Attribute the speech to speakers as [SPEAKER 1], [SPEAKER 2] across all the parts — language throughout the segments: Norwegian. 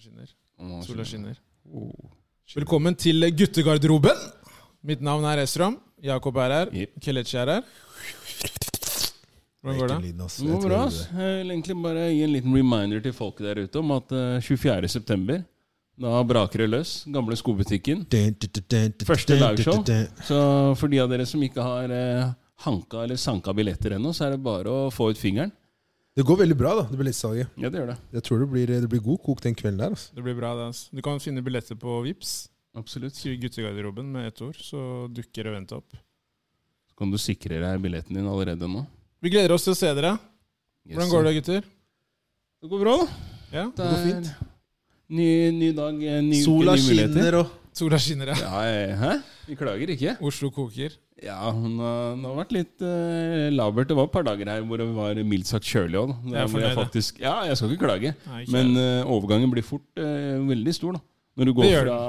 [SPEAKER 1] skinner.
[SPEAKER 2] Å,
[SPEAKER 1] Sola skinner.
[SPEAKER 2] Oh.
[SPEAKER 1] Velkommen til guttegarderoben. Mitt navn er Esram. Jakob er her.
[SPEAKER 2] Yep.
[SPEAKER 1] Kelechi er her. Hvordan går det?
[SPEAKER 2] Det går bra. ass. Jeg vil egentlig bare gi en liten reminder til folket der ute om at eh, 24. september da braker det løs. Gamle skobutikken. Første lagshow. Så for de av dere som ikke har eh, hanka eller sanka billetter ennå, så er det bare å få ut fingeren.
[SPEAKER 3] Det går veldig bra, da, det billettsalget.
[SPEAKER 2] Ja, det gjør det.
[SPEAKER 3] Jeg tror det blir, det blir god kok den kvelden der. Altså.
[SPEAKER 1] Det blir bra, det. ass. Du kan finne billetter på Vips.
[SPEAKER 2] Absolutt.
[SPEAKER 1] Skriv 'guttegarderoben' med ett ord, så dukker eventet opp.
[SPEAKER 2] Så kan du sikre deg billetten din allerede nå.
[SPEAKER 1] Vi gleder oss til å se dere. Hvordan går det, gutter?
[SPEAKER 2] Det går bra, da.
[SPEAKER 1] Ja?
[SPEAKER 2] Det
[SPEAKER 3] går
[SPEAKER 2] er
[SPEAKER 3] fint.
[SPEAKER 2] Ny, ny dag, eh, ny
[SPEAKER 3] Sola
[SPEAKER 2] uke, nye muligheter.
[SPEAKER 3] skinner og
[SPEAKER 1] Sola skinner, ja.
[SPEAKER 2] Ja, eh, hæ? Vi klager ikke.
[SPEAKER 1] Oslo koker.
[SPEAKER 2] Ja, hun har, det har vært litt eh, labert. Det var et par dager her hvor det var mildt sagt kjølig òg.
[SPEAKER 1] Jeg er fornøyd, jeg.
[SPEAKER 2] Ja, jeg skal ikke klage.
[SPEAKER 1] Nei, ikke
[SPEAKER 2] Men eh, overgangen blir fort eh, veldig stor, da. Når du går
[SPEAKER 1] Det gjør
[SPEAKER 2] fra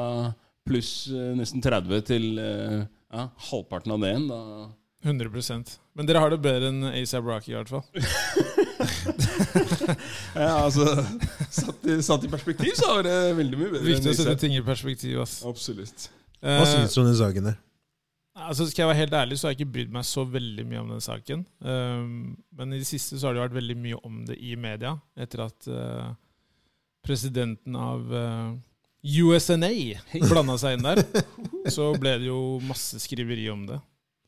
[SPEAKER 2] pluss eh, nesten 30 til eh, ja, halvparten av det igjen, da
[SPEAKER 1] 100 Men dere har det bedre enn ASAP Rocky, i hvert fall.
[SPEAKER 2] Ja, altså satt i, satt i perspektiv, så var det veldig mye bedre.
[SPEAKER 1] Viktig å sette
[SPEAKER 2] Isak.
[SPEAKER 1] ting i perspektiv, ass.
[SPEAKER 2] Absolutt.
[SPEAKER 3] Hva
[SPEAKER 1] Eh,
[SPEAKER 3] syns du om den saken der?
[SPEAKER 1] Altså Skal jeg være helt ærlig, så har jeg ikke brydd meg så veldig mye om den saken. Um, men i det siste så har det vært veldig mye om det i media, etter at eh, presidenten av eh, USNA blanda seg inn der. Så ble det jo masse skriveri om det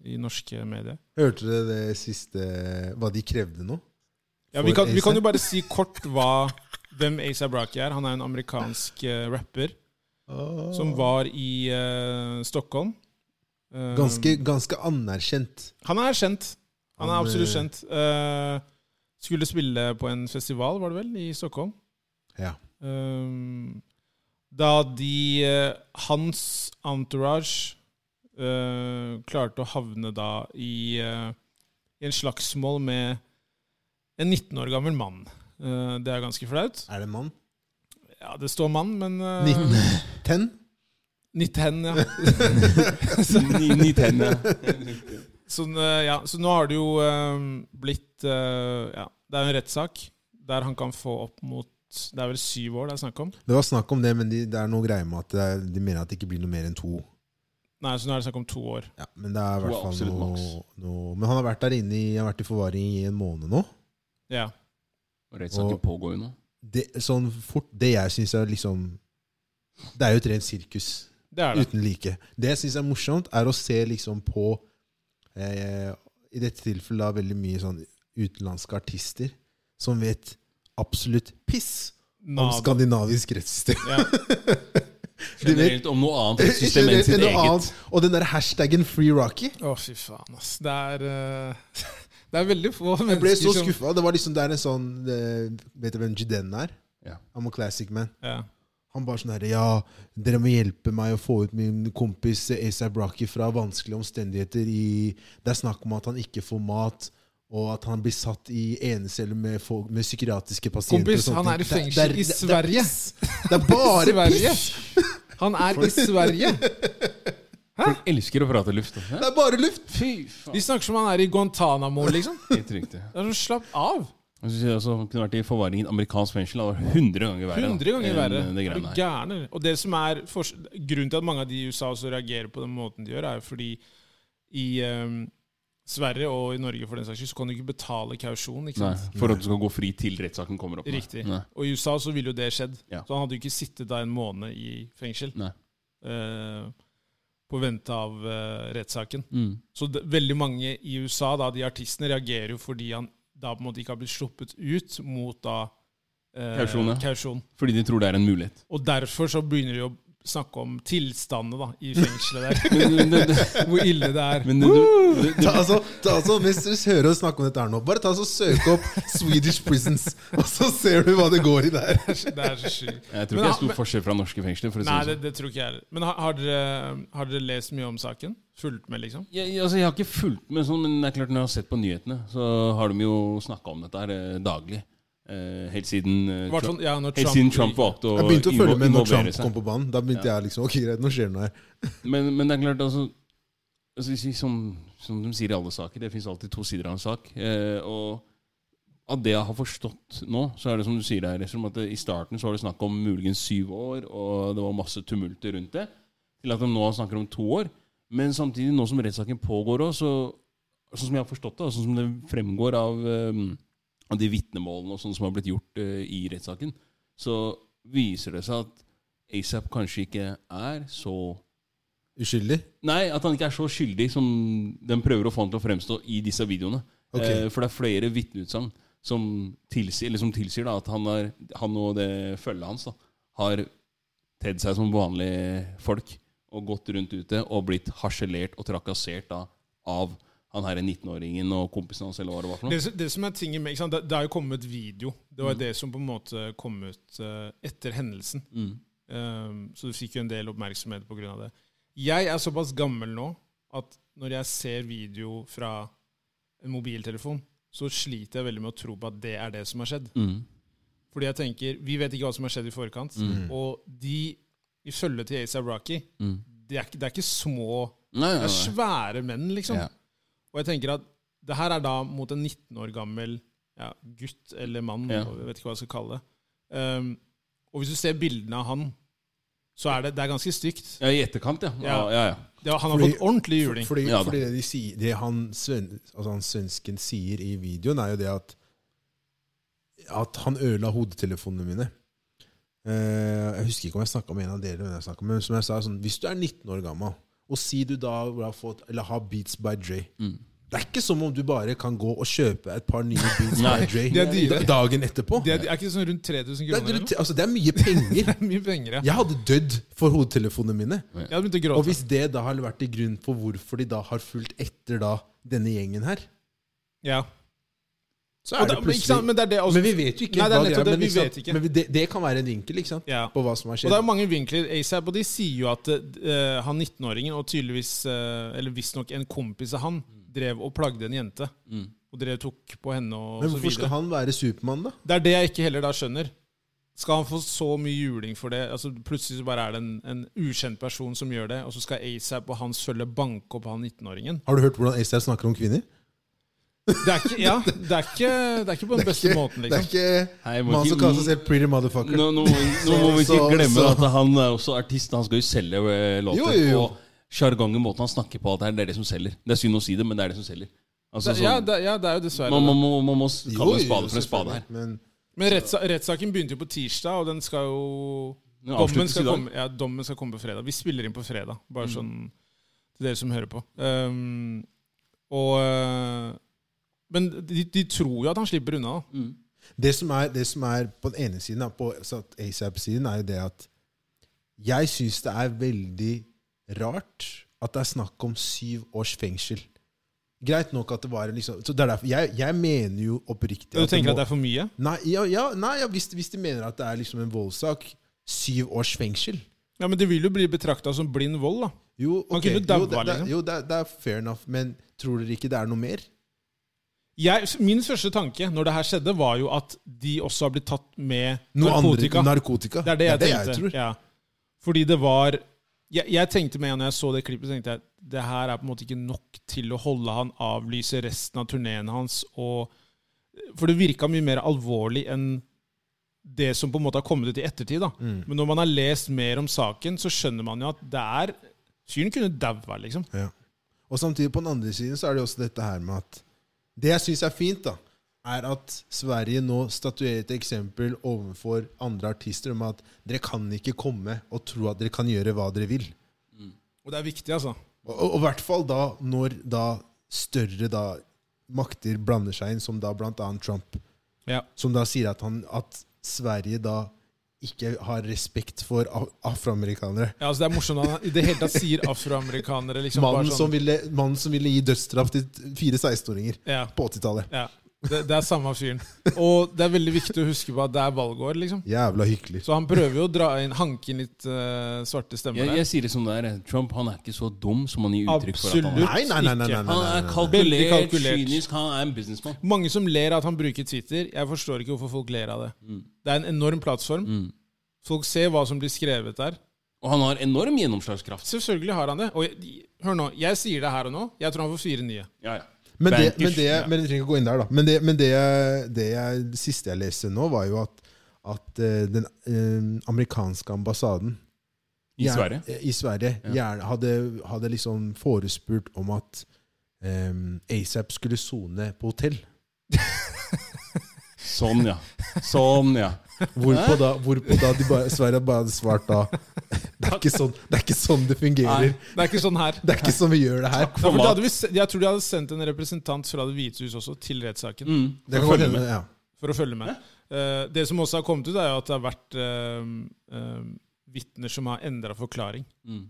[SPEAKER 1] i norske medier.
[SPEAKER 3] Hørte dere det siste Hva de krevde nå?
[SPEAKER 1] Ja, vi,
[SPEAKER 3] For
[SPEAKER 1] kan, vi
[SPEAKER 3] A$AP?
[SPEAKER 1] kan jo bare si kort hva, hvem A$AP Rocky er. Han er en amerikansk eh, rapper som var i eh, Stockholm. Eh,
[SPEAKER 3] Ganske, ganske anerkjent.
[SPEAKER 1] Han er kjent. Han er
[SPEAKER 3] Han,
[SPEAKER 1] absolutt
[SPEAKER 3] eh,
[SPEAKER 1] kjent. Eh, skulle spille på en festival, var det vel, i Stockholm.
[SPEAKER 3] Ja.
[SPEAKER 1] Eh, da de eh, Hans entourage eh, klarte å havne da i, eh, i en slagsmål med en 19 år gammel mann. Eh, det er ganske flaut.
[SPEAKER 3] Er det en mann?
[SPEAKER 1] Ja, det står mann, men eh,
[SPEAKER 3] Nitten. Ten?
[SPEAKER 1] 19, ja.
[SPEAKER 2] Ni, ni tenner.
[SPEAKER 1] Sånn, eh, ja, så nå har det jo eh, blitt eh, ja, Det er jo en rettssak der han kan få opp mot Det er vel syv år det er snakk om?
[SPEAKER 3] Det var snakk om det, men de, det er noe greier med at det er, de mener at det ikke blir noe mer enn to.
[SPEAKER 1] Nei, så nå er det snakk om to år.
[SPEAKER 3] Ja, men det er
[SPEAKER 2] To er
[SPEAKER 3] i hvert fall
[SPEAKER 2] absolutt
[SPEAKER 3] noe,
[SPEAKER 2] maks.
[SPEAKER 3] noe Men han har vært der inne i, har vært i forvaring i en måned nå.
[SPEAKER 1] Ja.
[SPEAKER 2] Og Rettssaken pågår jo nå.
[SPEAKER 3] Det, sånn fort, det jeg syns er liksom Det er jo et rent sirkus
[SPEAKER 1] Det er det.
[SPEAKER 3] uten like. Det jeg syns er morsomt, er å se liksom på eh, I dette tilfellet da veldig mye sånn utenlandske artister som vet absolutt piss om
[SPEAKER 1] Nada.
[SPEAKER 3] skandinavisk rettssystem.
[SPEAKER 1] Ja.
[SPEAKER 3] vet-
[SPEAKER 2] Generelt om noe annet rettssystem enn sitt
[SPEAKER 3] Noe
[SPEAKER 2] eget.
[SPEAKER 3] annet. Og den der hashtaggen Free Rocky.
[SPEAKER 1] Å, fy faen, ass. Det er eh, Det er veldig få
[SPEAKER 3] Jeg ble så
[SPEAKER 1] mennesker som
[SPEAKER 3] skuffa. Det var liksom det er en sånn eh, Vet du hvem Juden er?
[SPEAKER 2] Ja.
[SPEAKER 3] I'm a classic man.
[SPEAKER 1] ja.
[SPEAKER 3] Han bare sånn herre Ja, dere må hjelpe meg å få ut min kompis ASAP Rocky fra vanskelige omstendigheter i Det er snakk om at han ikke får mat. Og at han blir satt i eneceller med, folk- med psykiatriske pasienter.
[SPEAKER 1] Kompis,
[SPEAKER 3] og sånne
[SPEAKER 1] han er i
[SPEAKER 3] ting. Det-
[SPEAKER 1] fengsel
[SPEAKER 3] det
[SPEAKER 1] i
[SPEAKER 3] er- det-
[SPEAKER 1] Sverige.
[SPEAKER 3] Det, det er bare piss!
[SPEAKER 1] Sverige. Han er i Sverige!
[SPEAKER 2] Folk elsker å prate luft. da.
[SPEAKER 3] Det er bare luft!
[SPEAKER 2] Fy faen.
[SPEAKER 1] De snakker som han er i Guantánamo, liksom.
[SPEAKER 2] Helt riktig.
[SPEAKER 1] Det er sånn, Slapp av!
[SPEAKER 2] Jeg synes jeg også kunne vært i forvaring i et amerikansk fengsel. Det var 100 ganger verre. da,
[SPEAKER 1] 100 ganger
[SPEAKER 2] enn
[SPEAKER 1] verre. Er
[SPEAKER 2] Det
[SPEAKER 1] du
[SPEAKER 2] greiene her.
[SPEAKER 1] gæren? eller? Og det som er fors- Grunnen til at mange av de i USA også reagerer på den måten de gjør, er jo fordi i eh, Sverige og i Norge for den saks skyld, så kan du ikke betale kausjon. ikke
[SPEAKER 2] Nei,
[SPEAKER 1] sant?
[SPEAKER 2] for at du skal gå fri til rettssaken kommer opp. Nei.
[SPEAKER 1] Riktig.
[SPEAKER 2] Nei.
[SPEAKER 1] Og i USA så ville jo det skjedd.
[SPEAKER 2] Ja.
[SPEAKER 1] Så han hadde jo ikke sittet da en måned i fengsel
[SPEAKER 2] Nei.
[SPEAKER 1] eh, på vente av eh, rettssaken.
[SPEAKER 2] Mm.
[SPEAKER 1] Så det, veldig mange i USA, da, de artistene, reagerer jo fordi han da på en måte ikke har blitt sluppet ut mot da eh,
[SPEAKER 2] Kausjon, ja.
[SPEAKER 1] kausjon.
[SPEAKER 2] Fordi de tror det er en mulighet.
[SPEAKER 1] Og derfor så begynner de å snakke om tilstandene da, i fengselet der.
[SPEAKER 2] Men, det- det-
[SPEAKER 1] Hvor ille det er.
[SPEAKER 2] men det- du- det- det-
[SPEAKER 3] Ta, altså, ta, altså, hvis du hører oss snakke om dette her nå, bare ta altså, søk opp Swedish prisons, og så ser du hva det går i der.
[SPEAKER 1] Det er så sjukt.
[SPEAKER 2] jeg tror
[SPEAKER 1] Men
[SPEAKER 2] ikke det
[SPEAKER 1] han-
[SPEAKER 2] er stor forskjell fra norske fengsler. For å si
[SPEAKER 1] Nei,
[SPEAKER 2] det sånn.
[SPEAKER 1] det, det tror ikke jeg heller. Men har, har, dere, har dere lest mye om saken? Fulgt med, liksom?
[SPEAKER 2] Jeg, jeg- altså, jeg har ikke fulgt med sånn, men det er klart når jeg har sett på nyhetene, så har de jo snakka om dette her eh, daglig. Eh, helt siden eh,
[SPEAKER 1] Hvert fall, sånn- ja, når
[SPEAKER 2] helt siden Trump valgte å
[SPEAKER 3] Jeg begynte å følge
[SPEAKER 2] invo-
[SPEAKER 3] med når
[SPEAKER 2] involvere
[SPEAKER 3] Trump kom på banen. Da begynte jeg liksom Ok, greit, nå skjer det noe her.
[SPEAKER 2] Men, men det er klart, altså, altså si- Som, som de sier i alle saker, det fins alltid to sider av en sak. Eh, og av det jeg har forstått nå, så er det som du sier her, liksom at det, i starten så var det snakk om muligens syv år, og det var masse tumulter rundt det, til at de nå snakker om to år. Men samtidig, nå som rettssaken pågår òg, så Sånn som jeg har forstått det, og sånn som det fremgår av, eh, av de vitnemålene og sånn som har blitt gjort eh, i rettssaken, så viser det seg at ASAP kanskje ikke er så
[SPEAKER 3] Uskyldig?
[SPEAKER 2] Nei, at han ikke er så skyldig som de prøver å få han til å fremstå i disse videoene.
[SPEAKER 3] Ok.
[SPEAKER 2] Eh, for det er flere vitneutsagn som tilsier, eller som tilsier da, at han, har, han og det følget hans da, har tedd seg som vanlige folk og gått rundt ute og blitt harselert og trakassert da, av han her 19-åringen og kompisen hans, eller hva det var for noe.
[SPEAKER 1] Det, som- det som er tingen med, ikke sant? Det, det er jo kommet video. Det var jo det som på en måte kom ut eh, etter hendelsen.
[SPEAKER 2] Mm.
[SPEAKER 1] Um, så du fikk jo en del oppmerksomhet pga. det. Jeg er såpass gammel nå at når jeg ser video fra en mobiltelefon, så sliter jeg veldig med å tro på at det er det som har skjedd.
[SPEAKER 2] Mm.
[SPEAKER 1] Fordi jeg tenker, Vi vet ikke hva som har skjedd i forkant.
[SPEAKER 2] Mm.
[SPEAKER 1] Og de, ifølge til Asa Rocky,
[SPEAKER 2] Mm.
[SPEAKER 1] det er, ikke- det er ikke små Det
[SPEAKER 2] Nei, nei,
[SPEAKER 1] er
[SPEAKER 2] nei.
[SPEAKER 1] svære menn, liksom.
[SPEAKER 2] Ja.
[SPEAKER 1] Og jeg tenker at det her er da mot en 19 år gammel ja, gutt eller mann,
[SPEAKER 2] Ja.
[SPEAKER 1] jeg vet ikke hva jeg skal kalle det. Um, og hvis du ser bildene av han, så er det, det er ganske stygt.
[SPEAKER 2] Ja, i etterkant, ja. Ja,
[SPEAKER 1] Ja.
[SPEAKER 2] ja, ja.
[SPEAKER 1] Det, han har
[SPEAKER 3] Fordi-
[SPEAKER 1] fått ordentlig juling.
[SPEAKER 3] Fordi,
[SPEAKER 2] Ja da.
[SPEAKER 3] fordi det, de sier, det han, sven, altså han svensken sier i videoen, er jo det at At han ødela hodetelefonene mine. Eh, jeg husker ikke om jeg snakka med en av dere, men, jeg snakket med, men som jeg sa, sånn, hvis du er 19 år gammel, og si du da har fått, eller har Beats by Dre
[SPEAKER 2] Mm.
[SPEAKER 3] Det er ikke som om du bare kan gå og kjøpe et par nye Beats by
[SPEAKER 2] Nei.
[SPEAKER 3] Dre
[SPEAKER 1] De er dyre.
[SPEAKER 3] da- dagen etterpå.
[SPEAKER 1] Det er, det er ikke sånn rundt 3000
[SPEAKER 3] Det er,
[SPEAKER 1] kroner? eller noe?
[SPEAKER 3] altså, det er mye penger.
[SPEAKER 1] Det er mye penger, ja.
[SPEAKER 3] Jeg hadde dødd for hodetelefonene mine.
[SPEAKER 1] Jeg hadde begynt å
[SPEAKER 3] Og
[SPEAKER 1] gråte.
[SPEAKER 3] hvis det da har vært til grunn for hvorfor de da har fulgt etter da denne gjengen her
[SPEAKER 1] ja.
[SPEAKER 3] så
[SPEAKER 1] Og
[SPEAKER 3] er
[SPEAKER 1] da,
[SPEAKER 3] det
[SPEAKER 1] men, ikke sant,
[SPEAKER 3] plutselig
[SPEAKER 1] men det er det også.
[SPEAKER 3] Men vi vet jo ikke
[SPEAKER 1] Nei, det er
[SPEAKER 3] hva
[SPEAKER 1] nettopp det.
[SPEAKER 3] men
[SPEAKER 1] Vi
[SPEAKER 3] sant,
[SPEAKER 1] vet ikke.
[SPEAKER 3] Men det, det kan være en vinkel ikke sant?
[SPEAKER 1] ja.
[SPEAKER 3] på hva som har
[SPEAKER 1] Og
[SPEAKER 3] skjedd.
[SPEAKER 1] det er mange vinkler ASAP, og de sier jo at eh, han 19-åringen, og tydeligvis, eh, eller visstnok en kompis av han, drev og plagde en jente.
[SPEAKER 2] Mm.
[SPEAKER 1] Og drev og tok på henne og
[SPEAKER 3] men
[SPEAKER 1] så
[SPEAKER 3] hvorfor
[SPEAKER 1] videre.
[SPEAKER 3] skal han være Supermann, da?
[SPEAKER 1] Det er det jeg ikke heller da skjønner. Skal han få så mye juling for det? Altså Plutselig så bare er det en, en ukjent person som gjør det, og så skal ASAP og hans følge banke opp han 19-åringen?
[SPEAKER 3] Har du hørt hvordan Acer snakker om kvinner?
[SPEAKER 1] Det er ikke ja, det er ikke, det er ikke på den beste måten,
[SPEAKER 3] Det er
[SPEAKER 1] liksom.
[SPEAKER 3] ikke
[SPEAKER 2] Hei, må
[SPEAKER 3] man som
[SPEAKER 2] ikke-
[SPEAKER 3] kaller seg selv pretty motherfucker.
[SPEAKER 2] Nå, nå, må- nå må vi ikke
[SPEAKER 3] Så-
[SPEAKER 2] glemme
[SPEAKER 3] så-
[SPEAKER 2] at han er også artist. Han skal jo selge eh, låter.
[SPEAKER 3] Jo, jo, jo.
[SPEAKER 2] Og sjargongen, måten han snakker på, alt det her, det er det som selger. Det er synd å si det, men det er det som selger. Altså,
[SPEAKER 1] Det,
[SPEAKER 2] sånn-
[SPEAKER 1] ja, det, ja, det er jo dessverre
[SPEAKER 2] man,
[SPEAKER 1] det.
[SPEAKER 2] man, må, man må s-
[SPEAKER 3] Jo,
[SPEAKER 2] kalle en
[SPEAKER 3] jo,
[SPEAKER 2] spade for en spade her.
[SPEAKER 3] selvfølgelig, Men
[SPEAKER 1] Men retts, rettssaken begynte jo på tirsdag, og den skal jo
[SPEAKER 2] Den
[SPEAKER 1] Dommen
[SPEAKER 2] avsluttes i
[SPEAKER 1] skal,
[SPEAKER 2] dag. Mm.
[SPEAKER 1] komme, ja, dommen skal komme på fredag. Vi spiller inn på fredag, bare sånn til dere som hører på. Um, og øh, Men de, de tror jo at han slipper unna, da.
[SPEAKER 2] Mm.
[SPEAKER 3] det som, er, det som er på den ene siden, da, på altså, ASAP-siden, er jo det at jeg syns det er veldig rart at det er snakk om syv års fengsel. Greit nok at det var en liksom, så det er derfor, jeg, jeg mener jo oppriktig
[SPEAKER 1] Du tenker at det er for mye?
[SPEAKER 3] Nei, ja, ja, nei ja, hvis, hvis de mener at det er liksom en voldssak, syv års fengsel
[SPEAKER 1] Ja, Men det vil jo bli betrakta som blind vold, da.
[SPEAKER 3] Jo,
[SPEAKER 1] Man
[SPEAKER 3] ok,
[SPEAKER 1] kunne
[SPEAKER 3] jo,
[SPEAKER 1] daua,
[SPEAKER 3] det, det,
[SPEAKER 1] liksom.
[SPEAKER 3] jo det, det er fair enough, men tror dere ikke det er noe mer?
[SPEAKER 1] Jeg, min første tanke når det her skjedde, var jo at de også har blitt tatt med
[SPEAKER 3] Noe
[SPEAKER 1] narkotika.
[SPEAKER 3] andre narkotika?
[SPEAKER 1] Det er det jeg tenkte.
[SPEAKER 3] tror.
[SPEAKER 1] ja. Fordi det var jeg, jeg tenkte med en gang jeg så det klippet, tenkte jeg det her er på en måte ikke nok til å holde han avlyse resten av turneen hans. Og, for det virka mye mer alvorlig enn det som på en måte har kommet ut i ettertid. Da.
[SPEAKER 3] Mm.
[SPEAKER 1] Men når man har lest mer om saken, så skjønner man jo at det er Fyren kunne daua, liksom.
[SPEAKER 3] Ja. Og samtidig på den andre siden så er det også dette her med at Det jeg syns er fint, da, er at Sverige nå statuerer et eksempel overfor andre artister om at dere kan ikke komme og tro at dere kan gjøre hva dere vil.
[SPEAKER 1] Og det er viktig, altså.
[SPEAKER 3] Og- Og og i hvert fall da når da større da makter blander seg inn, som da bl.a. Trump,
[SPEAKER 1] Ja.
[SPEAKER 3] som da sier at, han, at Sverige da ikke har respekt for af- afroamerikanere.
[SPEAKER 1] Ja, altså Det er morsomt at han i det hele tatt sier afroamerikanere. Liksom, bare
[SPEAKER 3] Mannen
[SPEAKER 1] sånn-
[SPEAKER 3] som, ville, mannen som ville gi dødsstraff til fire 16-åringer
[SPEAKER 1] ja,
[SPEAKER 3] på 80-tallet.
[SPEAKER 1] ja. Det, det er samme fyren. Og det er veldig viktig å huske på at det er valgår, liksom.
[SPEAKER 3] Jævla hyggelig.
[SPEAKER 1] Så han prøver jo å dra inn, hanke inn litt eh, svarte stemmer
[SPEAKER 2] Jeg,
[SPEAKER 1] der.
[SPEAKER 2] jeg sier det som det er. eh, Trump han er ikke så dum som han gir uttrykk for. at
[SPEAKER 1] Absolutt
[SPEAKER 2] Han er.
[SPEAKER 3] Nei, nei, nei, nei, nei,
[SPEAKER 1] ikke.
[SPEAKER 2] Han
[SPEAKER 3] nei.
[SPEAKER 2] er
[SPEAKER 1] Veldig
[SPEAKER 2] kalkulert,
[SPEAKER 1] kalkulert.
[SPEAKER 2] kynisk, han er en businessman.
[SPEAKER 1] Mange som ler av at han bruker Twitter. Jeg forstår ikke hvorfor folk ler av det. Det er en enorm plattform.
[SPEAKER 2] Mm.
[SPEAKER 1] Folk ser hva som blir skrevet der.
[SPEAKER 2] Og han har enorm gjennomslagskraft.
[SPEAKER 1] Selvfølgelig har han det. Og jeg, hør nå, jeg sier det her og nå. Jeg tror han får fire nye.
[SPEAKER 2] Ja, ja.
[SPEAKER 3] Men det,
[SPEAKER 2] Bankers,
[SPEAKER 3] men det,
[SPEAKER 2] ja.
[SPEAKER 3] men jeg trenger ikke gå inn der, da. Men det, men det, jeg- det, jeg, det siste jeg leste nå, var jo at, at eh, den eh, amerikanske ambassaden
[SPEAKER 2] I
[SPEAKER 3] gjerne-
[SPEAKER 2] Sverige.
[SPEAKER 3] eh, I Sverige
[SPEAKER 2] Ja.
[SPEAKER 3] gjerne hadde, hadde liksom forespurt om at eh, ASAP skulle sone på hotell.
[SPEAKER 2] Sånn, ja. Sånn, ja.
[SPEAKER 3] Hvorpå da, hvorpå da de bare, Sverige bare hadde svart da det er, ikke sånn, det er ikke sånn det
[SPEAKER 1] Nei,
[SPEAKER 3] fungerer.
[SPEAKER 1] det er ikke sånn her.
[SPEAKER 3] Det er ikke sånn vi gjør det her.
[SPEAKER 1] Ja, for
[SPEAKER 2] mat.
[SPEAKER 1] da hadde vi, se- jeg tror de hadde sendt en representant fra Det hvite hus også til rettssaken
[SPEAKER 2] Mm.
[SPEAKER 3] Det kan
[SPEAKER 2] Følg
[SPEAKER 3] godt
[SPEAKER 2] med.
[SPEAKER 3] hende. Ja.
[SPEAKER 1] for å følge med. Eh, det som også har kommet ut, er jo at det har vært eh, eh, vitner som har endra forklaring.
[SPEAKER 2] Mm.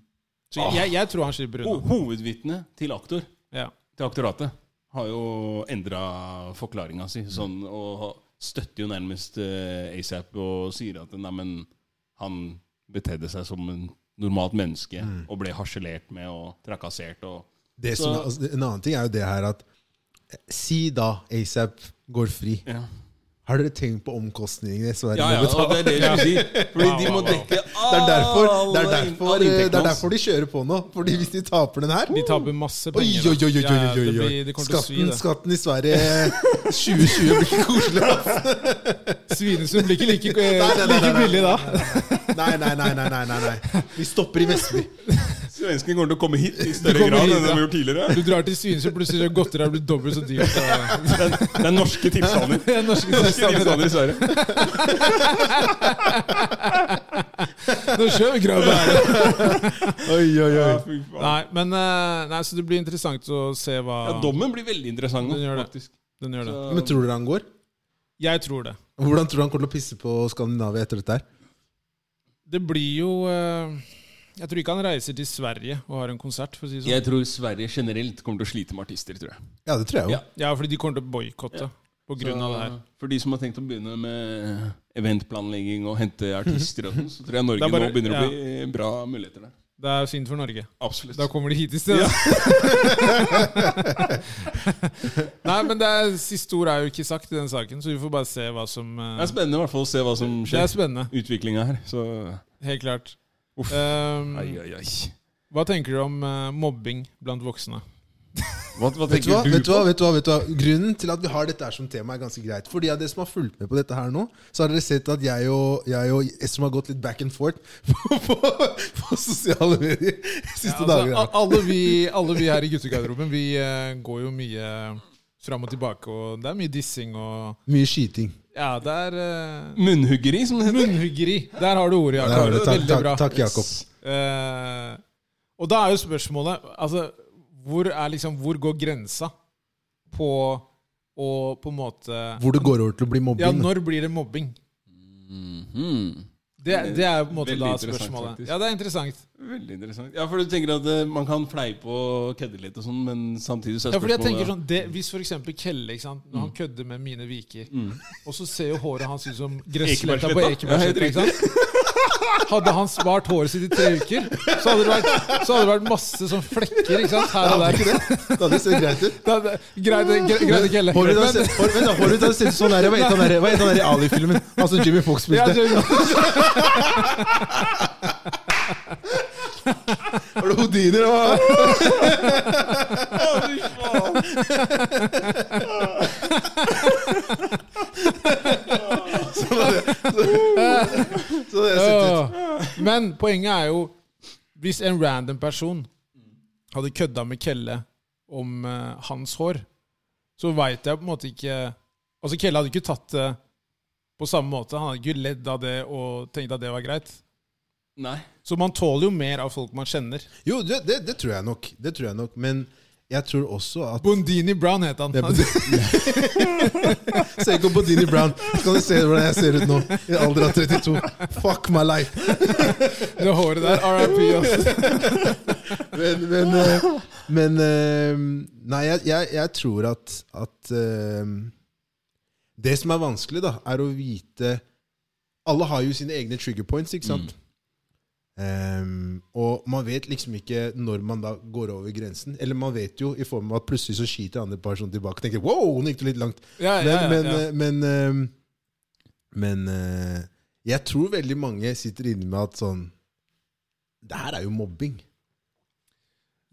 [SPEAKER 3] Ah.
[SPEAKER 1] Så jeg, jeg tror han slipper
[SPEAKER 2] Ho
[SPEAKER 3] Oh.
[SPEAKER 1] unna.
[SPEAKER 2] hovedvitne til aktor,
[SPEAKER 1] Ja.
[SPEAKER 2] til aktoratet, har jo endra forklaringa si. Sånn, og støtter jo nærmest eh, ASAP og sier at nei, men han betedde seg som en normalt menneske og ble harselert med og trakassert og
[SPEAKER 3] Det som,
[SPEAKER 2] Så-
[SPEAKER 3] altså, en annen ting er jo det her at eh, Si da ASAP går fri.
[SPEAKER 2] Ja,
[SPEAKER 3] Har dere tenkt på omkostningene Sverige
[SPEAKER 2] ja,
[SPEAKER 3] må
[SPEAKER 2] og det er
[SPEAKER 3] betale?
[SPEAKER 2] det jeg skulle si. Fordi
[SPEAKER 1] Wow,
[SPEAKER 2] de
[SPEAKER 1] wow,
[SPEAKER 2] må
[SPEAKER 1] wow.
[SPEAKER 2] dekke
[SPEAKER 3] Det er, derfor, det, er
[SPEAKER 2] alle inn- alle
[SPEAKER 3] derfor, eh, det
[SPEAKER 2] inntektene
[SPEAKER 3] er
[SPEAKER 2] hans.
[SPEAKER 3] derfor de kjører på nå. Fordi hvis de taper den her
[SPEAKER 1] De taper masse
[SPEAKER 3] Oi,
[SPEAKER 1] penger.
[SPEAKER 3] oi, oi,
[SPEAKER 1] da.
[SPEAKER 3] oi, oi,
[SPEAKER 1] Ja, det
[SPEAKER 3] oi, oi.
[SPEAKER 1] blir- Det kommer til å svi,
[SPEAKER 3] Skatten,
[SPEAKER 1] det.
[SPEAKER 3] skatten i Sverige 2020 blir ikke koselig. ass.
[SPEAKER 1] Svinesund blir ikke like, eh,
[SPEAKER 3] Nei, nei, nei,
[SPEAKER 1] like
[SPEAKER 3] nei, nei.
[SPEAKER 1] billig da.
[SPEAKER 3] Nei, nei, nei. nei, nei, nei, nei. Vi stopper i Vestby.
[SPEAKER 2] Svenskene kommer til å komme hit i
[SPEAKER 1] De
[SPEAKER 2] større
[SPEAKER 1] kommer
[SPEAKER 2] grad
[SPEAKER 1] hit,
[SPEAKER 2] enn de
[SPEAKER 1] ja.
[SPEAKER 2] har gjort tidligere.
[SPEAKER 1] Du drar til Svinesund, plutselig er godteriet blitt dobbelt så dyrt. og-
[SPEAKER 2] Det er, det er norske tipshandler.
[SPEAKER 1] Det er norske
[SPEAKER 2] Norske
[SPEAKER 1] tilstander.
[SPEAKER 2] tipshandler i Sverige.
[SPEAKER 1] Nå kjører vi grabber.
[SPEAKER 3] Oi, oi,
[SPEAKER 2] Ja,
[SPEAKER 3] oi.
[SPEAKER 2] fy faen.
[SPEAKER 1] Nei, men eh, nei, så det blir interessant å se hva
[SPEAKER 2] Ja, dommen blir veldig interessant nå,
[SPEAKER 1] Den gjør det.
[SPEAKER 2] faktisk.
[SPEAKER 1] den gjør. det.
[SPEAKER 2] Så-
[SPEAKER 3] Men tror dere han går?
[SPEAKER 1] Jeg tror det.
[SPEAKER 3] Hvordan tror du han kommer til å pisse på Skandinavia etter dette her?
[SPEAKER 1] Det blir jo eh, Jeg tror ikke han reiser til Sverige og har en konsert, for å si det sånn.
[SPEAKER 2] Jeg tror Sverige generelt kommer til å slite med artister, tror jeg.
[SPEAKER 3] Ja, det tror jeg jo.
[SPEAKER 2] Ja.
[SPEAKER 1] Ja, fordi de kommer til å boikotte på grunn av det her.
[SPEAKER 2] Så For de som har tenkt å begynne med eventplanlegging og hente artister og sånn, så tror
[SPEAKER 1] Det
[SPEAKER 2] jeg Norge
[SPEAKER 1] er bare-
[SPEAKER 2] nå begynner
[SPEAKER 1] ja.
[SPEAKER 2] å bli eh, bra muligheter der.
[SPEAKER 1] Det er synd for Norge.
[SPEAKER 2] Absolutt.
[SPEAKER 1] Da kommer de hit i stedet. Nei, men det er, siste ord er jo ikke sagt i den saken, så vi får bare se hva som eh,
[SPEAKER 2] Det er spennende i hvert fall å se hva som
[SPEAKER 1] Det er
[SPEAKER 2] skjer.
[SPEAKER 1] spennende.
[SPEAKER 2] Utviklinga her. Så
[SPEAKER 1] Helt klart.
[SPEAKER 2] Uff.
[SPEAKER 1] Ehm,
[SPEAKER 2] ai, ai, ai.
[SPEAKER 1] hva tenker du om eh, mobbing blant voksne?
[SPEAKER 2] Hva, hva
[SPEAKER 3] Vet du,
[SPEAKER 2] tenker
[SPEAKER 3] hva,
[SPEAKER 2] du
[SPEAKER 3] vet, du hva,
[SPEAKER 2] på?
[SPEAKER 3] vet, du hva, vet du hva? Grunnen til at vi har dette her som tema, er ganske greit. For de av dere som har fulgt med på dette her nå, så har dere sett at jeg og, jeg og Estrom har gått litt back and forth på, på, på sosiale medier de
[SPEAKER 1] Ja,
[SPEAKER 3] siste
[SPEAKER 1] altså,
[SPEAKER 3] dagene.
[SPEAKER 1] a- alle, vi, alle vi her i guttegarderoben vi eh, går jo mye fram og tilbake, og det er mye dissing og
[SPEAKER 3] Mye skyting.
[SPEAKER 1] Ja, det er eh,
[SPEAKER 2] Munnhuggeri, som det heter.
[SPEAKER 1] Munnhuggeri. Der har du ordet,
[SPEAKER 3] Der har
[SPEAKER 1] Jakob.
[SPEAKER 3] du det. Takk,
[SPEAKER 1] Veldig
[SPEAKER 3] takk,
[SPEAKER 1] bra.
[SPEAKER 3] takk Jakob.
[SPEAKER 1] Eh, og da er jo spørsmålet altså, hvor, er liksom, hvor går grensa på å på en måte
[SPEAKER 3] Hvor det går over til å bli
[SPEAKER 1] Ja,
[SPEAKER 3] mobbing.
[SPEAKER 1] når blir det mobbing?
[SPEAKER 2] Mhm.
[SPEAKER 1] Det, det er på en måte
[SPEAKER 2] Veldig
[SPEAKER 1] da
[SPEAKER 2] interessant,
[SPEAKER 1] spørsmålet.
[SPEAKER 2] faktisk.
[SPEAKER 1] Ja, det er interessant.
[SPEAKER 2] Veldig interessant. Ja, for du tenker at eh, man kan fleipe og kødde litt og sånn, men samtidig så er
[SPEAKER 1] Ja, fordi jeg
[SPEAKER 2] spørsmålet
[SPEAKER 1] tenker sånn, det, Hvis f.eks. Kelle ikke sant?
[SPEAKER 3] Mm.
[SPEAKER 1] Når han kødder med mine viker, og så ser jo håret hans ut som gressletta på Ekebergsletta ikke sant? Hadde han spart håret sitt i tre uker, så hadde det vært, så hadde det vært masse sånn flekker ikke sant? her og der.
[SPEAKER 3] Det hadde sett greit ut.
[SPEAKER 1] Da- da- Greit, gre- greit, Kelle.
[SPEAKER 3] Håret hadde
[SPEAKER 1] Men-
[SPEAKER 3] sett- hår- vent da, håret hadde sett ut sånn her. Hva het han der- hva het han der i Ali-filmen? Han som Jimmy Fox
[SPEAKER 1] Ja,
[SPEAKER 3] spilte.
[SPEAKER 1] så-
[SPEAKER 3] Var det Houdini? det var? Sånn hadde så- så hadde jeg sett ut.
[SPEAKER 1] Åh. Men poenget er jo Hvis en random person hadde kødda med Kelle om eh, hans hår, så veit jeg på en måte ikke Altså Kelle hadde ikke tatt det på samme måte. Han hadde ikke ledd av det og tenkt at det var greit.
[SPEAKER 2] Nei.
[SPEAKER 1] Så man tåler jo mer av folk man kjenner.
[SPEAKER 3] Jo, det, det, det tror jeg nok. Det tror jeg nok. Men jeg tror også at
[SPEAKER 1] Bondini Brown het han.
[SPEAKER 3] Det er Se ikke på Dini Brown, så kan du se hvordan jeg ser ut nå. I alder av 32. Fuck my life.
[SPEAKER 1] Det håret der. RIP. Altså.
[SPEAKER 3] Men, men, eh, men eh, Nei, jeg, jeg, jeg tror at, at eh, Det som er vanskelig, da, er å vite Alle har jo sine egne trigger points, ikke sant? Ehm, og man vet liksom ikke når man da går over grensen. Eller man vet jo i form av at plutselig så skyter andre personer tilbake. Og tenker, wow, nå gikk det litt langt
[SPEAKER 1] Ja, ja, ja,
[SPEAKER 3] Men, men,
[SPEAKER 1] ja.
[SPEAKER 3] eh, men, eh, men eh, jeg tror veldig mange sitter inne med at sånn Det her er jo mobbing.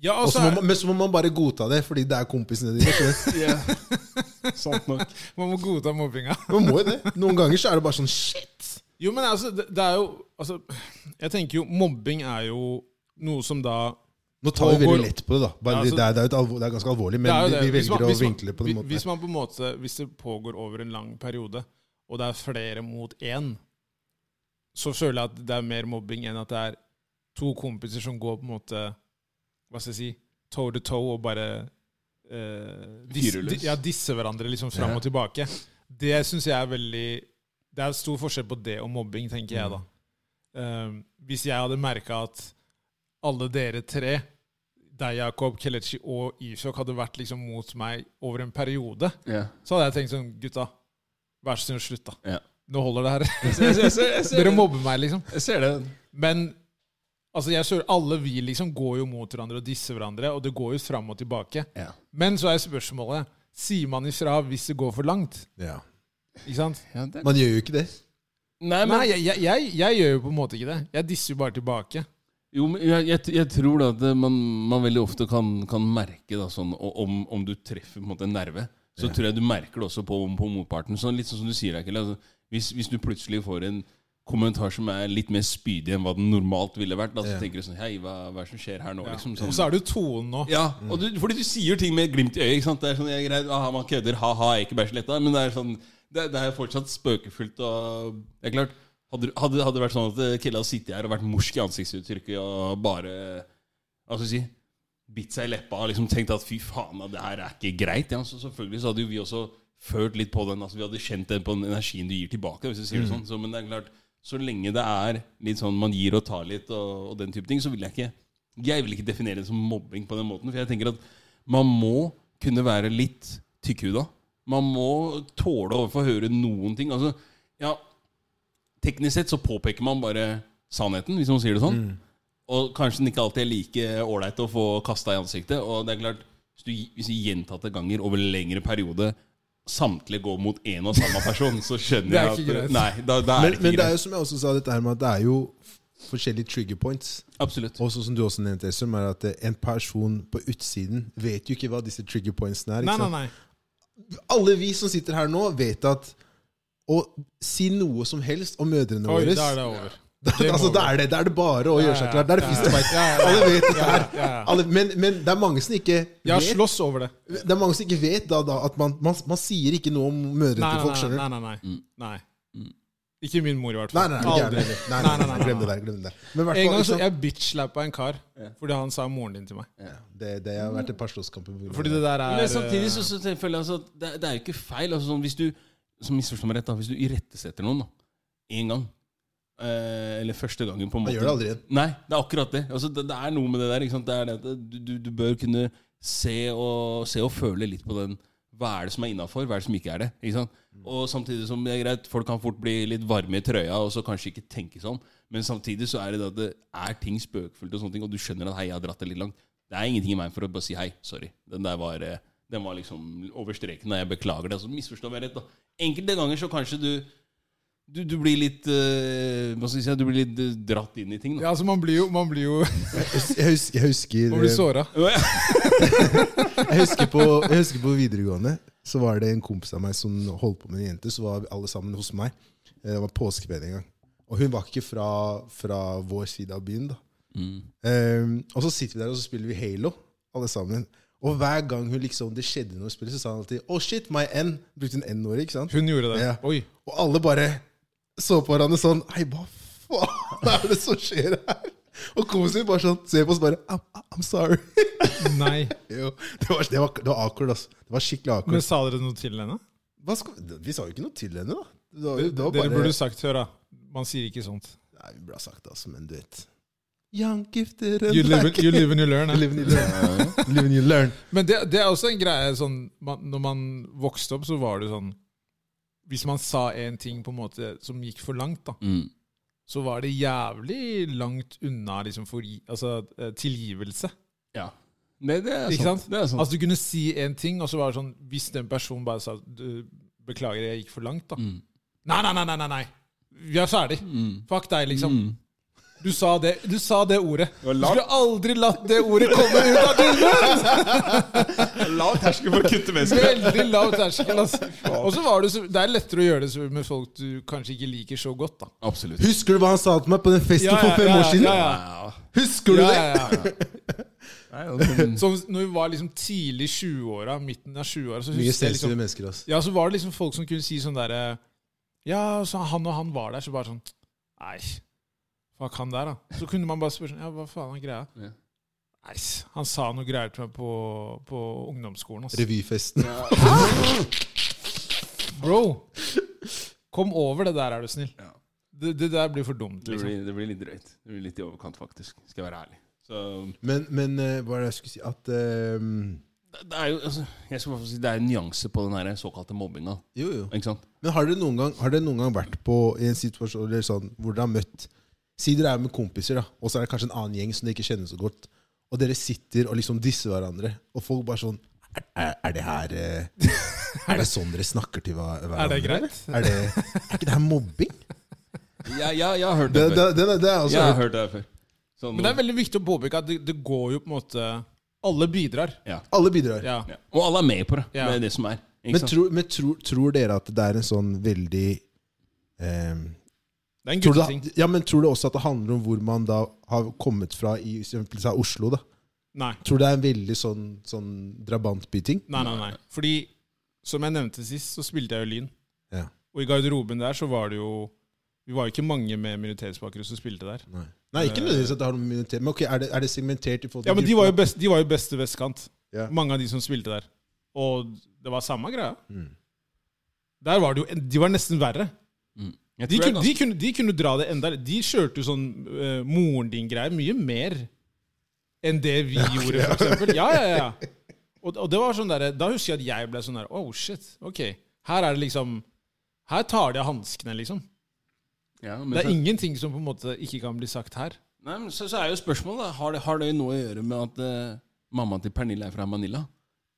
[SPEAKER 1] Ja, altså, og
[SPEAKER 3] Og så
[SPEAKER 1] så
[SPEAKER 3] må
[SPEAKER 1] er-
[SPEAKER 3] man, men så må man bare godta det, fordi det er kompisene dine. skjønner du?
[SPEAKER 2] Sant nok.
[SPEAKER 1] man må godta mobbinga.
[SPEAKER 3] Man må jo det. Noen ganger så er det bare sånn shit.
[SPEAKER 1] Jo, men altså, det, det er jo altså, Jeg tenker jo mobbing er jo noe som da
[SPEAKER 3] Nå tar vi
[SPEAKER 1] Pågår-
[SPEAKER 3] veldig lett på det, da. Bare,
[SPEAKER 1] Ja, altså-
[SPEAKER 3] det, er, det, er jo et alvor, det er ganske alvorlig, men
[SPEAKER 1] det er jo
[SPEAKER 3] vi,
[SPEAKER 1] det.
[SPEAKER 3] vi
[SPEAKER 1] Hvis man-
[SPEAKER 3] velger å
[SPEAKER 1] hvis man-
[SPEAKER 3] vinkle det på
[SPEAKER 1] hvis-
[SPEAKER 3] den måten.
[SPEAKER 1] Hvis man på en måte, hvis det pågår over en lang periode, og det er flere mot én, så føler jeg at det er mer mobbing enn at det er to kompiser som går på en måte Hva skal jeg si toe to toe og bare eh, dis, di,
[SPEAKER 2] Fyrer løs.
[SPEAKER 1] ja, disser hverandre liksom fram
[SPEAKER 3] Ja.
[SPEAKER 1] og tilbake. Det syns jeg er veldig Det er stor forskjell på det og mobbing, tenker jeg, da. Eh, hvis jeg hadde merka at alle dere tre, deg, Jakob, Kelechi og Ishok, hadde vært liksom mot meg over en periode,
[SPEAKER 2] Ja.
[SPEAKER 1] så hadde jeg tenkt sånn Gutta, vær så snill, slutt, da.
[SPEAKER 2] Ja.
[SPEAKER 1] Nå holder det her.
[SPEAKER 2] Jeg, ser- jeg, ser- jeg, ser-
[SPEAKER 1] Dere mobber meg, liksom.
[SPEAKER 2] jeg ser det.
[SPEAKER 1] Men altså, jeg ser, alle vi liksom går jo mot hverandre og disser hverandre, og det går jo fram og tilbake.
[SPEAKER 2] Ja.
[SPEAKER 1] Men så er spørsmålet Sier man ifra hvis det går for langt?
[SPEAKER 3] Ja.
[SPEAKER 1] Ikke sant?
[SPEAKER 2] Ja, det
[SPEAKER 3] Man gjør jo ikke det.
[SPEAKER 2] Nei, men
[SPEAKER 1] Nei, jeg, jeg, jeg, jeg gjør jo på en måte ikke det. Jeg disser jo bare tilbake.
[SPEAKER 2] Jo, men jeg, jeg, jeg tror da at man, man veldig ofte kan, kan merke da, sånn, og om, om du treffer på en måte en nerve. Så tror jeg du merker det også på, på motparten. Sånn, litt sånn som du sier, Akil. Altså, hvis, hvis du plutselig får en kommentar som er litt mer spydig enn hva den normalt ville vært, da, så
[SPEAKER 3] Ja.
[SPEAKER 2] tenker du sånn Hei, hva, hva er det som skjer her nå?
[SPEAKER 1] Ja.
[SPEAKER 2] Liksom,
[SPEAKER 1] Og
[SPEAKER 2] sånn.
[SPEAKER 1] så er det jo tonen nå.
[SPEAKER 2] Ja, og du, fordi du sier ting med glimt i øyet. ikke sant? Det er sånn, jeg er greit, aha, Man kødder, ha-ha, Ekebergsletta. Men det er sånn, det, det er jo fortsatt spøkefullt. og det er klart, Hadde, hadde, hadde det vært sånn at eh, Killa sitter her og vært morsk i ansiktsuttrykket og bare hva skal jeg si, bitt seg i leppa og liksom tenkt at fy faen, da, det her er ikke greit. Ja, så selvfølgelig så hadde jo vi også følt litt på den. altså Vi hadde kjent den på den energien du gir tilbake. hvis du sier det sånn, så, Men det er klart, så lenge det er litt sånn man gir og tar litt, og, og den type ting, så vil jeg ikke jeg vil ikke definere det som mobbing på den måten. For jeg tenker at man må kunne være litt tykkhuda. Man må tåle å få høre noen ting. Altså, ja, teknisk sett så påpeker man bare sannheten, hvis man sier det
[SPEAKER 1] Mm.
[SPEAKER 2] sånn. Og kanskje den ikke alltid er like ålreit å få kasta i ansiktet. Og det er klart, hvis du, hvis du gjentatte ganger over lengre periode samtlige går mot én og samme person, så skjønner
[SPEAKER 1] Det er
[SPEAKER 2] jeg at
[SPEAKER 1] ikke greit.
[SPEAKER 2] Nei, da, da er
[SPEAKER 3] Men,
[SPEAKER 2] det
[SPEAKER 3] men
[SPEAKER 2] ikke
[SPEAKER 3] det er
[SPEAKER 2] greit.
[SPEAKER 3] jo som jeg også sa, dette her med at det er jo f- forskjellige trigger points.
[SPEAKER 2] Absolutt.
[SPEAKER 3] Og sånn som du også nevnte, Esrum, er at eh, en person på utsiden vet jo ikke hva disse trigger pointsene er.
[SPEAKER 1] Nei,
[SPEAKER 3] Ikke
[SPEAKER 1] nei,
[SPEAKER 3] sant?
[SPEAKER 1] nei.
[SPEAKER 3] Alle vi som sitter her nå, vet at å si noe som helst om mødrene
[SPEAKER 1] Oi,
[SPEAKER 3] våre
[SPEAKER 1] da er det over.
[SPEAKER 3] Da,
[SPEAKER 1] Det må
[SPEAKER 3] altså, da,
[SPEAKER 1] vi.
[SPEAKER 3] er det, da er det bare å gjøre seg klar. Da er det fistfight.
[SPEAKER 1] Ja, ja, ja.
[SPEAKER 3] Alle vet det
[SPEAKER 1] Ja,
[SPEAKER 3] her.
[SPEAKER 1] ja, ja.
[SPEAKER 3] Alle, men, men det er mange som ikke
[SPEAKER 1] Jeg har
[SPEAKER 3] vet,
[SPEAKER 1] slåss over det.
[SPEAKER 3] det er mange som ikke vet da, da, at man, man, man sier ikke noe om mødrene
[SPEAKER 1] Nei,
[SPEAKER 3] til folk.
[SPEAKER 1] nei,
[SPEAKER 3] skjønner du?
[SPEAKER 1] nei. nei, nei, nei. nei. Ikke min mor, i hvert
[SPEAKER 3] Nei,
[SPEAKER 1] fall.
[SPEAKER 3] nei, nei,
[SPEAKER 1] Aldri.
[SPEAKER 3] nei, nei, nei, nei, nei,
[SPEAKER 1] nei.
[SPEAKER 3] glem det der. glem det der. Men i hvert
[SPEAKER 1] En gang
[SPEAKER 3] fall, liksom,
[SPEAKER 1] så
[SPEAKER 3] ikke sant?
[SPEAKER 1] jeg bitch-slappa en kar fordi han sa moren din til meg.
[SPEAKER 3] det, det har vært et par slåsskamper. på grunn av
[SPEAKER 1] Fordi
[SPEAKER 3] det.
[SPEAKER 1] det der er eh,
[SPEAKER 2] Men samtidig så, så føler jeg altså at det, det er jo ikke feil. Altså sånn, hvis du som misforstår meg rett da, hvis du irettesetter noen da, én gang, eh, eller første gangen på en
[SPEAKER 3] Man
[SPEAKER 2] måte
[SPEAKER 3] gjør det aldri igjen.
[SPEAKER 2] Nei, det er akkurat det. Altså, det, det er noe med det der. Ikke sant? Det er det, at du, du, du bør kunne se og, se og føle litt på den Hva er det som er innafor, hva er det som ikke er det? Ikke sant?
[SPEAKER 3] Mm.
[SPEAKER 2] Og samtidig som det er greit, folk kan fort bli litt varme i trøya og så kanskje ikke tenke sånn. Men samtidig så er det det at det er ting spøkefullt, og sånne ting, og du skjønner at hei, jeg har dratt det litt langt. Det er ingenting i meg for å bare si hei, sorry. Den der var, eh, den var liksom over streken, og jeg beklager det. Altså, misforstå meg rett, da. Enkelte ganger så kanskje du du, du blir litt eh, Hva skal jeg si Du blir litt eh, dratt inn i ting, da.
[SPEAKER 1] Ja, altså, man blir jo Man blir jo
[SPEAKER 3] Jeg husker, jeg husker,
[SPEAKER 1] Man blir såra.
[SPEAKER 3] jeg husker, på, jeg husker på videregående Så var det en kompis av meg som holdt på med en jente. Så var vi alle sammen hos meg. Eh, Det var påskeferie en gang. Og hun var ikke fra, fra vår side av byen. da.
[SPEAKER 1] Mm.
[SPEAKER 3] Eh, og så sitter vi der og så spiller vi Halo, alle sammen. Og hver gang hun liksom, det skjedde noe i spillet, så sa han alltid 'Oh shit, my N'. Brukte en N-ord, ikke sant?
[SPEAKER 1] Hun gjorde det.
[SPEAKER 3] Ja.
[SPEAKER 1] Oi.
[SPEAKER 3] Og alle bare så på hverandre sånn Hei, hva faen er det som skjer her? Og kompisen min bare sånn ser på oss bare I'm, I'm sorry.
[SPEAKER 1] Nei.
[SPEAKER 3] jo, det var, det var, det var awkward, altså. Det var skikkelig
[SPEAKER 1] Men
[SPEAKER 3] awkward.
[SPEAKER 1] sa dere noe til henne?
[SPEAKER 3] Hva skal, vi- vi sa jo ikke noe til henne, da. Det var, det var bare,
[SPEAKER 1] Dere burde sagt Hør, da. Man sier ikke sånt.
[SPEAKER 3] Nei, vi burde ha sagt det, altså, men du vet. Young gifted and
[SPEAKER 1] You live,
[SPEAKER 3] black.
[SPEAKER 1] and- you live and you learn.
[SPEAKER 3] You
[SPEAKER 1] eh.
[SPEAKER 3] live and you learn. You live and you learn.
[SPEAKER 1] Men det, det er også en greie sånn man, Når man vokste opp, så var det sånn Hvis man sa en ting på en måte som gikk for langt, da,
[SPEAKER 2] Mm.
[SPEAKER 1] så var det jævlig langt unna liksom, for, altså, eh, tilgivelse.
[SPEAKER 2] Ja. Nei, det er
[SPEAKER 1] Ikke
[SPEAKER 2] sant.
[SPEAKER 1] sant?
[SPEAKER 2] Det er sant.
[SPEAKER 1] Altså Du kunne si en ting, og så var det sånn Hvis den personen bare sa du, 'Beklager, jeg gikk for langt', da.
[SPEAKER 2] Mm.
[SPEAKER 1] Nei, nei, nei, nei, nei, nei! Vi er ferdig.
[SPEAKER 2] Mm.
[SPEAKER 1] Fuck deg, liksom.
[SPEAKER 2] Mm.
[SPEAKER 1] Du sa det, du sa det ordet. Du
[SPEAKER 2] var langt.
[SPEAKER 1] skulle aldri latt det ordet komme ut av din munn!
[SPEAKER 2] Altså,
[SPEAKER 4] Lav terskel for å kutte mennesker.
[SPEAKER 1] Veldig lav terskel. Altså. Og så var det, så, det er lettere å gjøre det så med folk du kanskje ikke liker så godt. da
[SPEAKER 2] Absolutt.
[SPEAKER 3] Husker du hva han sa til meg på den festen for fem år siden?
[SPEAKER 1] Ja, ja,
[SPEAKER 2] Ja.
[SPEAKER 3] Husker du
[SPEAKER 1] ja,
[SPEAKER 3] det?
[SPEAKER 1] ja, ja.
[SPEAKER 2] Nei, altså,
[SPEAKER 1] Som når vi var liksom tidlig i 20-åra, midten av 20-åra, så
[SPEAKER 3] Mye
[SPEAKER 1] husker jeg
[SPEAKER 3] sensitive
[SPEAKER 1] liksom,
[SPEAKER 3] mennesker, ass.
[SPEAKER 1] Ja, så var det liksom folk som kunne si sånn derre Ja, så han og han var der, så bare sånn Nei, fuck han der, da. Så kunne man bare spørre sånn Ja, hva faen er greia?
[SPEAKER 2] Ja.
[SPEAKER 1] Nei, han sa noe greier til meg på, på ungdomsskolen, ass.
[SPEAKER 3] Revyfesten.
[SPEAKER 1] Bro! Kom over det der, er du snill.
[SPEAKER 2] Ja.
[SPEAKER 1] Det, det der blir for dumt,
[SPEAKER 2] det,
[SPEAKER 1] liksom.
[SPEAKER 2] blir, det blir litt drøyt. Det blir litt i overkant, faktisk. Skal jeg være ærlig. Så,
[SPEAKER 3] Men, men eh, hva er det jeg skulle si At ehm,
[SPEAKER 2] det, det er jo, altså, jeg skal bare få si, det er en nyanse på den her såkalte mobbinga.
[SPEAKER 3] Jo, jo.
[SPEAKER 2] Ikke sant?
[SPEAKER 3] Men har dere noen gang, har dere noen gang vært på i en situasjon eller sånn, hvor dere har møtt Si dere er med kompiser, da, og så er det kanskje en annen gjeng som dere ikke kjenner så godt. Og dere sitter og liksom disser hverandre, og folk bare sånn Er, er, er det her eh, Er det sånn dere snakker til hver- hverandre?
[SPEAKER 1] Er det greit?
[SPEAKER 3] Er, det, er ikke det her mobbing?
[SPEAKER 2] Ja, ja, jeg har hørt
[SPEAKER 3] Det,
[SPEAKER 2] det, altså-
[SPEAKER 3] det,
[SPEAKER 2] før.
[SPEAKER 3] det, det er altså
[SPEAKER 2] jeg
[SPEAKER 3] også
[SPEAKER 2] har hørt det før. Sånn- Så
[SPEAKER 1] Men det er veldig viktig å påpeke at det, det går jo på en måte Alle bidrar.
[SPEAKER 2] ja.
[SPEAKER 3] Alle bidrar.
[SPEAKER 1] Ja.
[SPEAKER 2] Ja. Og alle er med på det.
[SPEAKER 1] Ja.
[SPEAKER 2] Det er det som er. Ikke
[SPEAKER 3] Men,
[SPEAKER 2] sant?
[SPEAKER 3] tror, men tror, tror dere at det er en sånn veldig eh,
[SPEAKER 1] Det er en
[SPEAKER 3] tror, du,
[SPEAKER 1] gutteting.
[SPEAKER 3] ja, men tror du også at det handler om hvor man da har kommet fra i for eksempel, sa Oslo? da?
[SPEAKER 1] Nei.
[SPEAKER 3] Tror du det er en veldig sånn, sånn drabantbyting?
[SPEAKER 1] Nei, nei, nei. Fordi, som jeg nevnte sist, så spilte jeg jo Lyn.
[SPEAKER 3] Ja.
[SPEAKER 1] Og i garderoben der så var det jo Vi var jo ikke mange med minoritetsbakgrunn som spilte der.
[SPEAKER 3] Nei. Nei, ikke nødvendigvis at det har noe med minoritet Men ok, er det, er det segmentert i forhold
[SPEAKER 1] Ja, men de
[SPEAKER 3] gruppa?
[SPEAKER 1] var jo, best, de var jo beste vestkant.
[SPEAKER 3] Ja.
[SPEAKER 1] Mange av de som spilte der. Og det var samme greia.
[SPEAKER 3] Mm.
[SPEAKER 1] Der var det jo, De var nesten verre.
[SPEAKER 2] Mm.
[SPEAKER 1] De
[SPEAKER 2] Jeg tror det er
[SPEAKER 1] kunne, de, kunne, de kunne dra det enda De kjørte jo sånn eh, moren din-greier mye mer enn det vi gjorde, for eksempel. Ja, ja, ja. Og, og det var sånn der, da husker jeg at jeg ble sånn der Oh, shit. Ok. Her er det liksom Her tar de av hanskene, liksom.
[SPEAKER 2] ganske- ja, men
[SPEAKER 1] Det er
[SPEAKER 2] så-
[SPEAKER 1] ingenting som på en måte ikke kan bli sagt her.
[SPEAKER 2] Nei, men så, så er jo spørsmålet da, har det, har det noe å gjøre med at eh, mamma til Pernille er fra Manila?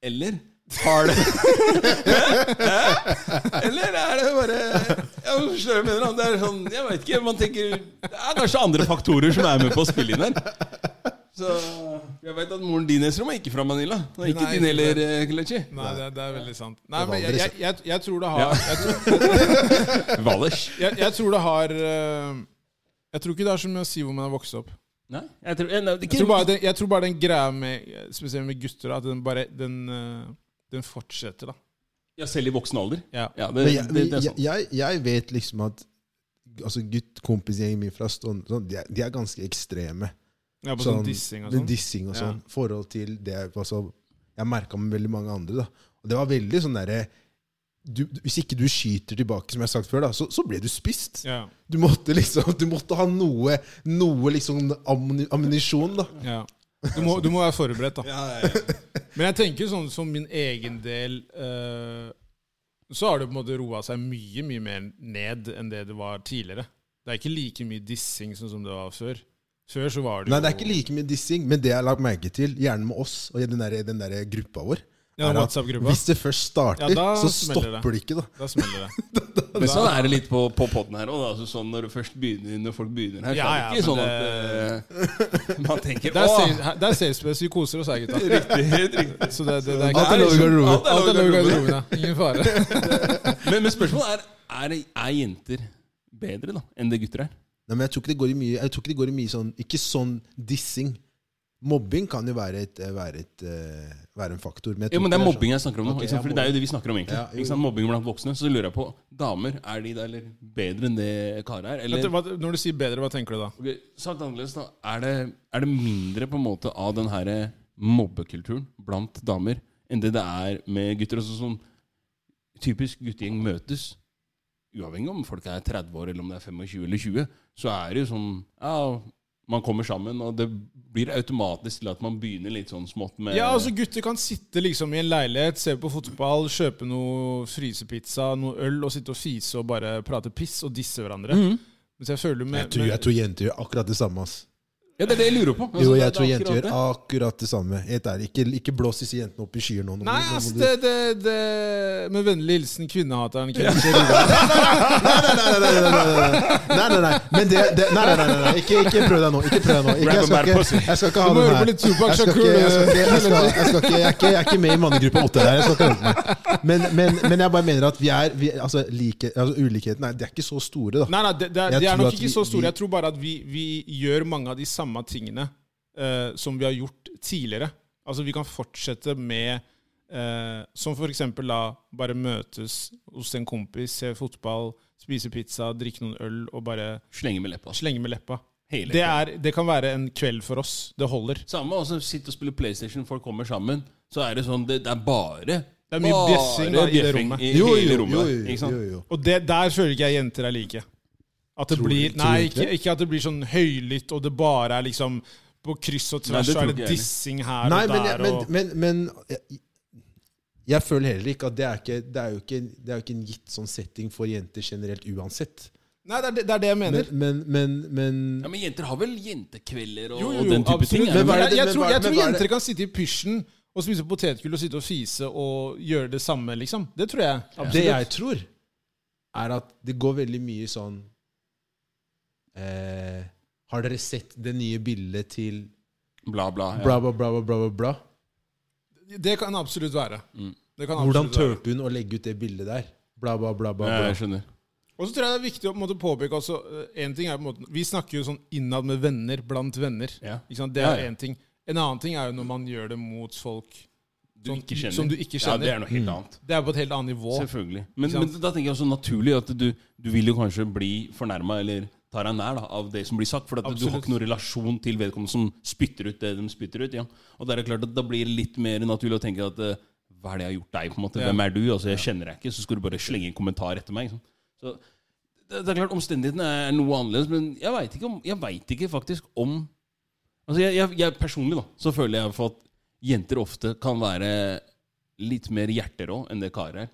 [SPEAKER 2] Eller har det Hæ? Eller er det bare ja, men skjønner du hva jeg mener, det er sånn, Jeg vet ikke. Man tenker Det er kanskje andre faktorer som er med på å spille inn her. Så jeg veit at moren din Esrom er ikke fra Manila. Og ikke
[SPEAKER 1] Nei,
[SPEAKER 2] din heller, eh, Kelechi.
[SPEAKER 1] Nei, det, det er veldig sant. Nei,
[SPEAKER 3] Det var
[SPEAKER 1] men jeg,
[SPEAKER 3] aldri
[SPEAKER 1] jeg, jeg, jeg tror det har
[SPEAKER 2] Ja.
[SPEAKER 1] jeg, tror,
[SPEAKER 2] Valers.
[SPEAKER 1] jeg, jeg tror det har eh, Jeg tror ikke det har så mye å si hvor man er vokst opp.
[SPEAKER 2] Nei, jeg tror, jeg, nei, det er
[SPEAKER 1] Jeg
[SPEAKER 2] ikke-
[SPEAKER 1] tror bare den, jeg tror bare den greia med Spesielt med gutter, da, at den bare Den, eh, den fortsetter, da.
[SPEAKER 2] ja, Selv i voksen alder.
[SPEAKER 1] Ja.
[SPEAKER 2] Ja, det,
[SPEAKER 3] Men jeg,
[SPEAKER 2] det, det er
[SPEAKER 3] jeg,
[SPEAKER 2] sant.
[SPEAKER 3] jeg, jeg vet liksom at Altså gutt, kompisgjengen min fra Stående sånn, de, er- de er ganske ekstreme.
[SPEAKER 1] ja på sånn, dissing og
[SPEAKER 3] med
[SPEAKER 1] sånn.
[SPEAKER 3] Dissing og
[SPEAKER 1] Ja.
[SPEAKER 3] sånn. Forhold til det jeg- altså, jeg merka med veldig mange andre. da. Og det var veldig sånn derre du, du- Hvis ikke du skyter tilbake, som jeg har sagt før, da, så, så ble du spist.
[SPEAKER 1] Ja,
[SPEAKER 3] Du måtte liksom, du måtte ha noe, noe liksom ammuni- ammunisjon, da.
[SPEAKER 1] ja. Du, må, du må være forberedt, da.
[SPEAKER 4] Ja, ja, ja.
[SPEAKER 1] Men jeg tenker sånn som min egen del eh, Så har det på en måte roa seg mye, mye mer ned enn det det var tidligere. Det er ikke like mye dissing sånn som det var før. Før så var det jo
[SPEAKER 3] Nei, det er ikke like mye dissing, men det jeg har lagt merke til, gjerne med oss og i den der, den der gruppa vår,
[SPEAKER 1] Ja,
[SPEAKER 3] er at
[SPEAKER 1] WhatsApp-gruppa.
[SPEAKER 3] hvis det først starter,
[SPEAKER 1] Ja, da
[SPEAKER 3] så
[SPEAKER 1] smeller det.
[SPEAKER 3] stopper det ikke, da.
[SPEAKER 1] Da smeller det.
[SPEAKER 2] Men sånn er det litt på, på podden her òg. Altså sånn når, du først begynner- når folk begynner her,
[SPEAKER 1] Ja,
[SPEAKER 2] så er det ikke sånn
[SPEAKER 1] ja,
[SPEAKER 2] at eh, man tenker
[SPEAKER 1] Der
[SPEAKER 2] Åh,
[SPEAKER 1] ser, her- der ser vi vi koser oss her, gutta.
[SPEAKER 2] Riktig, helt riktig.
[SPEAKER 1] Så det, det, det er
[SPEAKER 3] Alt er lov i garderoben.
[SPEAKER 2] Alt er
[SPEAKER 1] Alt er lov i
[SPEAKER 2] garderoben.
[SPEAKER 1] garderoben, ja. Ingen fare.
[SPEAKER 2] Men, men spørsmålet er, er er jenter bedre da enn det gutter er?
[SPEAKER 3] Nei, men jeg tror ikke det går i mye, jeg tror ikke det går i mye sånn Ikke sånn dissing. Mobbing kan jo være, et, være, et, eh, være en faktor. Men, jeg
[SPEAKER 2] Jo,
[SPEAKER 3] tror
[SPEAKER 2] men Det er
[SPEAKER 3] ikke
[SPEAKER 2] mobbing jeg snakker om nå.
[SPEAKER 3] Ok,
[SPEAKER 2] ikke sant?
[SPEAKER 3] ja,
[SPEAKER 2] Fordi det er jo det vi snakker om egentlig.
[SPEAKER 3] Ja, jo.
[SPEAKER 2] ikke sant? Mobbing blant voksne. Så lurer jeg på damer, er de da eller bedre enn det karet er?
[SPEAKER 1] Vent,
[SPEAKER 2] Eller
[SPEAKER 1] hva- Når du sier bedre, hva tenker du da?
[SPEAKER 2] Ok, sagt annerledes, da. Er det, er det mindre på en måte av den her eh, mobbekulturen blant damer enn det det er med gutter? Altså sånn typisk guttegjeng møtes. Uavhengig om folk er 30 år eller om det er 25 eller 20, så er det jo sånn Ja, man kommer sammen, og det blir automatisk til at man begynner litt sånn smått med
[SPEAKER 1] Ja, altså Gutter kan sitte liksom i en leilighet, se på fotball, kjøpe noe frysepizza, noe øl, og sitte og fise og bare prate piss og disse hverandre.
[SPEAKER 2] Mhm.
[SPEAKER 1] Mens jeg føler
[SPEAKER 3] sånn. Jeg
[SPEAKER 1] med,
[SPEAKER 3] tror, jeg
[SPEAKER 1] med
[SPEAKER 3] tror jenter gjør akkurat det samme. ass.
[SPEAKER 2] Ja, det er det jeg lurer på. Altså,
[SPEAKER 3] Jo,
[SPEAKER 2] det- det
[SPEAKER 3] jeg
[SPEAKER 2] er
[SPEAKER 3] tror jenter
[SPEAKER 2] akkurat
[SPEAKER 3] gjør akkurat det samme. Helt ærlig. Ikke, ikke blås disse jentene opp i skyer nå. nå må-
[SPEAKER 1] Nei,
[SPEAKER 3] nå må
[SPEAKER 1] ass,
[SPEAKER 3] du-
[SPEAKER 1] det, det, det Med vennlig hilsen kvinnehateren Kenneth Riga.
[SPEAKER 3] Nei, nei, nei, nei, nei, nei, nei, nei, nei. Men det, det nei, nei, nei, nei, nei. Ikke, ikke prøv deg nå. Ikke prøv deg nå. Ikke, jeg, skal ikke, jeg skal ikke ha
[SPEAKER 1] Du må
[SPEAKER 3] den
[SPEAKER 1] høre på
[SPEAKER 3] her.
[SPEAKER 1] litt Tupac
[SPEAKER 3] Jeg skal
[SPEAKER 1] Shakur.
[SPEAKER 3] ikke, jeg, skal ikke, jeg, skal, jeg, skal ikke, jeg, er ikke, jeg er ikke med i mannegruppa åtte der. Jeg skal ikke høre på meg. Men, men, men jeg bare mener at vi er vi, altså, like, altså, Ulikhetene er, de er ikke så store, da.
[SPEAKER 1] Nei, nei, det, det, er-
[SPEAKER 3] Jeg
[SPEAKER 1] de er
[SPEAKER 3] tror
[SPEAKER 1] nok
[SPEAKER 3] at
[SPEAKER 1] ikke
[SPEAKER 3] vi-
[SPEAKER 1] så store.
[SPEAKER 3] vi-
[SPEAKER 1] Jeg tror bare at vi, vi gjør mange av de samme tingene eh, som vi har gjort tidligere. Altså, vi kan fortsette med eh, Som for eksempel da bare møtes hos en kompis, se fotball, spise pizza, drikke noen øl og bare
[SPEAKER 2] Slenge med leppa. altså.
[SPEAKER 1] slenge med leppa.
[SPEAKER 2] Hele
[SPEAKER 1] Det, er, det kan være en kveld for oss. Det holder.
[SPEAKER 2] Samme også, sitte og spille PlayStation, folk kommer sammen. Så er det sånn Det, det er bare Det
[SPEAKER 1] er mye bjeffing, da, i det rommet.
[SPEAKER 2] I
[SPEAKER 3] Jo,
[SPEAKER 2] hele
[SPEAKER 3] jo, jo.
[SPEAKER 2] rommet.
[SPEAKER 3] jo,
[SPEAKER 2] ikke
[SPEAKER 3] jo,
[SPEAKER 2] sant?
[SPEAKER 3] jo, jo.
[SPEAKER 1] Og det, der føler ikke jeg jenter er like. At det
[SPEAKER 3] Tror du-
[SPEAKER 1] blir,
[SPEAKER 3] tror du
[SPEAKER 1] nei,
[SPEAKER 3] ikke
[SPEAKER 1] ikke,
[SPEAKER 3] det?
[SPEAKER 1] ikke at det blir sånn høylytt, og det bare er liksom på kryss og
[SPEAKER 2] Nei,
[SPEAKER 1] tvers,
[SPEAKER 2] det
[SPEAKER 1] så
[SPEAKER 2] tror
[SPEAKER 1] er
[SPEAKER 2] ikke
[SPEAKER 1] det
[SPEAKER 2] jeg heller.
[SPEAKER 1] dissing her
[SPEAKER 3] Nei,
[SPEAKER 1] og
[SPEAKER 3] men,
[SPEAKER 1] der.
[SPEAKER 3] jeg- men,
[SPEAKER 1] og,
[SPEAKER 3] men, men jeg, jeg føler heller ikke at det er, ikke, det, er jo ikke, det er jo ikke en gitt sånn setting for jenter generelt uansett.
[SPEAKER 1] nei det, er, det- det er det jeg
[SPEAKER 3] Men,
[SPEAKER 1] mener.
[SPEAKER 3] men, men, men
[SPEAKER 2] Ja, men jenter har vel jentekvelder og,
[SPEAKER 1] Jo, jo,
[SPEAKER 2] og den
[SPEAKER 1] jo,
[SPEAKER 2] type ting?
[SPEAKER 1] absolutt.
[SPEAKER 2] er det
[SPEAKER 3] Men hva
[SPEAKER 2] vel?
[SPEAKER 3] er det-
[SPEAKER 1] Jeg, jeg,
[SPEAKER 3] men
[SPEAKER 1] tror,
[SPEAKER 3] hva er-
[SPEAKER 1] jeg
[SPEAKER 3] men
[SPEAKER 1] tror
[SPEAKER 3] hva er
[SPEAKER 1] jenter kan sitte i pysjen og spise potetgull og sitte og fise og gjøre det samme, liksom. Det tror jeg.
[SPEAKER 3] Det jeg tror, er at det går veldig mye sånn eh, Har dere sett det nye bildet til
[SPEAKER 2] Bla, bla. Ja.
[SPEAKER 3] bla, bla, bla, bla, bla, bla, bla?
[SPEAKER 1] Det kan absolutt være.
[SPEAKER 2] Mm.
[SPEAKER 1] Det kan
[SPEAKER 3] Hvordan
[SPEAKER 1] absolutt være.
[SPEAKER 3] turte hun å legge ut det bildet der? Bla, bla, bla, bla,
[SPEAKER 2] Ja,
[SPEAKER 3] bla.
[SPEAKER 2] jeg skjønner.
[SPEAKER 1] Og så tror jeg det er viktig å på en måte, påpeke også eh, en ting er på en måte, Vi snakker jo sånn innad med venner, blant venner.
[SPEAKER 2] Ja.
[SPEAKER 1] Ikke sant? Det
[SPEAKER 2] Ja,
[SPEAKER 1] er
[SPEAKER 2] ja.
[SPEAKER 1] én ting. En annen ting er jo når man gjør det mot folk
[SPEAKER 2] Du
[SPEAKER 1] som,
[SPEAKER 2] ikke kjenner.
[SPEAKER 1] som du ikke
[SPEAKER 2] Ja,
[SPEAKER 1] kjenner.
[SPEAKER 2] det er noe
[SPEAKER 3] Mm.
[SPEAKER 2] helt annet.
[SPEAKER 1] det, er på et helt annet nivå.
[SPEAKER 2] Selvfølgelig. Men,
[SPEAKER 1] Ikke sant?
[SPEAKER 2] men da tenker jeg også naturlig at du, du vil jo kanskje bli fornærma eller tar deg nær da, av det som blir sagt. For at du har
[SPEAKER 1] Absolutt.
[SPEAKER 2] ikke noen relasjon til vedkommende som spytter ut det de spytter ut. Ja. Og da er det klart at da blir det litt mer naturlig å tenke at eh, hva er det jeg har gjort deg? på en måte?
[SPEAKER 1] Ja.
[SPEAKER 2] Hvem er du? Altså, Jeg kjenner deg ikke, så skal du bare slenge en kommentar etter meg. ikke sant? Så det, det er klart, Omstendighetene er noe annerledes, men jeg veit ikke, om- jeg vet ikke faktisk om Altså, jeg, jeg, jeg Personlig da, så føler jeg for at jenter ofte kan være litt mer hjerterå enn det karer er.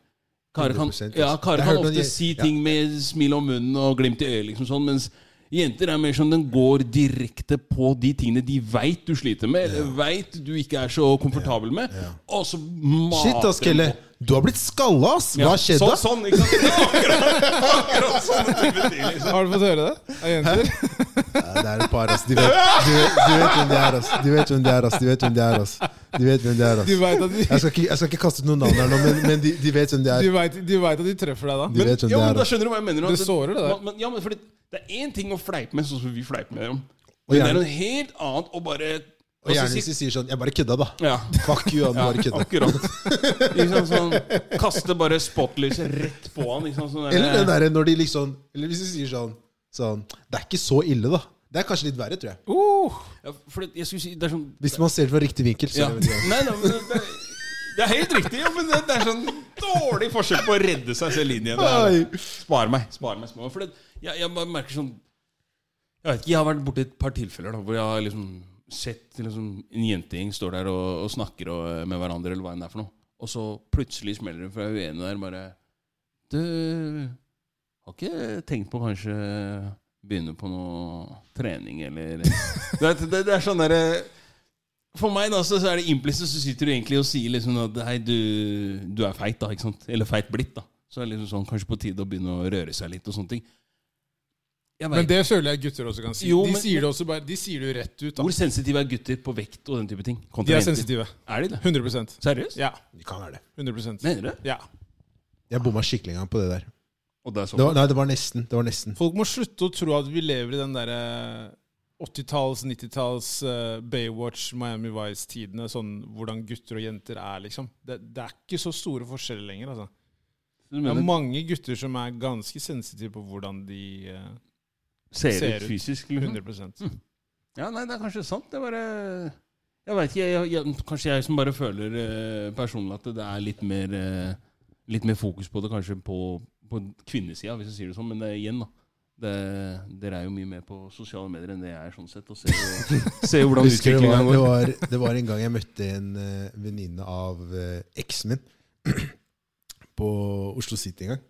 [SPEAKER 2] Karer kan,
[SPEAKER 3] 100%,
[SPEAKER 2] ja,
[SPEAKER 3] altså.
[SPEAKER 2] karer
[SPEAKER 3] Jeg
[SPEAKER 2] kan
[SPEAKER 3] hørte noen
[SPEAKER 2] ofte
[SPEAKER 3] je-
[SPEAKER 2] si
[SPEAKER 3] ja.
[SPEAKER 2] ting med smil om munnen og glimt i øyet, liksom sånn, mens jenter er mer sånn den går direkte på de tingene de veit du sliter med, eller veit du ikke er så komfortabel med, og så mater
[SPEAKER 3] Shit, ass, Kelle. Du har blitt skalla, ass! Hva har skjedd,
[SPEAKER 2] Sånn,
[SPEAKER 3] da?
[SPEAKER 2] sånn, ikke sant?
[SPEAKER 1] Har du fått høre det? Av jenter?
[SPEAKER 3] Ja, det er et par, ass. De vet, de, vet, de vet hvem det er, ass. De vet hvem det er, ass. De vet hvem det er, ass. De vet hvem det er, ass.
[SPEAKER 1] De vet at de,
[SPEAKER 3] Jeg skal ikke, jeg skal ikke kaste ut noen navn her nå, men, men de, de vet hvem det
[SPEAKER 1] de,
[SPEAKER 3] er.
[SPEAKER 1] vet, de vet at de treffer deg da.
[SPEAKER 3] De vet hvem
[SPEAKER 2] ja,
[SPEAKER 3] det
[SPEAKER 2] men
[SPEAKER 3] er,
[SPEAKER 2] da
[SPEAKER 3] ass.
[SPEAKER 2] skjønner du hva jeg mener.
[SPEAKER 1] Det
[SPEAKER 2] at-
[SPEAKER 1] sårer det der.
[SPEAKER 2] Man, men- ja, men fordi det er én ting å fleipe med, sånn som vi fleiper med dem.
[SPEAKER 3] Og
[SPEAKER 2] Men det er
[SPEAKER 3] gjerne-
[SPEAKER 2] noe helt annet å bare
[SPEAKER 3] Og gjerne hvis de sier sånn Jeg bare kødda, da.
[SPEAKER 2] altså, Ja.
[SPEAKER 3] Fuck you, han bare kødda.
[SPEAKER 2] Akkurat. Ikke sant, sånn, kaste bare spotlyset rett på han. Ikke sant, sånn der-
[SPEAKER 3] Eller den derre når de liksom Eller hvis de sier sånn, sånn Det er ikke så ille, da. Det er kanskje litt verre, tror jeg.
[SPEAKER 1] Uh,
[SPEAKER 2] Ja, for det, jeg skulle si, det er sånn
[SPEAKER 3] Hvis man ser det fra riktig vinkel. Så
[SPEAKER 2] ja.
[SPEAKER 3] er det veldig greit.
[SPEAKER 2] Nei, nei, men det, det, det er helt riktig, ja, men det, det er sånn dårlig forsøk på å redde seg selv inn igjen. Det er- Spar meg. spar meg, spar meg. For det, jeg, jeg bare merker sånn Jeg vet ikke, jeg har vært borti et par tilfeller da, hvor jeg har liksom sett liksom, en jentegjeng står der og, og snakker og, eh, med hverandre, eller hva enn det er for noe, og så plutselig smeller det fra hun ene der bare Du har ikke tenkt på kanskje begynne på noe trening, eller Du vet, det, det er sånn derre for meg da, så så er det implisitt, så sitter du egentlig og sier liksom at hei, du, du er feit, da, ikke sant? Eller feit blitt, da. Så er det liksom sånn, kanskje på tide å begynne å røre seg litt og sånne ting. Jeg
[SPEAKER 1] men
[SPEAKER 2] vet,
[SPEAKER 1] det føler jeg gutter også kan si.
[SPEAKER 2] Jo,
[SPEAKER 1] de
[SPEAKER 2] men-
[SPEAKER 1] sier det også bare, de sier det jo rett ut.
[SPEAKER 2] Hvor
[SPEAKER 1] da.
[SPEAKER 2] sensitive er gutter på vekt og den type ting? kontra
[SPEAKER 1] De er
[SPEAKER 2] jenter?
[SPEAKER 1] sensitive.
[SPEAKER 2] Er de det?
[SPEAKER 1] 100
[SPEAKER 2] Seriøst?
[SPEAKER 1] Ja.
[SPEAKER 3] Det kan være det.
[SPEAKER 1] 100
[SPEAKER 2] Mener du det?
[SPEAKER 1] ja.
[SPEAKER 3] Jeg bomma skikkelig en gang på det der.
[SPEAKER 2] Og det er sånn.
[SPEAKER 3] Det var, nei, det var nesten. Det var nesten.
[SPEAKER 1] Folk må slutte å tro at vi lever i den derre 80-talls, 90-talls eh, Baywatch, Miami Vice-tidene. Sånn hvordan gutter og jenter er, liksom. Det, det er ikke så store forskjeller lenger, altså.
[SPEAKER 2] Du
[SPEAKER 1] Det er
[SPEAKER 2] mener
[SPEAKER 1] mange gutter som er ganske sensitive på hvordan de eh,
[SPEAKER 2] ser
[SPEAKER 1] ser
[SPEAKER 2] ut
[SPEAKER 1] ut.
[SPEAKER 2] fysisk? Liksom.
[SPEAKER 1] 100
[SPEAKER 3] Mhm.
[SPEAKER 2] Ja, nei, det er kanskje sant. Det er bare Jeg veit ikke. Jeg, jeg, kanskje jeg som bare føler eh, personlig at det er litt mer eh, Litt mer fokus på det kanskje på, på kvinnesida, hvis jeg sier det sånn. Men det, er igjen, da. Det, dere er jo mye mer på sosiale medier enn det jeg er, sånn sett. Og ser jo, ser jo hvordan
[SPEAKER 3] Husker det
[SPEAKER 2] utviklinga
[SPEAKER 3] var, det,
[SPEAKER 2] går.
[SPEAKER 3] var, det var en gang jeg møtte en eh, venninne av eh, eksen min på Oslo City en gang.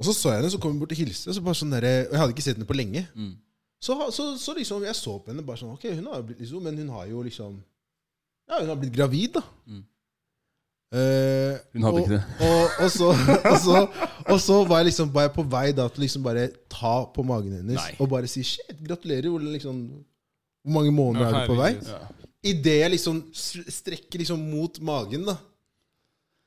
[SPEAKER 3] Og så så jeg henne, så kom hun bort og hilste. Og så bare sånn derre- og jeg hadde ikke sett henne på lenge.
[SPEAKER 2] Mm.
[SPEAKER 3] Så, ha- så, så liksom, jeg så på henne bare sånn Ok, hun har jo blitt liksom Men hun har jo liksom Ja, hun har blitt gravid, da.
[SPEAKER 2] Mm.
[SPEAKER 3] Eh,
[SPEAKER 2] Hun hadde
[SPEAKER 3] og,
[SPEAKER 2] ikke det.
[SPEAKER 3] Og, og, så, og, så, og så var jeg liksom var jeg på vei da til liksom bare ta på magen hennes
[SPEAKER 2] Nei.
[SPEAKER 3] og bare si shit, gratulerer. Hvor, liksom, hvor mange måneder
[SPEAKER 1] Ja,
[SPEAKER 3] er du på vei?
[SPEAKER 1] herregud.
[SPEAKER 2] Ja.
[SPEAKER 3] Idet jeg liksom s- strekker liksom mot magen, da,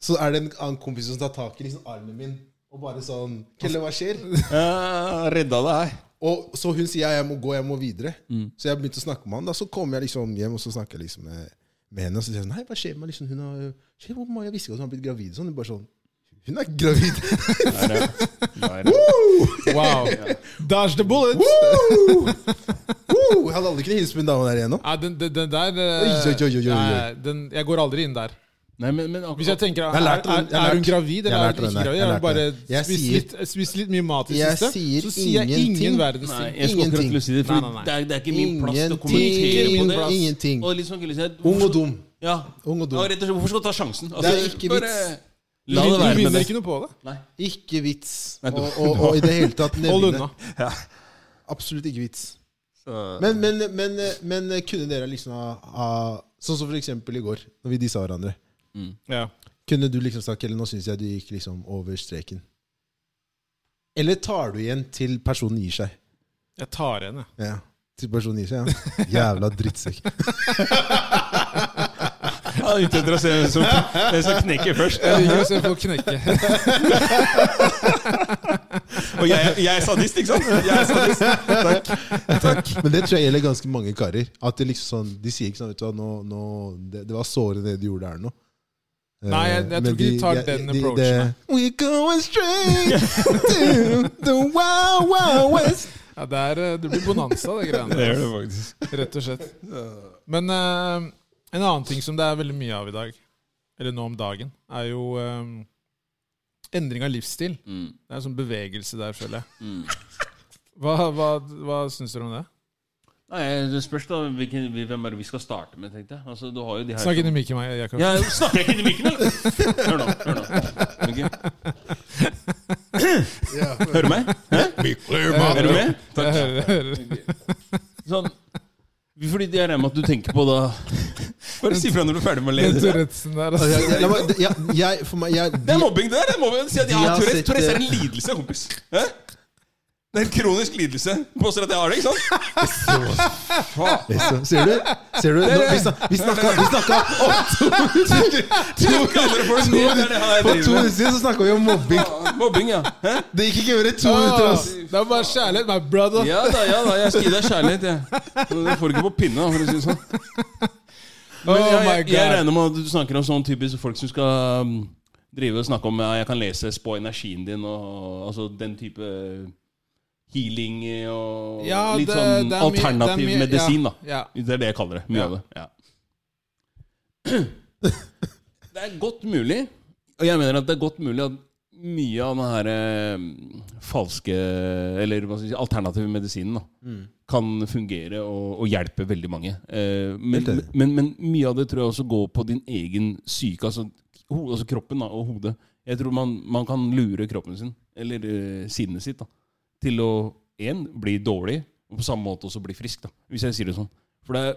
[SPEAKER 3] så er det en annen kompis som tar tak i liksom armen min og bare sånn Kelle, hva skjer?
[SPEAKER 2] Ja, redda deg her.
[SPEAKER 3] Og Så hun sier ja, jeg må gå, jeg må videre. Så jeg begynte å snakke med han. Da så kom jeg liksom hjem og så snakket jeg liksom med, med henne. Og så sier hun nei, hva skjer med liksom, hun har, skjer, med mamma? Jeg visste ikke at hun har blitt gravid. Sånn, hun bare sånn Hun er gravid!
[SPEAKER 2] Der, ja. Der, ja.
[SPEAKER 1] Wow. Dodge the bullet!
[SPEAKER 3] Woo! Woo! Jeg hadde aldri kunnet hilse på en dame der igjennom.
[SPEAKER 2] Ah,
[SPEAKER 1] Ja, den, den, den der
[SPEAKER 3] Oi,
[SPEAKER 1] eh,
[SPEAKER 3] oi, oi, oi, oi.
[SPEAKER 1] nei, Den, Jeg går aldri inn der.
[SPEAKER 2] Nei, men, men
[SPEAKER 1] Hvis jeg
[SPEAKER 2] akkurat,
[SPEAKER 1] tenker
[SPEAKER 3] Jeg
[SPEAKER 1] Er,
[SPEAKER 3] lærte
[SPEAKER 1] er,
[SPEAKER 3] den, jeg
[SPEAKER 1] er hun
[SPEAKER 3] lærte-
[SPEAKER 1] gravid,
[SPEAKER 3] jeg
[SPEAKER 1] eller er
[SPEAKER 3] lærte
[SPEAKER 1] hun
[SPEAKER 3] den
[SPEAKER 1] ikke
[SPEAKER 3] der,
[SPEAKER 1] gravid?
[SPEAKER 3] jeg
[SPEAKER 1] Jeg har
[SPEAKER 3] lærte
[SPEAKER 1] bare
[SPEAKER 3] den. Jeg
[SPEAKER 1] spist
[SPEAKER 3] sier-
[SPEAKER 1] litt, spist litt mye mat i det
[SPEAKER 3] Jeg
[SPEAKER 1] siste.
[SPEAKER 3] sier
[SPEAKER 1] Så sier jeg
[SPEAKER 3] ingenting.
[SPEAKER 1] ingen verdens
[SPEAKER 2] nei,
[SPEAKER 1] ting.
[SPEAKER 2] jeg skal akkurat til å si det, for
[SPEAKER 1] Nei, nei, nei.
[SPEAKER 2] Det, er, det er ikke min plass til å kommentere
[SPEAKER 3] Ingenting.
[SPEAKER 2] på det.
[SPEAKER 1] plass.
[SPEAKER 3] Ingenting.
[SPEAKER 2] Og liksom, ikke liksom,
[SPEAKER 3] Ung og dum.
[SPEAKER 2] Ja.
[SPEAKER 3] Ung og
[SPEAKER 2] Ja,
[SPEAKER 3] dum.
[SPEAKER 2] rett og slett, hvorfor skal du ta sjansen? Altså,
[SPEAKER 3] Det er ikke
[SPEAKER 2] bare-
[SPEAKER 3] vits.
[SPEAKER 1] Du,
[SPEAKER 2] La det
[SPEAKER 1] du
[SPEAKER 2] være med
[SPEAKER 1] vinner
[SPEAKER 2] det.
[SPEAKER 1] ikke noe på det.
[SPEAKER 2] Nei.
[SPEAKER 3] Ikke vits.
[SPEAKER 2] Nei,
[SPEAKER 3] Og,
[SPEAKER 2] du-
[SPEAKER 3] og, og i det hele tatt
[SPEAKER 1] Hold
[SPEAKER 3] nevne
[SPEAKER 1] unna.
[SPEAKER 3] Absolutt ikke vits. Men, men, men, men kunne dere liksom ha, ha Sånn som for eksempel i går, når vi dissa hverandre.
[SPEAKER 1] Ja.
[SPEAKER 3] Kunne du liksom sagt Kjell, nå syns jeg du gikk liksom over streken? Eller tar du igjen til personen gir seg?
[SPEAKER 1] Jeg tar henne.
[SPEAKER 3] Ja. Til personen gir seg, ja. Jævla drittsekk.
[SPEAKER 2] Ja, ute etter å se hvem som, hvem som knekker først.
[SPEAKER 1] Jeg liker å se folk knekke.
[SPEAKER 2] Og jeg, jeg er sadist, ikke sant? Jeg er sadist.
[SPEAKER 3] Men det tror jeg gjelder ganske mange karer. At det liksom sånn, De sier ikke sånn vet du hva, nå, nå, det, det var sårende det du gjorde her nå. Eh,
[SPEAKER 1] Nei, jeg- jeg tror
[SPEAKER 3] men
[SPEAKER 1] ikke de tar den approachen, nei.
[SPEAKER 3] We're going straight to the wild, wild west.
[SPEAKER 1] Ja, det, er, eh, det blir bonanza, det greiene
[SPEAKER 2] Det
[SPEAKER 1] der.
[SPEAKER 2] gjør det faktisk.
[SPEAKER 1] Rett og slett. Men eh, en annen ting som det er veldig mye av i dag, eller nå om dagen, er jo eh, endring av livsstil.
[SPEAKER 2] Mm,
[SPEAKER 1] Det er en sånn bevegelse der, føler jeg.
[SPEAKER 2] mm.
[SPEAKER 1] Hva, hva, hva syns dere om det?
[SPEAKER 2] Nei, Det spørs da hvilken, hvem er det vi skal starte med, tenkte jeg. Altså, du har jo de her
[SPEAKER 1] Snakk
[SPEAKER 2] som-
[SPEAKER 1] inn i mikken, meg, Jakob.
[SPEAKER 2] Ja, snakker jeg ikke inn i mikken, eller? Hør nå. Hør nå. Ok. Hører du meg? Hæ? Er du med?
[SPEAKER 1] Jeg hører, jeg hører.
[SPEAKER 2] Sånn. Fordi jeg regner med at du tenker på da Bare si fra når du er ferdig med å
[SPEAKER 1] Den
[SPEAKER 2] le.
[SPEAKER 1] Tourettesen der,
[SPEAKER 3] Altså,
[SPEAKER 1] altså.
[SPEAKER 3] jeg, jeg, la meg- jeg, jeg, for meg, jeg,
[SPEAKER 2] Det er
[SPEAKER 3] de,
[SPEAKER 2] mobbing, det er. det er mobbing. Si at jeg
[SPEAKER 3] De
[SPEAKER 2] har
[SPEAKER 3] har
[SPEAKER 2] Tourettes.
[SPEAKER 3] sett,
[SPEAKER 2] Tourettes
[SPEAKER 1] eh,
[SPEAKER 2] er en lidelse, kompis. Hæ? Det er en kronisk lidelse. Du Påstår at jeg har det, ikke sant?
[SPEAKER 3] så, ser Liksom, du? Ser du? Nå, vi snak- vi snakka vi snakka om to minutter
[SPEAKER 2] Jeg kaller det for det. Det er det han er driver
[SPEAKER 3] For to
[SPEAKER 2] med.
[SPEAKER 3] minutter siden så snakka vi om mobbing.
[SPEAKER 2] Ja, Mobbing, ja. Hæ?
[SPEAKER 3] Det gikk ikke over i to minutter. ass.
[SPEAKER 1] Ah, det er bare kjærlighet, my brother.
[SPEAKER 2] Ja da, ja da. Jeg skal gi deg kjærlighet, jeg. Og Det får du ikke på pinne, da, for å si det sånn.
[SPEAKER 1] Oh
[SPEAKER 2] Men
[SPEAKER 1] my
[SPEAKER 2] jeg, jeg, jeg
[SPEAKER 1] god.
[SPEAKER 2] regner med at du snakker om sånn typisk folk som skal um, drive og snakke om ja, 'jeg kan lese, spå energien din' og, altså den type healing og
[SPEAKER 1] Ja,
[SPEAKER 2] litt
[SPEAKER 1] det-
[SPEAKER 2] sånn
[SPEAKER 1] det er mye-
[SPEAKER 2] alternativ
[SPEAKER 1] det er mye-
[SPEAKER 2] medisin,
[SPEAKER 1] ja,
[SPEAKER 2] da.
[SPEAKER 1] ja.
[SPEAKER 2] Det er det jeg kaller det. Mye
[SPEAKER 1] Ja.
[SPEAKER 2] av det. Ja. Det er godt mulig, og jeg mener at det er godt mulig at mye av den her eh, falske Eller hva skal jeg si, alternative medisinen da,
[SPEAKER 3] Mm.
[SPEAKER 2] kan fungere og, og hjelpe veldig mange. Eh, men,
[SPEAKER 3] Helt enig.
[SPEAKER 2] men, men mye av det tror jeg også går på din egen syke, altså, ho, altså kroppen da, og hodet. Jeg tror man, man kan lure kroppen sin, eller eh, sinnet sitt, da, til å en, bli dårlig, og på samme måte også bli frisk, da, hvis jeg sier det sånn. For det er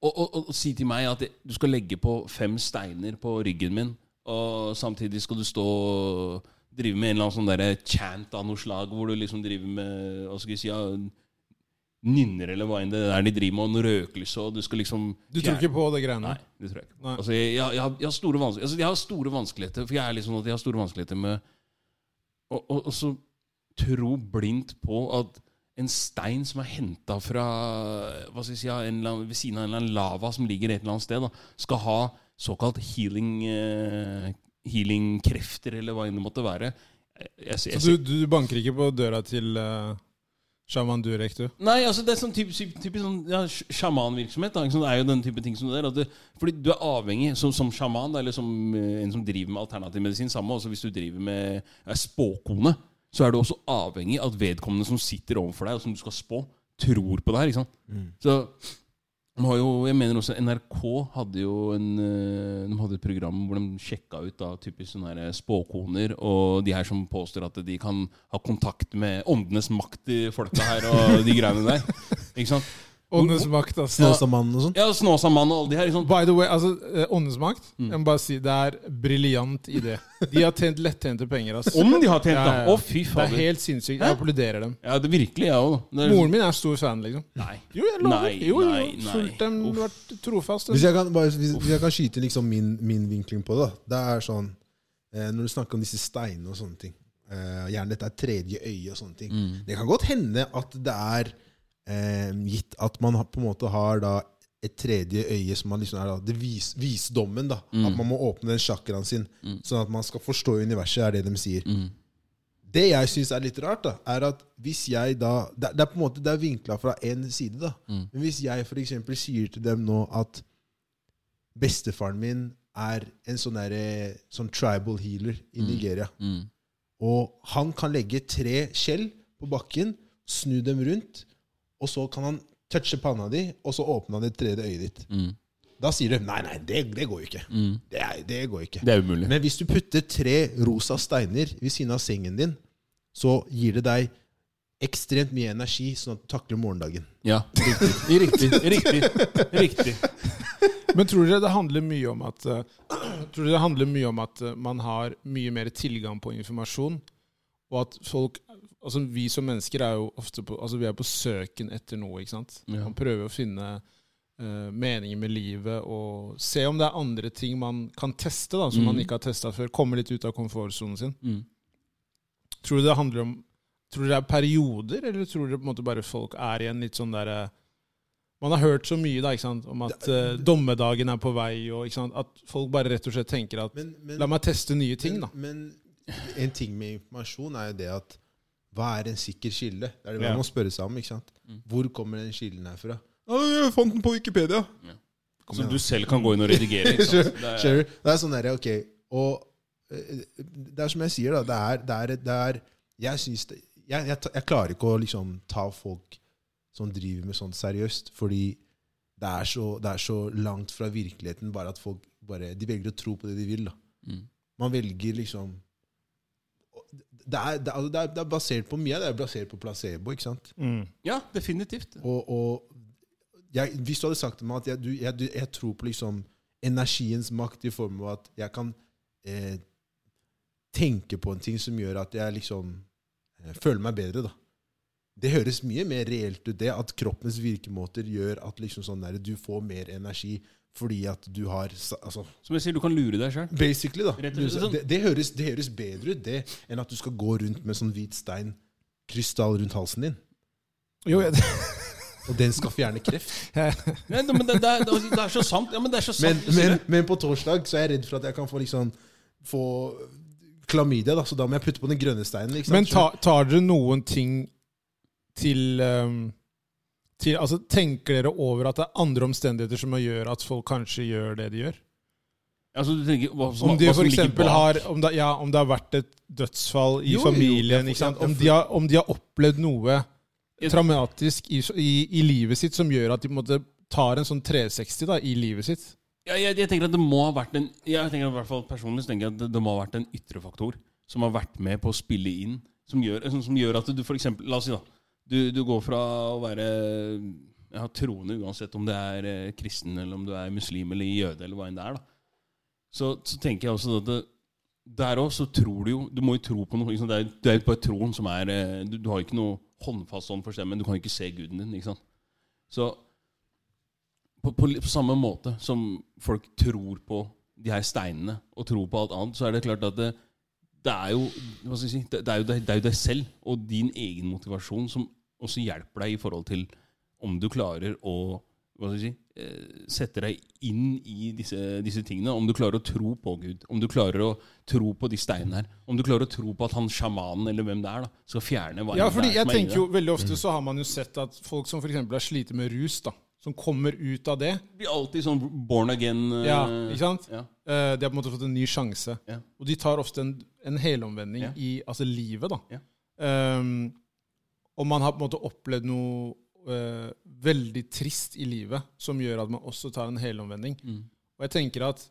[SPEAKER 2] og, og, og, og si til meg at jeg- du skal legge på fem steiner på ryggen min, og samtidig skal du stå og drive med en eller annen sånn derre chant av noe slag, hvor du liksom driver med hva skal jeg si, ja, nynner eller hva enn det er de driver med, og noe røkelse, og du skal liksom
[SPEAKER 1] Du tror ikke på det greiene?
[SPEAKER 2] Nei, det tror jeg ikke.
[SPEAKER 1] Nei.
[SPEAKER 2] Altså, jeg, jeg, jeg, har, jeg, har store vanskelig- altså, jeg har store vanskeligheter, for jeg er litt sånn at jeg har store vanskeligheter med å å- å så tro blindt på at en stein som er henta fra hva skal jeg si, ja, en eller annen, ved siden av en eller annen lava som ligger et eller annet sted, da, skal ha såkalt healing eh, healingkrefter, eller hva enn det måtte være. Jeg, jeg, jeg,
[SPEAKER 1] Så Altså, du, du banker ikke på døra til uh, sjaman Durek, du?
[SPEAKER 2] Nei, altså det er sånn typisk, typisk sånn, ja, sj- sjamanvirksomhet. da, ikke sant? Det er jo den type ting som det der. At du, fordi du er avhengig, som, som sjaman, da, eller som eh, en som driver med alternativ medisin, samme også hvis du driver med er spåkone, så er du også avhengig av at vedkommende som sitter overfor deg, og som du skal spå, tror på det her. ikke sant? Så De har jo, jeg mener også NRK hadde jo en, eh, de hadde et program hvor de sjekka ut da, typisk sånne her eh, spåkoner og de her som påstår at de kan ha kontakt med åndenes makt i folka her og de greiene der. Ikke sant?
[SPEAKER 1] Åndens makt, altså.
[SPEAKER 3] Snøsamannen og sånn.
[SPEAKER 2] Ja, Snåsamann og alle de her. Ikke sant?
[SPEAKER 1] By the way, altså, eh, Åndenes makt
[SPEAKER 2] Mm.
[SPEAKER 1] Jeg må bare si det er briljant idé. De har tjent lettjente penger. ass.
[SPEAKER 2] Om de har tjent,
[SPEAKER 1] Ja, ja,
[SPEAKER 2] da!
[SPEAKER 1] ja.
[SPEAKER 2] Å,
[SPEAKER 1] Det
[SPEAKER 2] fy
[SPEAKER 1] er
[SPEAKER 2] fader.
[SPEAKER 1] helt sinnssykt. Jeg applauderer dem.
[SPEAKER 2] Ja, det virkelig, jeg òg.
[SPEAKER 1] Moren min er stor fan, liksom.
[SPEAKER 2] Nei.
[SPEAKER 1] Jo, jeg lover.
[SPEAKER 2] Nei,
[SPEAKER 1] jo, jo,
[SPEAKER 2] nei,
[SPEAKER 1] jo.
[SPEAKER 2] nei.
[SPEAKER 1] Fulgt dem, vært trofast.
[SPEAKER 3] Hvis jeg kan, bare, hvis, hvis jeg kan skyte inn liksom min, min vinkling på det, da. det er sånn eh, Når du snakker om disse steinene og sånne ting eh, Gjerne dette er tredje øye og sånne
[SPEAKER 2] Mm.
[SPEAKER 3] ting. Det kan godt hende at det er eh, gitt at man har- på en måte har da et tredje øye som man liksom er da, det vis, visdommen. da, At man må åpne den sjakraen sin, sånn at man skal forstå universet, er det de sier.
[SPEAKER 2] mm,
[SPEAKER 3] Det jeg syns er litt rart, da, er at hvis jeg da Det, det er på en måte det er vinkla fra én side, da. Men hvis jeg f.eks. sier til dem nå at bestefaren min er en sånn derre sånn tribal healer i Nigeria,
[SPEAKER 2] mm,
[SPEAKER 3] og han kan legge tre skjell på bakken, snu dem rundt, og så kan han touche panna di, og så åpner han det tredje øyet ditt.
[SPEAKER 2] mm,
[SPEAKER 3] Da sier du nei, nei, det, det går jo ikke. Det, er- det går jo ikke.
[SPEAKER 2] Det er umulig.
[SPEAKER 3] Men hvis du putter tre rosa steiner ved siden av sengen din, så gir det deg ekstremt mye energi, sånn at du takler morgendagen.
[SPEAKER 2] Ja, riktig. Riktig. Riktig. riktig.
[SPEAKER 1] Men tror dere det handler mye om at eh, Tror dere det handler mye om at eh, man har mye mer tilgang på informasjon, og at folk Altså Vi som mennesker er jo ofte på, altså vi er på søken etter noe. ikke sant?
[SPEAKER 2] Ja.
[SPEAKER 1] Man prøver å finne eh, meningen med livet og se om det er andre ting man kan teste da, som man
[SPEAKER 2] Mm.
[SPEAKER 1] ikke har testa før. Komme litt ut av komfortsonen sin.
[SPEAKER 2] Mm.
[SPEAKER 1] Tror du det handler om Tror du det er perioder, eller tror du på en måte bare folk er i en litt sånn derre Man har hørt så mye da, ikke sant, om at eh, dommedagen er på vei, og ikke sant, at folk bare rett og slett tenker at
[SPEAKER 3] Men, men,
[SPEAKER 1] La meg teste nye ting, da.
[SPEAKER 3] Men, men en ting med informasjon er jo det at hva er en sikker kilde? Det er det
[SPEAKER 1] Ja. Mm.
[SPEAKER 3] man må spørre seg om. ikke sant? Hvor kommer den kilden her fra? «Å, Jeg fant den på Wikipedia! Kom
[SPEAKER 2] Som
[SPEAKER 3] igjen,
[SPEAKER 2] du
[SPEAKER 3] da.
[SPEAKER 2] selv kan gå inn og redigere. Ikke sant? Det er,
[SPEAKER 3] Skjønner du? Det er sånn derre, ok Og eh, det er som jeg sier, da. Det er, det er, det er Jeg syns det jeg, jeg, ta- jeg klarer ikke å liksom ta folk som driver med sånt seriøst, fordi det er så, det er så langt fra virkeligheten bare at folk bare De velger å tro på det de vil, da.
[SPEAKER 2] Mm.
[SPEAKER 3] Man velger liksom det er, det, er, altså, det, er, det er basert på mye. Det er basert på placebo, ikke sant?
[SPEAKER 2] ja, definitivt.
[SPEAKER 3] Og, og jeg, hvis du hadde sagt til meg at jeg, du, jeg, du, jeg tror på liksom energiens makt i form av at jeg kan eh, tenke på en ting som gjør at jeg liksom eh, føler meg bedre, da. Det høres mye mer reelt ut, det. At kroppens virkemåter gjør at liksom sånn der, du får mer energi fordi at du har sa- altså,
[SPEAKER 2] Som jeg sier, du kan lure deg sjøl.
[SPEAKER 3] Basically, da.
[SPEAKER 2] Rett og slett sånn.
[SPEAKER 3] Det, det, høres, det høres bedre ut, det, enn at du skal gå rundt med sånn hvit stein, krystall rundt halsen din.
[SPEAKER 1] Jo, jeg,
[SPEAKER 3] Og den skal fjerne kreft.
[SPEAKER 2] Nei, men det, det, er, det er så sant. Ja, men det er så
[SPEAKER 3] Men,
[SPEAKER 2] sant.
[SPEAKER 3] men, men på torsdag så er jeg redd for at jeg kan få liksom Få klamydia, da, så da må jeg putte på den grønne steinen. Ikke sant?
[SPEAKER 1] men ta, tar dere noen ting til, ehm, til Altså, tenker dere over at det er andre omstendigheter som gjør at folk kanskje gjør det de gjør?
[SPEAKER 2] altså, du tenker, hva, som,
[SPEAKER 1] Om de
[SPEAKER 2] hva som
[SPEAKER 1] for
[SPEAKER 2] ligger
[SPEAKER 1] eksempel
[SPEAKER 2] bak.
[SPEAKER 1] har om det, ja, om det har vært et dødsfall i
[SPEAKER 3] Jo, jo,
[SPEAKER 1] familien,
[SPEAKER 3] jeg får-
[SPEAKER 1] ikke sant?
[SPEAKER 3] jeg- jeg
[SPEAKER 1] Om,
[SPEAKER 3] får-
[SPEAKER 1] de har, om de har opplevd noe
[SPEAKER 2] Jeg-
[SPEAKER 1] traumatisk i, i, i livet sitt som gjør at de på en måte tar en sånn 360 da, i livet sitt.
[SPEAKER 2] ja, jeg, jeg tenker at det må ha vært en Jeg tenker at i hvert fall Personlig så tenker jeg at det, det må ha vært en ytre faktor som har vært med på å spille inn, som gjør, som, som gjør at du f.eks. La oss si, da. Du, du går fra å være ja, troende, uansett om du er eh, kristen, eller om du er muslim eller jøde, eller hva enn det er, da. Så, så tenker jeg også at det, der òg så tror du jo Du må jo tro på noe. Ikke sant? Det, er, det er jo bare troen som er eh, Du, du har jo ikke noe håndfast hånd for stemmen. Du kan jo ikke se guden din. ikke sant? Så på, på, li- på samme måte som folk tror på de her steinene og tror på alt annet, så er det klart at det, det er jo hva skal jeg si, det, det, er jo deg, det er jo deg selv og din egen motivasjon som også hjelper deg i forhold til om du klarer å hva skal jeg si, eh, sette deg inn i disse, disse tingene. Om du klarer å tro på Gud, om du klarer å tro på de steinene her. Om du klarer å tro på at han sjamanen eller hvem det er, da, skal fjerne hva
[SPEAKER 1] Ja,
[SPEAKER 2] enn det
[SPEAKER 1] fordi
[SPEAKER 2] er
[SPEAKER 1] jeg
[SPEAKER 2] som er Mm. inni
[SPEAKER 1] tenker jo Veldig ofte så har man jo sett at folk som f.eks. har slitt med rus, da, som kommer ut av det
[SPEAKER 2] deg. Det blir alltid sånn born again. eh,
[SPEAKER 1] ja, ikke sant?
[SPEAKER 2] ja.
[SPEAKER 1] Eh, De har på en måte fått en ny sjanse.
[SPEAKER 2] Ja.
[SPEAKER 1] Og de tar ofte en, en helomvending
[SPEAKER 2] Ja.
[SPEAKER 1] i altså livet, da.
[SPEAKER 2] Ja.
[SPEAKER 1] Ehm, og man har på en måte opplevd noe eh, veldig trist i livet som gjør at man også tar en helomvending.
[SPEAKER 2] Mm.
[SPEAKER 1] Og jeg tenker at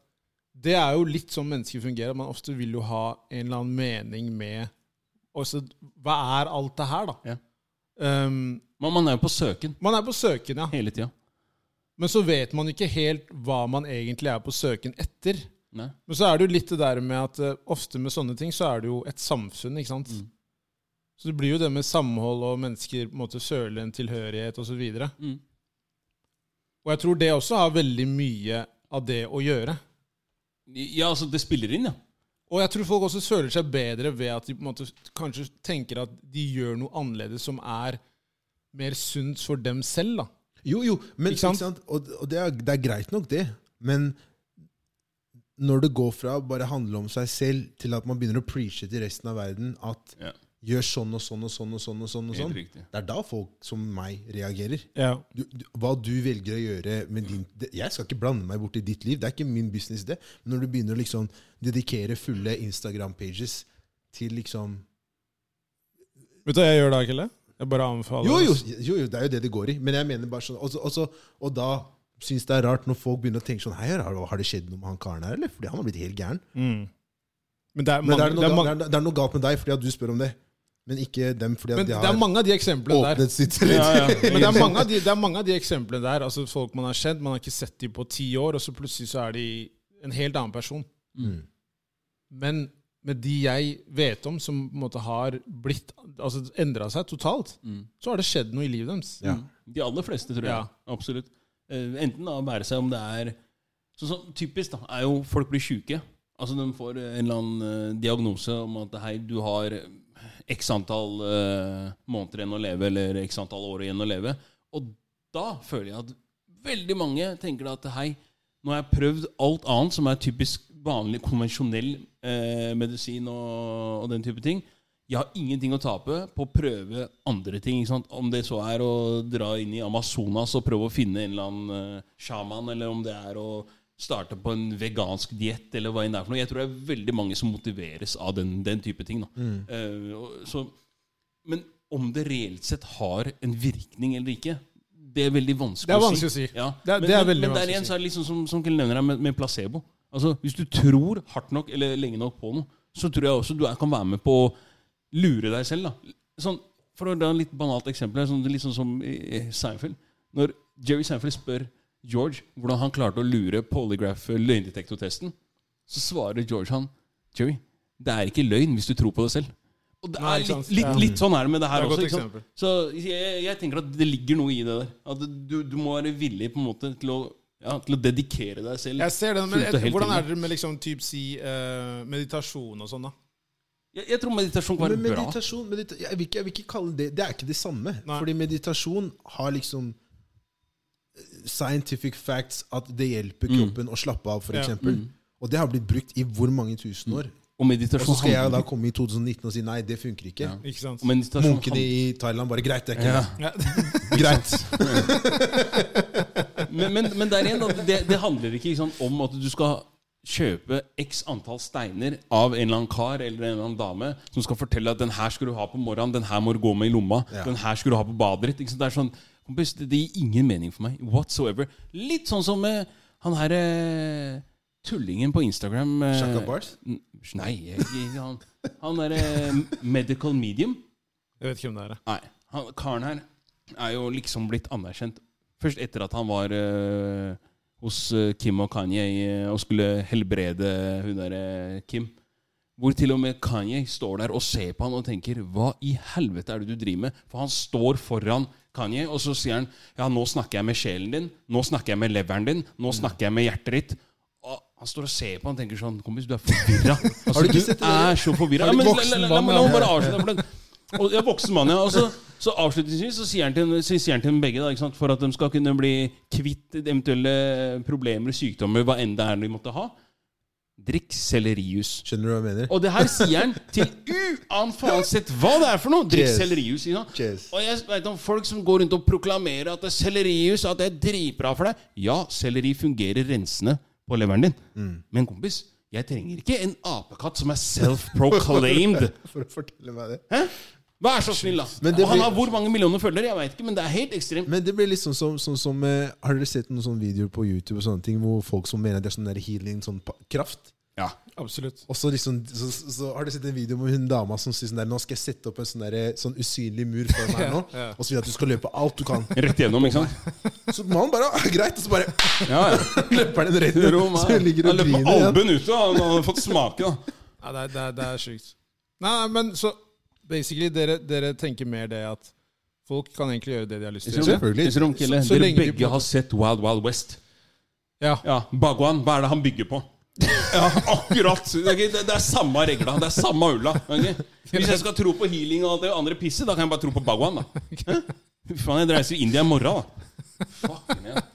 [SPEAKER 1] det er jo litt sånn mennesker fungerer. Man ofte vil jo ha en eller annen mening med også, Hva er alt det her, da?
[SPEAKER 2] Ja.
[SPEAKER 1] Ehm,
[SPEAKER 2] Men man er jo på søken
[SPEAKER 1] man er på søken, ja.
[SPEAKER 2] hele tida.
[SPEAKER 1] Men så vet man ikke helt hva man egentlig er på søken etter.
[SPEAKER 2] Nei.
[SPEAKER 1] Men så er det jo litt det der med at eh, ofte med sånne ting så er det jo et samfunn, ikke sant?
[SPEAKER 2] Mm.
[SPEAKER 1] Så det blir jo det med samhold og mennesker på en måte føle en tilhørighet osv. Og, så videre.
[SPEAKER 2] Mm.
[SPEAKER 1] og jeg tror det også har veldig mye av det å gjøre.
[SPEAKER 2] Ja, altså, det spiller inn, ja.
[SPEAKER 1] Og jeg tror folk også føler seg bedre ved at de på en måte kanskje tenker at de gjør noe annerledes som er mer sunt for dem selv. da.
[SPEAKER 3] Jo, jo, men
[SPEAKER 1] Ikke sant?
[SPEAKER 3] Ikke sant? Og, og det, er, det er greit nok, det. Men når det går fra å bare handle om seg selv, til at man begynner å preache til resten av verden at
[SPEAKER 2] Ja.
[SPEAKER 3] gjør sånn og sånn og sånn og sånn og sånn, og
[SPEAKER 2] Helt
[SPEAKER 3] sånn
[SPEAKER 2] riktig.
[SPEAKER 3] Det er da folk som meg reagerer.
[SPEAKER 1] Ja.
[SPEAKER 3] Du, du, hva du velger å gjøre med din det, Jeg skal ikke blande meg bort i ditt liv. Det er ikke min business, det. Men når du begynner å liksom dedikere fulle Instagram-pages til liksom
[SPEAKER 1] Vet du hva jeg gjør da, Kelle? Jeg bare anbefaler
[SPEAKER 3] Jo jo, jo, jo, det er jo det det går i. Men jeg mener bare sånn Og, så- og, så- og da syns det er rart når folk begynner å tenke sånn Hei, har, har det skjedd noe med han karen her, eller? Fordi han har blitt helt gæren.
[SPEAKER 1] Mm. Men det er
[SPEAKER 3] Men
[SPEAKER 1] mange,
[SPEAKER 3] det er, noe,
[SPEAKER 1] det er
[SPEAKER 3] ga-
[SPEAKER 1] mange,
[SPEAKER 3] det, er, det er noe galt med deg fordi at du spør om det. Men ikke dem fordi at
[SPEAKER 1] men
[SPEAKER 3] de
[SPEAKER 1] det
[SPEAKER 3] har
[SPEAKER 1] er mange av de eksemplene der.
[SPEAKER 3] åpnet sitt
[SPEAKER 2] Ja,
[SPEAKER 3] redd.
[SPEAKER 2] ja.
[SPEAKER 1] Men det er mange av de, det er mange av de eksemplene der. Altså Folk man har kjent, man har ikke sett dem på ti år, og så plutselig så er de en helt annen person.
[SPEAKER 3] Mm.
[SPEAKER 1] Men med de jeg vet om, som på en måte har blitt Altså endra seg totalt,
[SPEAKER 2] Mm.
[SPEAKER 1] så har det skjedd noe i livet deres.
[SPEAKER 3] Ja.
[SPEAKER 2] De aller fleste, tror jeg.
[SPEAKER 1] Ja.
[SPEAKER 2] Absolutt. Eh, Enten da være seg om det er Sånn som typisk, da, er jo folk blir sjuke. Altså de får eh, en eller annen eh, diagnose om at hei, du har x antall eh, måneder igjen å leve, eller x antall år igjen å leve. Og da føler jeg at veldig mange tenker da at hei, nå har jeg prøvd alt annet som er typisk vanlig, konvensjonell eh, medisin og, og den type ting. Jeg har ingenting å tape på å prøve andre ting. Ikke sant? Om det så er å dra inn i Amazonas og prøve å finne en eller annen eh, sjaman, eller om det er å starte på en vegansk diett, eller hva enn det er for noe. Jeg tror det er veldig mange som motiveres av den, den type ting. Da.
[SPEAKER 1] Mm.
[SPEAKER 2] Eh, og- så, men om det reelt sett har en virkning eller ikke, det er veldig vanskelig,
[SPEAKER 1] Det er vanskelig å si.
[SPEAKER 2] Ja.
[SPEAKER 1] Det er-
[SPEAKER 2] men,
[SPEAKER 1] det er
[SPEAKER 2] men-
[SPEAKER 1] veldig
[SPEAKER 2] men der
[SPEAKER 1] vanskelig å
[SPEAKER 2] igjen
[SPEAKER 1] si.
[SPEAKER 2] så er det liksom som, som Kjell nevner her, med, med placebo. Altså, Hvis du tror hardt nok eller lenge nok på noe, så tror jeg også du er, kan være med på å lure deg selv. da. Sånn, for å dra et litt banalt eksempel her, sånn, litt sånn som i i Seinfeld. Når Jerry Seinfeld spør George hvordan han klarte å lure polygraph-løgndetektortesten, så svarer George han Jerry, det er ikke løgn hvis du tror på det selv. Og det
[SPEAKER 1] Nei,
[SPEAKER 2] er
[SPEAKER 1] ikke
[SPEAKER 2] litt,
[SPEAKER 1] sant?
[SPEAKER 2] litt,
[SPEAKER 1] Ja.
[SPEAKER 2] litt sånn er det med det her
[SPEAKER 1] Det er et
[SPEAKER 2] også.
[SPEAKER 1] godt
[SPEAKER 2] Ikke sant?
[SPEAKER 1] eksempel.
[SPEAKER 2] Så jeg, jeg tenker at det ligger noe i det der. At du, du må være villig på en måte til å, ja, til å dedikere deg selv.
[SPEAKER 1] Jeg ser det, men
[SPEAKER 2] Fullt og
[SPEAKER 1] et,
[SPEAKER 2] helt
[SPEAKER 1] hvordan
[SPEAKER 2] enig.
[SPEAKER 1] er det med liksom typ si eh, meditasjon og sånn, da?
[SPEAKER 2] Jeg, jeg tror meditasjon kan
[SPEAKER 3] Men
[SPEAKER 2] være bra.
[SPEAKER 3] meditasjon medita jeg, vil ikke, jeg vil ikke kalle det Det er ikke det samme.
[SPEAKER 1] Nei.
[SPEAKER 3] Fordi meditasjon har liksom eh, scientific facts at det
[SPEAKER 2] Mm.
[SPEAKER 3] hjelper kroppen å slappe
[SPEAKER 1] Ja.
[SPEAKER 3] av, f.eks. eksempel Og det har blitt brukt i hvor mange
[SPEAKER 2] Mm.
[SPEAKER 3] tusen år?
[SPEAKER 2] Og
[SPEAKER 3] Og
[SPEAKER 2] meditasjon
[SPEAKER 3] så skal jeg da
[SPEAKER 2] handler,
[SPEAKER 3] komme i 2019 og si nei, det funker ikke.
[SPEAKER 2] Ja.
[SPEAKER 1] Ikke sant?
[SPEAKER 2] og meditasjon
[SPEAKER 3] Munkene
[SPEAKER 2] handler-
[SPEAKER 3] i Thailand bare Greit, det er ikke
[SPEAKER 2] ja.
[SPEAKER 1] ja.
[SPEAKER 3] det. Greit.
[SPEAKER 2] men, men, men der igjen, da, det, det handler ikke, ikke sant, om at du skal kjøpe x antall steiner av en eller annen kar eller en eller annen dame som skal fortelle at den her skal du ha på morgenen, den her må du gå med i lomma,
[SPEAKER 3] Ja.
[SPEAKER 2] den her skal du ha på badet ditt. Ikke sant? Det er sånn, kompis, det, det gir ingen mening for meg whatsoever. Litt sånn som eh, han her eh, tullingen på Instagram eh,
[SPEAKER 3] Shaka Bars?
[SPEAKER 2] N- Nei, jeg- jeg- han, han derre medical medium.
[SPEAKER 1] Jeg vet ikke hvem det er. jeg.
[SPEAKER 2] Nei. Han, karen her er jo liksom blitt anerkjent først etter at han var eh, hos eh, Kim og Kanye eh, og skulle helbrede hun derre Kim. Hvor til og med Kanye står der og ser på han og tenker Hva i helvete er det du driver med? For han står foran Kanye, og så sier han Ja, nå snakker jeg med sjelen din. Nå snakker jeg med leveren din. Nå
[SPEAKER 3] Mm.
[SPEAKER 2] snakker jeg med hjertet ditt. Og han står og ser på han og tenker sånn Kompis, du er forvirra. Altså,
[SPEAKER 3] Har du ikke sett det der?
[SPEAKER 2] er så forvirra.
[SPEAKER 1] Har
[SPEAKER 2] Ja,
[SPEAKER 1] du
[SPEAKER 2] men
[SPEAKER 1] voksen
[SPEAKER 2] la- la- la- la-
[SPEAKER 1] mann,
[SPEAKER 2] la meg
[SPEAKER 1] ja.
[SPEAKER 2] bare avslutte. For den. Og, ja, voksen mann, ja. Og så, så avslutningsvis så sier han til, så sier han til dem begge da, ikke sant? for at de skal kunne bli kvitt eventuelle problemer og sykdommer, hva enn det er de måtte ha. Drikk sellerijus.
[SPEAKER 3] Skjønner du hva jeg mener?
[SPEAKER 2] Og det her sier han til uansett hva det er for noe. Drikk
[SPEAKER 3] Cheers.
[SPEAKER 2] sellerijus. ikke sant?
[SPEAKER 3] Cheers.
[SPEAKER 2] Og jeg vet om folk som går rundt og proklamerer at det er sellerijus at det er dritbra for deg. Ja, selleri fungerer rensende på leveren din. Men kompis, jeg trenger ikke en apekatt som er self-proclaimed.
[SPEAKER 3] For å fortelle meg det.
[SPEAKER 2] Vær så snill, da!
[SPEAKER 3] Men det
[SPEAKER 2] Og han
[SPEAKER 3] blir-
[SPEAKER 2] har hvor mange millioner følgere? Jeg vet ikke, men det er helt ekstremt.
[SPEAKER 3] Men det blir liksom som, sånn som eh, Har dere sett noen sånne videoer på YouTube og sånne ting hvor folk som mener det er sånn der healing, sånn pa- kraft?
[SPEAKER 2] Ja.
[SPEAKER 1] Absolutt.
[SPEAKER 3] Og så liksom så, så, så har dere sett en video med hun dama som sier sånn der Nå skal jeg sette opp en sånn, der, eh, sånn usynlig mur foran her nå, og så vil jeg at du skal løpe alt du kan.
[SPEAKER 2] Rett igjennom, ikke sant?
[SPEAKER 3] Så mannen bare «Ah, Greit. Og så bare
[SPEAKER 2] Ja, ja.
[SPEAKER 3] løper den rett ned.
[SPEAKER 2] Rom,
[SPEAKER 3] Så
[SPEAKER 2] ja.
[SPEAKER 3] hun ligger
[SPEAKER 2] Han
[SPEAKER 3] og
[SPEAKER 2] løp med
[SPEAKER 3] griner igjen.
[SPEAKER 2] albuen ute, og han hadde fått smake. da
[SPEAKER 1] Ja, det, er, det, er, det er sjukt. Nei, nei, men så basically, dere, dere tenker mer det at folk kan egentlig gjøre det de har lyst til. å gjøre.
[SPEAKER 3] Selvfølgelig.
[SPEAKER 2] Isrom, Kille,
[SPEAKER 1] Så- så
[SPEAKER 2] Dere
[SPEAKER 1] lenge de på en måte-
[SPEAKER 2] begge har sett Wild Wild West.
[SPEAKER 1] Ja.
[SPEAKER 2] Ja, Bagwan, hva er det han bygger på? Ja, akkurat! Ok, Det, det er samme regla. Det er samme ulla. ok? Hvis jeg skal tro på healing og det andre pisset, da kan jeg bare tro på Bagwan. da Hæ? Fy faen, jeg reiser til India i morgen, da. Fucking hell.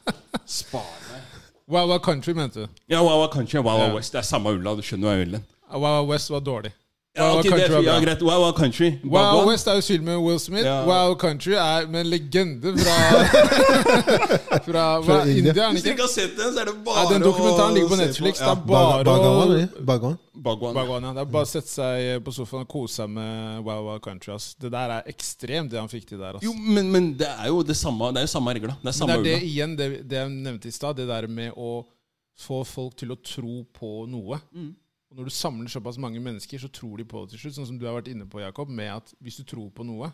[SPEAKER 2] Spar meg.
[SPEAKER 1] Wow, wow Country, mente du?
[SPEAKER 2] Ja, wow, wow, kanskje
[SPEAKER 1] Ja.
[SPEAKER 2] Wow, wow, West. Det er samme ulla. Du skjønner hva jeg vil den.
[SPEAKER 1] Wow, wow West var dårlig.
[SPEAKER 2] Ja,
[SPEAKER 1] Wow,
[SPEAKER 2] ok,
[SPEAKER 1] Country
[SPEAKER 2] det,
[SPEAKER 1] var bra.
[SPEAKER 2] ja, greit. Wow, wow, country.
[SPEAKER 1] Wow
[SPEAKER 2] Bagwan.
[SPEAKER 1] West er jo film med Will Smith.
[SPEAKER 2] Ja.
[SPEAKER 1] Wow Country er med en legende fra Fra, hva,
[SPEAKER 3] India.
[SPEAKER 1] India, er den
[SPEAKER 2] Hvis
[SPEAKER 1] ikke?
[SPEAKER 2] dere ikke har sett den, så er det bare
[SPEAKER 1] Nei, den dokumentaren ligger på
[SPEAKER 2] å se
[SPEAKER 1] Netflix. Det
[SPEAKER 2] Ja,
[SPEAKER 1] er bare å
[SPEAKER 3] Bagawan, eller? Bagawan?
[SPEAKER 2] Bagwan.
[SPEAKER 1] Bagwan, ja. Det er bare å sette seg på sofaen og kose seg med Wow Wow Country. Ass. Det der er ekstremt, det han fikk til der. Ass.
[SPEAKER 2] Jo, men, men det er jo det samme Det er jo samme regler. da. Det er
[SPEAKER 1] Men
[SPEAKER 2] samme
[SPEAKER 1] det er
[SPEAKER 2] ulla.
[SPEAKER 1] det igjen, det, det jeg nevnte i stad, det der med å få folk til å tro på noe.
[SPEAKER 2] Mm.
[SPEAKER 1] Og når du samler såpass mange mennesker, så tror de på det til slutt. Sånn som du har vært inne på, Jakob, med at hvis du tror på noe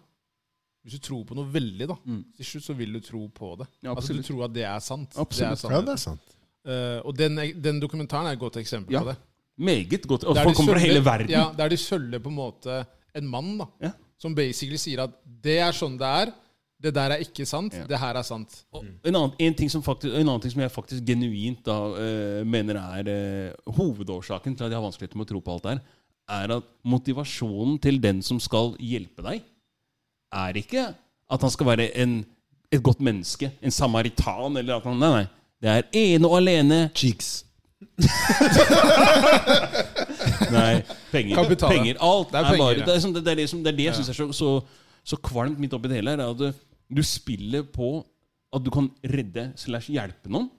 [SPEAKER 1] Hvis du tror på noe veldig, da, til slutt så vil du tro på det.
[SPEAKER 2] Mm. Ja,
[SPEAKER 1] altså Du
[SPEAKER 2] absolutt.
[SPEAKER 1] tror at det er sant.
[SPEAKER 2] Absolutt.
[SPEAKER 1] Det er
[SPEAKER 3] Ja,
[SPEAKER 1] sant.
[SPEAKER 3] det er sant.
[SPEAKER 1] Eh, og den, den dokumentaren er et godt eksempel
[SPEAKER 2] Ja.
[SPEAKER 1] på det.
[SPEAKER 2] Meget godt. Og
[SPEAKER 1] Der
[SPEAKER 2] folk
[SPEAKER 1] de
[SPEAKER 2] kommer fra hele
[SPEAKER 1] følger-
[SPEAKER 2] verden.
[SPEAKER 1] Ja, Der de følger på en måte en mann da,
[SPEAKER 2] Ja.
[SPEAKER 1] som basically sier at det er sånn det er, det der er ikke sant,
[SPEAKER 2] Ja.
[SPEAKER 1] det her er sant.
[SPEAKER 2] Og En, annen, en, ting som faktisk, en annen ting som jeg faktisk genuint da, eh, mener er eh, hovedårsaken til at jeg har vanskeligheter med å tro på alt det her, er at motivasjonen til den som skal hjelpe deg, er ikke at han skal være en, et godt menneske, en samaritan eller at han, Nei, nei. Det er ene og alene
[SPEAKER 3] Cheeks.
[SPEAKER 2] Nei, penger.
[SPEAKER 1] Kapital, ja.
[SPEAKER 2] penger.
[SPEAKER 1] Det
[SPEAKER 2] Alt det
[SPEAKER 1] er
[SPEAKER 2] er,
[SPEAKER 1] penger,
[SPEAKER 2] bare
[SPEAKER 1] ja.
[SPEAKER 2] det, er sånn, det, er det, som, det er det jeg syns er så, så, så kvalmt midt oppi det hele, her, er at du, du spiller på at du kan redde slash hjelpe noen,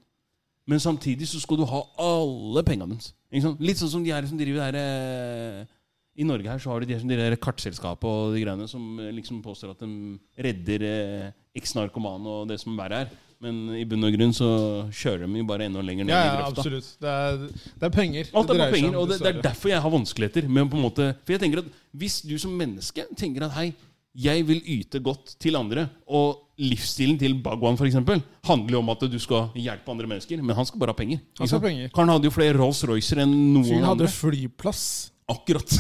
[SPEAKER 2] men samtidig så skal du ha alle pengene deres. Ikke sant? Litt sånn som de her som driver det her eh, I Norge her så har du de her som driver det her kartselskapet og de greiene som eh, liksom påstår at de redder eh, eks-narkomane og det som verre er. Men i bunn og grunn så kjører de jo bare enda lenger ned
[SPEAKER 1] Ja,
[SPEAKER 2] i
[SPEAKER 1] ja
[SPEAKER 2] grøfta.
[SPEAKER 1] absolutt. Det er, det er penger.
[SPEAKER 2] Alt er
[SPEAKER 1] dreier
[SPEAKER 2] på
[SPEAKER 1] seg
[SPEAKER 2] penger,
[SPEAKER 1] om,
[SPEAKER 2] og det, det er
[SPEAKER 1] dessverre.
[SPEAKER 2] derfor jeg har vanskeligheter. Med å på en måte, for jeg tenker at Hvis du som menneske tenker at hei, jeg vil yte godt til andre, og livsstilen til Bagwan for eksempel, handler jo om at du skal hjelpe andre mennesker, men han skal bare ha penger.
[SPEAKER 1] Han
[SPEAKER 2] ikke
[SPEAKER 1] skal ha
[SPEAKER 2] sant?
[SPEAKER 1] penger.
[SPEAKER 2] Karen hadde jo flere Rolls-Roycer enn noen
[SPEAKER 1] Fyren hadde
[SPEAKER 2] andre.
[SPEAKER 1] flyplass.
[SPEAKER 2] Akkurat.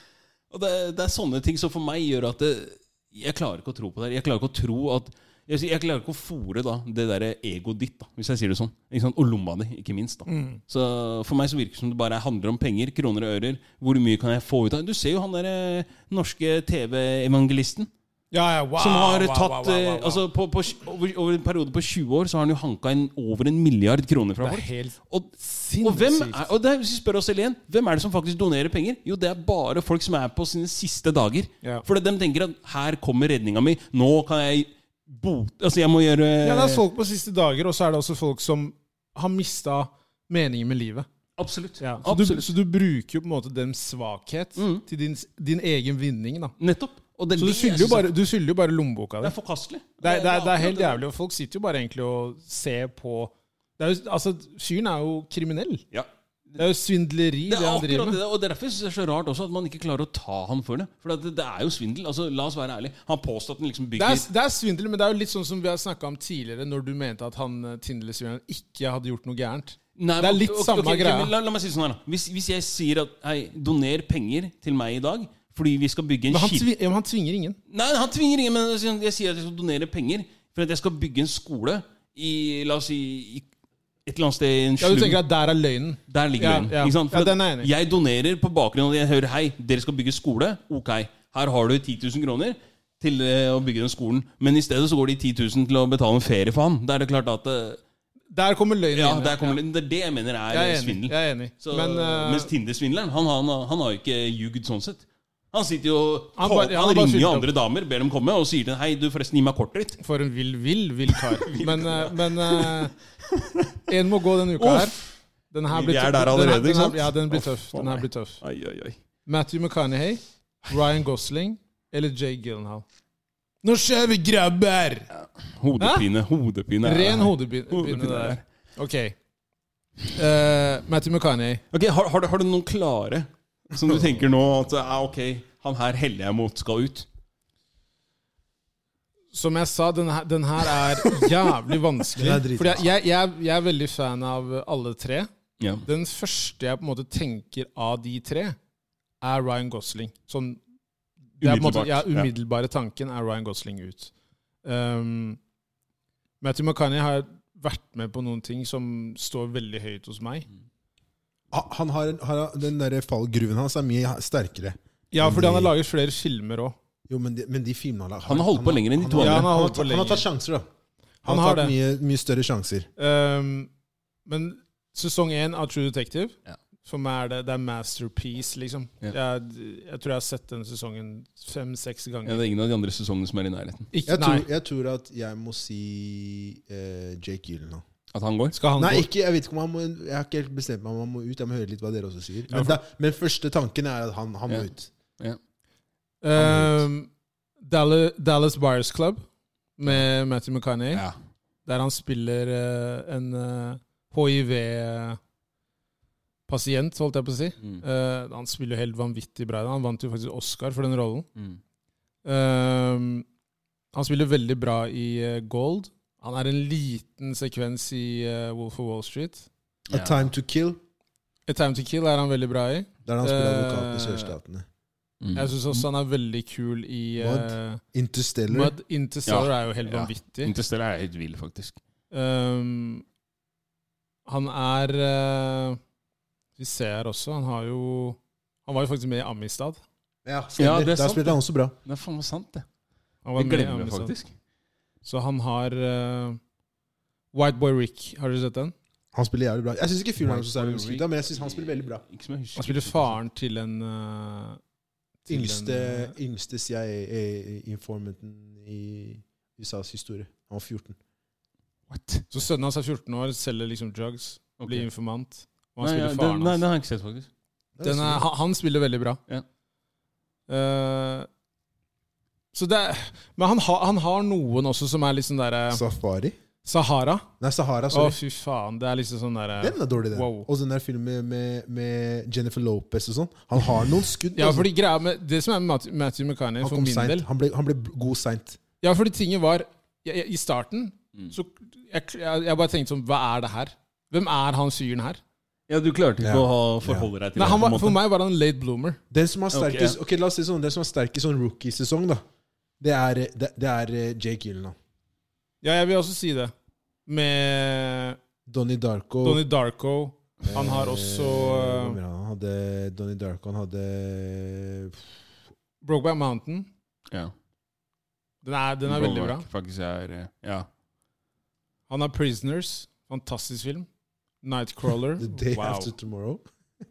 [SPEAKER 2] og det, det er sånne ting som for meg gjør at det, jeg klarer ikke å tro på det her. Jeg klarer ikke å tro at jeg, sier- jeg klarer ikke å fòre da, det der egoet ditt, da, hvis jeg sier det sånn. Ikke sant? Og lomma di, ikke minst. da.
[SPEAKER 1] Mm.
[SPEAKER 2] Så For meg så virker det som det bare handler om penger, kroner og ører. Hvor mye kan jeg få ut av det? Du ser jo han der eh, norske TV-evangelisten.
[SPEAKER 1] Ja, ja, wow,
[SPEAKER 2] Som har
[SPEAKER 1] wow,
[SPEAKER 2] tatt
[SPEAKER 1] wow, wow, wow.
[SPEAKER 2] eh, Altså på, på, over, over en periode på 20 år så har han jo hanka inn over en milliard kroner fra
[SPEAKER 1] Det er
[SPEAKER 2] folk.
[SPEAKER 1] helt
[SPEAKER 2] Og, og,
[SPEAKER 1] sinnssykt.
[SPEAKER 2] hvem er, og det, er- hvis vi spør oss selv igjen, hvem er det som faktisk donerer penger? Jo, det er bare folk som er på sine siste dager.
[SPEAKER 1] Ja.
[SPEAKER 2] For de tenker at her kommer redninga mi. Nå kan jeg bote Altså, jeg må gjøre
[SPEAKER 1] Ja, det er folk på siste dager, og så er det også folk som har mista meningen med livet.
[SPEAKER 2] Absolutt.
[SPEAKER 1] Så, du,
[SPEAKER 2] Absolutt.
[SPEAKER 1] så du bruker jo på en måte deres svakhet til din, din egen vinning. da
[SPEAKER 2] Nettopp. Og det,
[SPEAKER 1] Så du
[SPEAKER 2] det jeg
[SPEAKER 1] skylder jo
[SPEAKER 2] synes
[SPEAKER 1] bare, du skylder jo bare lommeboka
[SPEAKER 2] Det
[SPEAKER 1] di.
[SPEAKER 2] er forkastelig.
[SPEAKER 1] Det er, det, er, det er
[SPEAKER 2] akkurat
[SPEAKER 1] helt jævlig, og folk sitter jo bare egentlig og ser på det er jo, Altså, Fyren er jo kriminell.
[SPEAKER 2] Ja.
[SPEAKER 1] Det er jo svindleri, det,
[SPEAKER 2] Det er
[SPEAKER 1] han driver
[SPEAKER 2] akkurat
[SPEAKER 1] med.
[SPEAKER 2] det, og det er derfor synes jeg det er så rart også at man ikke klarer å ta ham for det. For det, det er jo svindel. Altså, La oss være ærlige. Han påstår at han liksom
[SPEAKER 1] Det
[SPEAKER 2] bygger
[SPEAKER 1] er, det er svindel, men det er jo litt sånn som vi har snakka om tidligere, når du mente at han eh, Tindler-svindleren ikke hadde gjort noe gærent.
[SPEAKER 2] Nei,
[SPEAKER 1] det er
[SPEAKER 2] men-
[SPEAKER 1] litt
[SPEAKER 2] ok,
[SPEAKER 1] samme
[SPEAKER 2] ok, ok,
[SPEAKER 1] greia.
[SPEAKER 2] men La, la meg si det sånn her da. hvis, hvis jeg sier at Hei, doner penger til meg i dag fordi vi skal bygge en
[SPEAKER 1] Men han,
[SPEAKER 2] kirke
[SPEAKER 1] tvi, ja, men han tvinger ingen.
[SPEAKER 2] Nei, han tvinger ingen, men jeg sier- jeg sier at jeg skal donere penger for at jeg skal bygge en skole i La oss si i et eller annet sted i en
[SPEAKER 1] Ja, Du
[SPEAKER 2] slum.
[SPEAKER 1] tenker at der er løgnen?
[SPEAKER 2] Der ligger
[SPEAKER 1] Ja,
[SPEAKER 2] den.
[SPEAKER 1] ja.
[SPEAKER 2] Ikke sant?
[SPEAKER 1] Ja,
[SPEAKER 2] at
[SPEAKER 1] den er jeg enig i.
[SPEAKER 2] jeg donerer på bakgrunn av at jeg hører Hei, dere skal bygge skole. Ok, her har du 10 000 kroner til eh, å bygge den skolen. Men i stedet så går de 10 000 til å betale en ferie for han. Da er det klart at eh,
[SPEAKER 1] Der kommer løgnen
[SPEAKER 2] Ja,
[SPEAKER 1] inn.
[SPEAKER 2] der kommer, det er det jeg mener er
[SPEAKER 1] Jeg
[SPEAKER 2] eh,
[SPEAKER 1] er enig.
[SPEAKER 2] svindel.
[SPEAKER 1] Jeg er enig.
[SPEAKER 2] Så,
[SPEAKER 1] men eh,
[SPEAKER 2] mens Tinder-svindleren, han, han, han har jo ikke ljugd sånn sett. Han sitter jo
[SPEAKER 1] Han
[SPEAKER 2] Han,
[SPEAKER 1] bare- han bare
[SPEAKER 2] ringer
[SPEAKER 1] fyller
[SPEAKER 2] jo
[SPEAKER 1] opp.
[SPEAKER 2] andre damer, ber dem komme, og sier til dem Hei, du, forresten, gi meg kortet ditt.
[SPEAKER 1] for en vill, vill, vill kar. men eh, men eh, en må gå denne uka her. Den her blir
[SPEAKER 4] Vi er
[SPEAKER 1] tøff.
[SPEAKER 4] der allerede,
[SPEAKER 1] den her,
[SPEAKER 4] ikke sant?
[SPEAKER 1] Ja, den blir
[SPEAKER 4] Å,
[SPEAKER 1] tøff.
[SPEAKER 4] faen
[SPEAKER 1] Den her
[SPEAKER 4] meg.
[SPEAKER 1] blir tøff.
[SPEAKER 4] Ai, ai, ai.
[SPEAKER 1] Matthew McConaughey, Ryan Gosling, Eller Jay Gyllenhaal. Nå skjer vi, grabber!
[SPEAKER 2] Hodepine. Hodepine. er-
[SPEAKER 1] Ren hodepine
[SPEAKER 2] Hodepine
[SPEAKER 1] der.
[SPEAKER 2] er-
[SPEAKER 1] Ok. Eh, Matthew McCarney.
[SPEAKER 2] Ok, har, har, du- har du noen klare som du tenker nå at ah, ok, han her heller jeg mot skal ut?
[SPEAKER 1] Som jeg sa, den her, den her er jævlig vanskelig.
[SPEAKER 3] Den er dritvanskelig.
[SPEAKER 1] Fordi jeg, jeg, jeg, jeg er veldig fan av alle tre.
[SPEAKER 2] Ja.
[SPEAKER 1] Den første jeg på en måte tenker av de tre, er Ryan Gosling. Sånn, det er på en måte,
[SPEAKER 2] Umiddelbart,
[SPEAKER 1] ja,
[SPEAKER 2] ja.
[SPEAKER 1] umiddelbare tanken er Ryan Gosling ut. Um, Matthew McCarney har vært med på noen ting som står veldig høyt hos meg.
[SPEAKER 3] Ha- Han har, en- har Den der fallgruven hans er mye sterkere.
[SPEAKER 1] Ja, fordi han har laget flere filmer òg.
[SPEAKER 3] Jo, men de, men de filmene han har
[SPEAKER 2] Han har holdt på lenger enn de to
[SPEAKER 1] Ja,
[SPEAKER 2] andre.
[SPEAKER 1] han har
[SPEAKER 3] Han har,
[SPEAKER 1] holdt på
[SPEAKER 3] tatt- han har
[SPEAKER 1] lenger.
[SPEAKER 3] tatt sjanser, da.
[SPEAKER 1] Han
[SPEAKER 3] Han har
[SPEAKER 1] har
[SPEAKER 3] tatt
[SPEAKER 1] det.
[SPEAKER 3] mye, mye større sjanser.
[SPEAKER 1] Um, men sesong én av True Detective
[SPEAKER 2] Ja.
[SPEAKER 1] For meg er det, det er masterpiece, liksom.
[SPEAKER 2] Ja.
[SPEAKER 1] Jeg, jeg tror jeg har sett den sesongen fem-seks
[SPEAKER 2] Ja,
[SPEAKER 1] ganger.
[SPEAKER 2] det er ingen av de andre sesongene som er i nærheten.
[SPEAKER 1] Ikke,
[SPEAKER 3] Jeg
[SPEAKER 1] nei.
[SPEAKER 3] tror, jeg tror at jeg må si eh, Jake Gyllenhaal.
[SPEAKER 2] At han går?
[SPEAKER 1] Skal han
[SPEAKER 3] Nei,
[SPEAKER 1] gå?
[SPEAKER 3] ikke, jeg vet ikke om han må Jeg har ikke helt bestemt meg om han må ut. Jeg må høre litt hva dere også sier.
[SPEAKER 1] Ja,
[SPEAKER 3] Men,
[SPEAKER 1] for-
[SPEAKER 3] da, men første tanken er at han, han må
[SPEAKER 2] Ja.
[SPEAKER 3] ut.
[SPEAKER 1] Um, Dallas, Dallas Buyers Club med Matthew McCarney,
[SPEAKER 2] Ja.
[SPEAKER 1] der han spiller eh, en hiv-pasient, holdt jeg på å si.
[SPEAKER 2] Mm.
[SPEAKER 1] Eh, han spiller jo helt vanvittig bra. i det. Han vant jo faktisk Oscar for den rollen.
[SPEAKER 2] Mm.
[SPEAKER 1] Ehm, han spiller veldig bra i eh, Gold. Han er en liten sekvens i eh, Wolf of Wall Street.
[SPEAKER 3] A Time To Kill,
[SPEAKER 1] A Time To Kill er han veldig bra i.
[SPEAKER 3] der han spiller advokaten i
[SPEAKER 1] Eh,
[SPEAKER 3] sørstatene.
[SPEAKER 2] Mm.
[SPEAKER 1] Jeg syns også han er veldig kul i eh,
[SPEAKER 3] Interstellar.
[SPEAKER 1] Mud. Interstellar er jo helt
[SPEAKER 2] Ja.
[SPEAKER 1] vanvittig.
[SPEAKER 2] Interstellar er helt vill, faktisk.
[SPEAKER 1] Ehm, han er eh, Vi ser her også, han har jo Han var jo faktisk med i Amistad.
[SPEAKER 3] Ja,
[SPEAKER 2] Ja,
[SPEAKER 3] stemmer.
[SPEAKER 2] det er
[SPEAKER 3] Der
[SPEAKER 2] sant,
[SPEAKER 3] spilte han også bra.
[SPEAKER 2] Det er faen meg sant, det.
[SPEAKER 1] Han var
[SPEAKER 2] Vi
[SPEAKER 1] med i
[SPEAKER 2] glemmer det
[SPEAKER 1] Amistad.
[SPEAKER 2] faktisk.
[SPEAKER 1] Så han har eh, White Boy Rick, har dere sett den?
[SPEAKER 3] Han spiller jævlig bra. Jeg syns ikke fyren er
[SPEAKER 2] Michael
[SPEAKER 3] så særlig
[SPEAKER 2] Rick.
[SPEAKER 3] beskytta, men jeg synes han spiller veldig bra.
[SPEAKER 2] Ikke som jeg husker.
[SPEAKER 1] Han spiller
[SPEAKER 2] altså.
[SPEAKER 1] faren til en eh, til
[SPEAKER 3] Yngste,
[SPEAKER 1] en, eh,
[SPEAKER 3] yngste CIA-informanten i USAs historie. Han var 14.
[SPEAKER 2] What?
[SPEAKER 1] Så sønnen hans er 14 år, selger liksom drugs, blir
[SPEAKER 2] Ok.
[SPEAKER 1] informant. Og han
[SPEAKER 2] Nei, ja,
[SPEAKER 1] spiller
[SPEAKER 2] den,
[SPEAKER 1] faren altså.
[SPEAKER 2] nei, den
[SPEAKER 1] hans.
[SPEAKER 2] har jeg ikke sett, faktisk.
[SPEAKER 1] Den er, han, han spiller veldig bra.
[SPEAKER 2] Ja.
[SPEAKER 1] Eh, så det er, men han, har- han har noen også som er liksom derre
[SPEAKER 3] Safari?
[SPEAKER 1] Sahara.
[SPEAKER 3] Nei,
[SPEAKER 1] Å,
[SPEAKER 3] Sahara. Sorry.
[SPEAKER 1] fy faen. Det er liksom sånn derre
[SPEAKER 3] Den er dårlig, den.
[SPEAKER 1] Wow.
[SPEAKER 3] Og den der filmen med, med Jennifer Lopez og sånn. Han har noen skudd.
[SPEAKER 1] Ja,
[SPEAKER 2] sånn.
[SPEAKER 3] altså.
[SPEAKER 1] fordi greia med Det som er med Matthew- Matthew McCarney,
[SPEAKER 3] han
[SPEAKER 1] for
[SPEAKER 3] kom
[SPEAKER 1] min del
[SPEAKER 3] seint. Han, ble- han ble god seint.
[SPEAKER 1] Ja, fordi tinget var jeg, jeg, I starten
[SPEAKER 2] Mm.
[SPEAKER 1] så jeg, jeg, jeg bare tenkte sånn Hva er det her? Hvem er han fyren her?
[SPEAKER 2] Ja, du klarte ikke
[SPEAKER 3] Ja.
[SPEAKER 2] å ha, forholde deg til
[SPEAKER 1] Nei,
[SPEAKER 2] det.
[SPEAKER 1] han
[SPEAKER 2] på en
[SPEAKER 1] var,
[SPEAKER 2] måte.
[SPEAKER 1] for meg var han late bloomer.
[SPEAKER 3] Den som har
[SPEAKER 2] Ok,
[SPEAKER 3] sterkest Ok, la oss si sånn Den som har sterkest sånn rookie-sesong, da, det er, det, det er eh, Jake Gyllenhaal.
[SPEAKER 1] Ja, jeg vil også si det. Med
[SPEAKER 3] Donnie Darko
[SPEAKER 1] Donnie Darko. Han har
[SPEAKER 3] eh,
[SPEAKER 1] også
[SPEAKER 3] hvor
[SPEAKER 1] eh,
[SPEAKER 3] mer Han hadde Donnie Darko, han hadde eh,
[SPEAKER 1] Brokeback Mountain.
[SPEAKER 2] ja.
[SPEAKER 1] Den er, den er veldig bra.
[SPEAKER 2] Brokeback Faktisk er eh, Ja.
[SPEAKER 1] Han har Prisoners. Fantastisk film. Nightcrawler.
[SPEAKER 3] The Day
[SPEAKER 1] Wow.
[SPEAKER 3] After Tomorrow.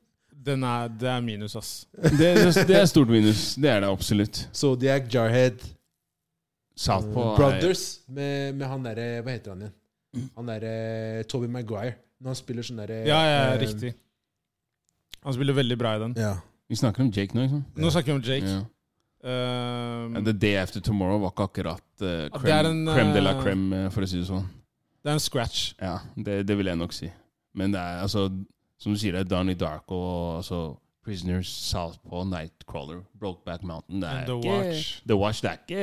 [SPEAKER 1] Den er, det er minus, ass.
[SPEAKER 2] Det, det, det er stort minus. Det er det absolutt.
[SPEAKER 3] Zodiac, Jarhead,
[SPEAKER 2] Southpaw
[SPEAKER 3] eh, Brothers med, med han derre Hva heter han igjen? Han derre uh, Toby Maguire. Når han spiller sånn derre
[SPEAKER 1] Ja, ja,
[SPEAKER 3] eh,
[SPEAKER 1] riktig. Han spiller veldig bra i den.
[SPEAKER 3] Ja.
[SPEAKER 2] Er, vi snakker om Jake nå, ikke sant?
[SPEAKER 1] Nå snakker vi om Jake.
[SPEAKER 2] Ja.
[SPEAKER 1] Ehm,
[SPEAKER 2] Ja, The Day After Tomorrow var ikke akkurat uh,
[SPEAKER 1] Ja, det
[SPEAKER 2] creme,
[SPEAKER 1] er en,
[SPEAKER 2] creme de la
[SPEAKER 1] eh,
[SPEAKER 2] creme, eh, for å si det sånn.
[SPEAKER 1] det er en scratch.
[SPEAKER 2] Ja, det, det vil jeg nok si. Men det er altså Som du sier, det er Donnie Darko og altså Prisoners, Southpaw, Nightcrawler, Brokeback Mountain det er
[SPEAKER 1] And The
[SPEAKER 2] ikke,
[SPEAKER 1] Watch.
[SPEAKER 2] The Watch det er ikke,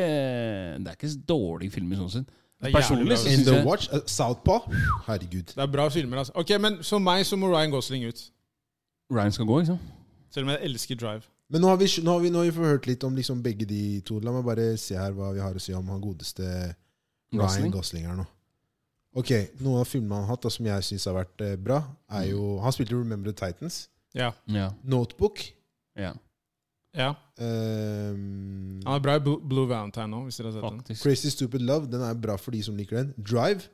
[SPEAKER 2] det er ikke så dårlig film i sånn sett.
[SPEAKER 1] Det er jævlig bra.
[SPEAKER 2] Personlig så
[SPEAKER 3] In
[SPEAKER 2] syns
[SPEAKER 3] The
[SPEAKER 2] jeg
[SPEAKER 3] Watch, eh, Southpaw. Herregud.
[SPEAKER 1] Det er bra filmer, altså. Ok, Men for meg så må Ryan Gosling ut.
[SPEAKER 2] Ryan skal gå, ikke sant?
[SPEAKER 1] Selv om jeg elsker Drive.
[SPEAKER 3] Men nå har vi, nå har vi, nå har vi fått hørt litt om liksom begge de to. La meg bare se her hva vi har å si om han godeste Ryan
[SPEAKER 2] Gosling.
[SPEAKER 3] Gosling her nå. Ok, Noen av filmene han har hatt da, som jeg syns har vært eh, bra, er jo Han spilte jo Remember the Titans.
[SPEAKER 1] Ja.
[SPEAKER 2] Ja,
[SPEAKER 3] Notebook.
[SPEAKER 2] ja,
[SPEAKER 1] ja.
[SPEAKER 3] ehm,
[SPEAKER 1] Han er bra i Blue, Blue Valentine nå, hvis dere har sett den.
[SPEAKER 2] faktisk.
[SPEAKER 3] Crazy Stupid Love. Den er bra for de som liker den. Drive.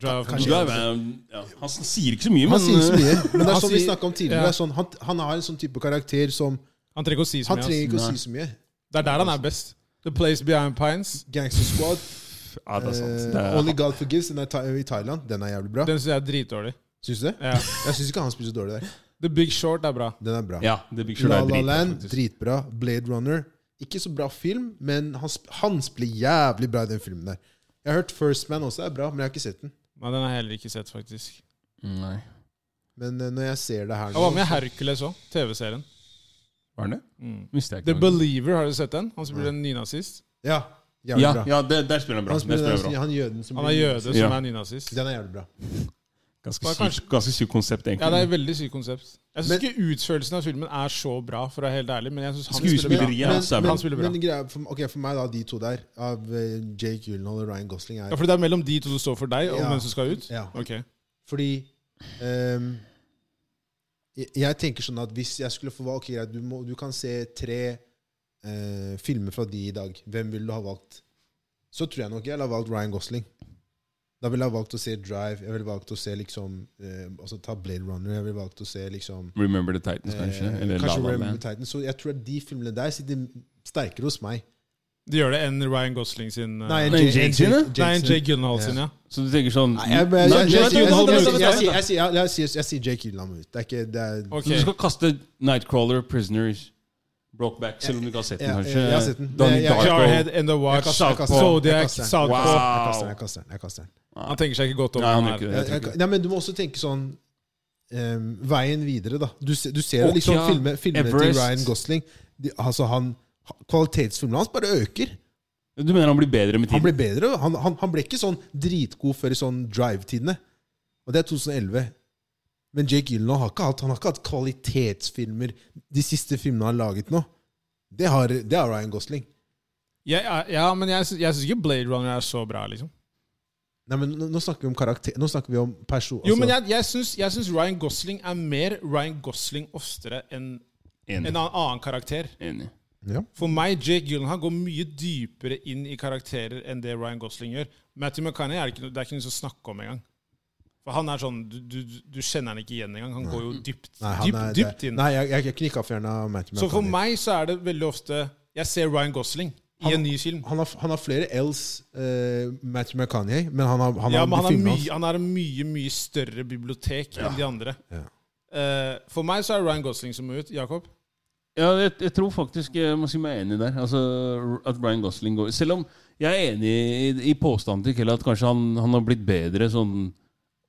[SPEAKER 1] Drive
[SPEAKER 3] Kanskje-
[SPEAKER 1] Drive.
[SPEAKER 2] Drive er, ja, han sier ikke så mye,
[SPEAKER 3] Han
[SPEAKER 2] men
[SPEAKER 3] sier ikke så mye, men det
[SPEAKER 1] Han
[SPEAKER 3] er sånn vi
[SPEAKER 1] sier-
[SPEAKER 3] snakket om
[SPEAKER 1] ja.
[SPEAKER 3] tidligere. det er Sånn, han, han har en sånn type karakter som
[SPEAKER 1] Han trenger ikke å si så
[SPEAKER 3] Han
[SPEAKER 1] mye.
[SPEAKER 3] trenger
[SPEAKER 1] ass.
[SPEAKER 3] ikke å
[SPEAKER 2] Nei.
[SPEAKER 3] si så mye.
[SPEAKER 1] Det er der han er best. The Place Behind Pines.
[SPEAKER 3] Gangster Squad.
[SPEAKER 2] Ja, det er sant.
[SPEAKER 3] eh,
[SPEAKER 2] Det er,
[SPEAKER 3] Only God Forgives. Den er tha- i Thailand. Den er jævlig bra.
[SPEAKER 1] Den syns jeg er dritdårlig.
[SPEAKER 3] Syns du det?
[SPEAKER 1] Ja.
[SPEAKER 3] Jeg syns ikke han spiller så dårlig der.
[SPEAKER 1] The Big Short er bra.
[SPEAKER 3] Den er bra.
[SPEAKER 2] ja, The Big Short
[SPEAKER 3] La
[SPEAKER 2] er
[SPEAKER 3] La
[SPEAKER 2] dritbra,
[SPEAKER 3] Land,
[SPEAKER 2] faktisk.
[SPEAKER 3] dritbra. Blade Runner, Ikke så bra film, men han, sp han spiller jævlig bra i den filmen der. Jeg har hørt First Man også er bra, men jeg har ikke sett den.
[SPEAKER 1] Nei, den har jeg heller ikke sett, faktisk.
[SPEAKER 2] Nei.
[SPEAKER 3] Men eh, når jeg ser det her
[SPEAKER 1] Jeg var med i Hercules òg, TV-serien.
[SPEAKER 2] Var det?
[SPEAKER 1] Mm.
[SPEAKER 2] Visste jeg
[SPEAKER 1] The
[SPEAKER 2] ikke. noe.
[SPEAKER 1] Believer, har du sett den? Han spiller en nynazist.
[SPEAKER 3] Ja, jævlig
[SPEAKER 2] Ja,
[SPEAKER 3] bra.
[SPEAKER 2] ja det, der spiller han bra.
[SPEAKER 3] Han
[SPEAKER 2] Der
[SPEAKER 3] spiller
[SPEAKER 2] spiller han
[SPEAKER 3] den,
[SPEAKER 2] bra.
[SPEAKER 3] han jøden som
[SPEAKER 1] Han er
[SPEAKER 3] blir-
[SPEAKER 1] jøde
[SPEAKER 2] Ja.
[SPEAKER 1] som er nynazist.
[SPEAKER 3] Den er jævlig bra.
[SPEAKER 2] Ganske
[SPEAKER 1] Bare
[SPEAKER 2] sykt ganske sykt konsept,
[SPEAKER 1] Ja, det er
[SPEAKER 2] egentlig.
[SPEAKER 1] et veldig sykt konsept. Jeg syns ikke utførelsen av filmen er så bra, for å være helt ærlig, men jeg synes han spiller bra.
[SPEAKER 2] Skuespilleriet
[SPEAKER 3] Men-
[SPEAKER 2] hans er
[SPEAKER 3] men-
[SPEAKER 2] bra.
[SPEAKER 1] Han spiller bra.
[SPEAKER 3] Men greia, for, ok, for meg, da, de to der, av eh, Jake Gyllenhaal og Ryan Gosling, er
[SPEAKER 1] Ja, for det er mellom de to det står for deg, og
[SPEAKER 3] Ja.
[SPEAKER 1] hvem som skal ut?
[SPEAKER 3] ja.
[SPEAKER 1] Ok.
[SPEAKER 3] Fordi ehm, jeg, jeg tenker sånn at hvis jeg skulle få valg ok, greit, du, må, du kan se tre eh, filmer fra de i dag. Hvem ville du ha valgt? Så tror jeg nok jeg ville ha valgt Ryan Gosling. Da ville jeg valgt å se Drive. Jeg ville valgt å se liksom eh, Altså ta Blade Runner. Jeg ville valgt å se liksom
[SPEAKER 2] Remember the Titans,
[SPEAKER 3] eh,
[SPEAKER 2] kanskje? Eller La
[SPEAKER 3] kanskje
[SPEAKER 2] La
[SPEAKER 3] Remember
[SPEAKER 2] Land.
[SPEAKER 3] Titans. Så jeg tror at de filmene der sitter sterkere hos meg.
[SPEAKER 1] De gjør det enn Ryan Gosling sin uh,
[SPEAKER 2] Nei,
[SPEAKER 3] Jake-
[SPEAKER 2] Jake sine?
[SPEAKER 3] Jake-
[SPEAKER 1] Nei, enn Jake Gyllenhaal
[SPEAKER 3] Ja.
[SPEAKER 1] sin, ja.
[SPEAKER 2] Så du tenker sånn
[SPEAKER 3] Nei, jeg- jeg-
[SPEAKER 2] Nei,
[SPEAKER 3] jeg-
[SPEAKER 2] Jake
[SPEAKER 3] jeg- jeg-
[SPEAKER 2] Gyllenhaal,
[SPEAKER 3] jeg-
[SPEAKER 2] vent,
[SPEAKER 3] jeg-
[SPEAKER 2] vent,
[SPEAKER 3] jeg-
[SPEAKER 2] vent.
[SPEAKER 3] jeg sier- jeg sier- Jeg sier Jake Gyllenhaal ut. Det er ikke det er,
[SPEAKER 1] Ok.
[SPEAKER 2] Så du skal kaste Nightcrawler, Prisoners, Brokeback, selv om du ikke har sett den,
[SPEAKER 3] Ja,
[SPEAKER 2] kanskje?
[SPEAKER 3] jeg har sett den.
[SPEAKER 2] Donnie
[SPEAKER 3] Jeg- jeg-
[SPEAKER 2] Darko.
[SPEAKER 1] Jarhead and the
[SPEAKER 3] Jeg
[SPEAKER 1] Watch,
[SPEAKER 3] kaster- jeg kaster- jeg
[SPEAKER 1] Zodiac,
[SPEAKER 3] kaster-
[SPEAKER 1] Southpaw
[SPEAKER 2] Wow.
[SPEAKER 3] Jeg kaster den. jeg kaster den, jeg kaster den.
[SPEAKER 1] Han tenker seg ikke godt om.
[SPEAKER 2] Nei, han
[SPEAKER 1] han
[SPEAKER 2] gjør ikke
[SPEAKER 1] her.
[SPEAKER 2] det.
[SPEAKER 3] Jeg- jeg- Nei, men Du må også tenke sånn ehm, Veien videre, da. Du, se- du ser
[SPEAKER 2] Ok,
[SPEAKER 3] liksom
[SPEAKER 2] ja.
[SPEAKER 3] filme, filmene til
[SPEAKER 2] Everest.
[SPEAKER 3] Ryan Gosling. De, altså han Kvalitetsfilmene hans bare øker.
[SPEAKER 2] Du mener han blir bedre med
[SPEAKER 3] Han
[SPEAKER 2] tiden?
[SPEAKER 3] ble bedre. Han, han, han ble ikke sånn dritgod før i sånn drive-tidene. Og det er 2011. Men Jake Gyllenhaal har ikke hatt Han har ikke hatt kvalitetsfilmer de siste filmene han har laget nå. Det har, det har Ryan Gosling.
[SPEAKER 1] Jeg er- Ja, men jeg syns jeg syns ikke Blade Runner er så bra, liksom.
[SPEAKER 3] Nei, men nå, nå snakker vi om karakter Nå snakker vi om person
[SPEAKER 1] Jo,
[SPEAKER 3] altså-
[SPEAKER 1] men jeg, jeg, syns, jeg syns Ryan Gosling er mer Ryan Gosling oftere enn en
[SPEAKER 2] Enig.
[SPEAKER 1] annen, annen karakter.
[SPEAKER 2] Enig.
[SPEAKER 3] ja.
[SPEAKER 1] For meg, Jake Gyllenhaal går mye dypere inn i karakterer enn det Ryan Gosling gjør. Matthew McCartney er det ikke, noe- det er ikke noe å snakke om engang. For han er sånn, du, du, du kjenner han ikke igjen engang. Han går jo dypt,
[SPEAKER 3] Nei, han
[SPEAKER 1] dypt,
[SPEAKER 3] er-
[SPEAKER 1] dypt
[SPEAKER 3] det-
[SPEAKER 1] inn.
[SPEAKER 3] Nei, jeg, jeg, jeg knikka fjerna Matthew
[SPEAKER 1] Så for
[SPEAKER 3] McConaughey.
[SPEAKER 1] meg så er det veldig ofte Jeg ser Ryan Gosling i
[SPEAKER 3] Han-
[SPEAKER 1] en ny film.
[SPEAKER 3] han har, han har flere L's, eh, Matthew McConaughey, men han har, han
[SPEAKER 1] ja,
[SPEAKER 3] har
[SPEAKER 1] men han, er mye,
[SPEAKER 3] filmene hans.
[SPEAKER 1] han er en mye, mye større bibliotek enn de andre.
[SPEAKER 3] Ja.
[SPEAKER 1] Eh, for meg så er Ryan Gosling som må ut. Jakob?
[SPEAKER 2] Ja, jeg, jeg tror faktisk eh, jeg må si meg enig der. Altså, at Ryan Gosling går Selv om jeg er enig i, i påstanden til Kelle at kanskje han, han har blitt bedre sånn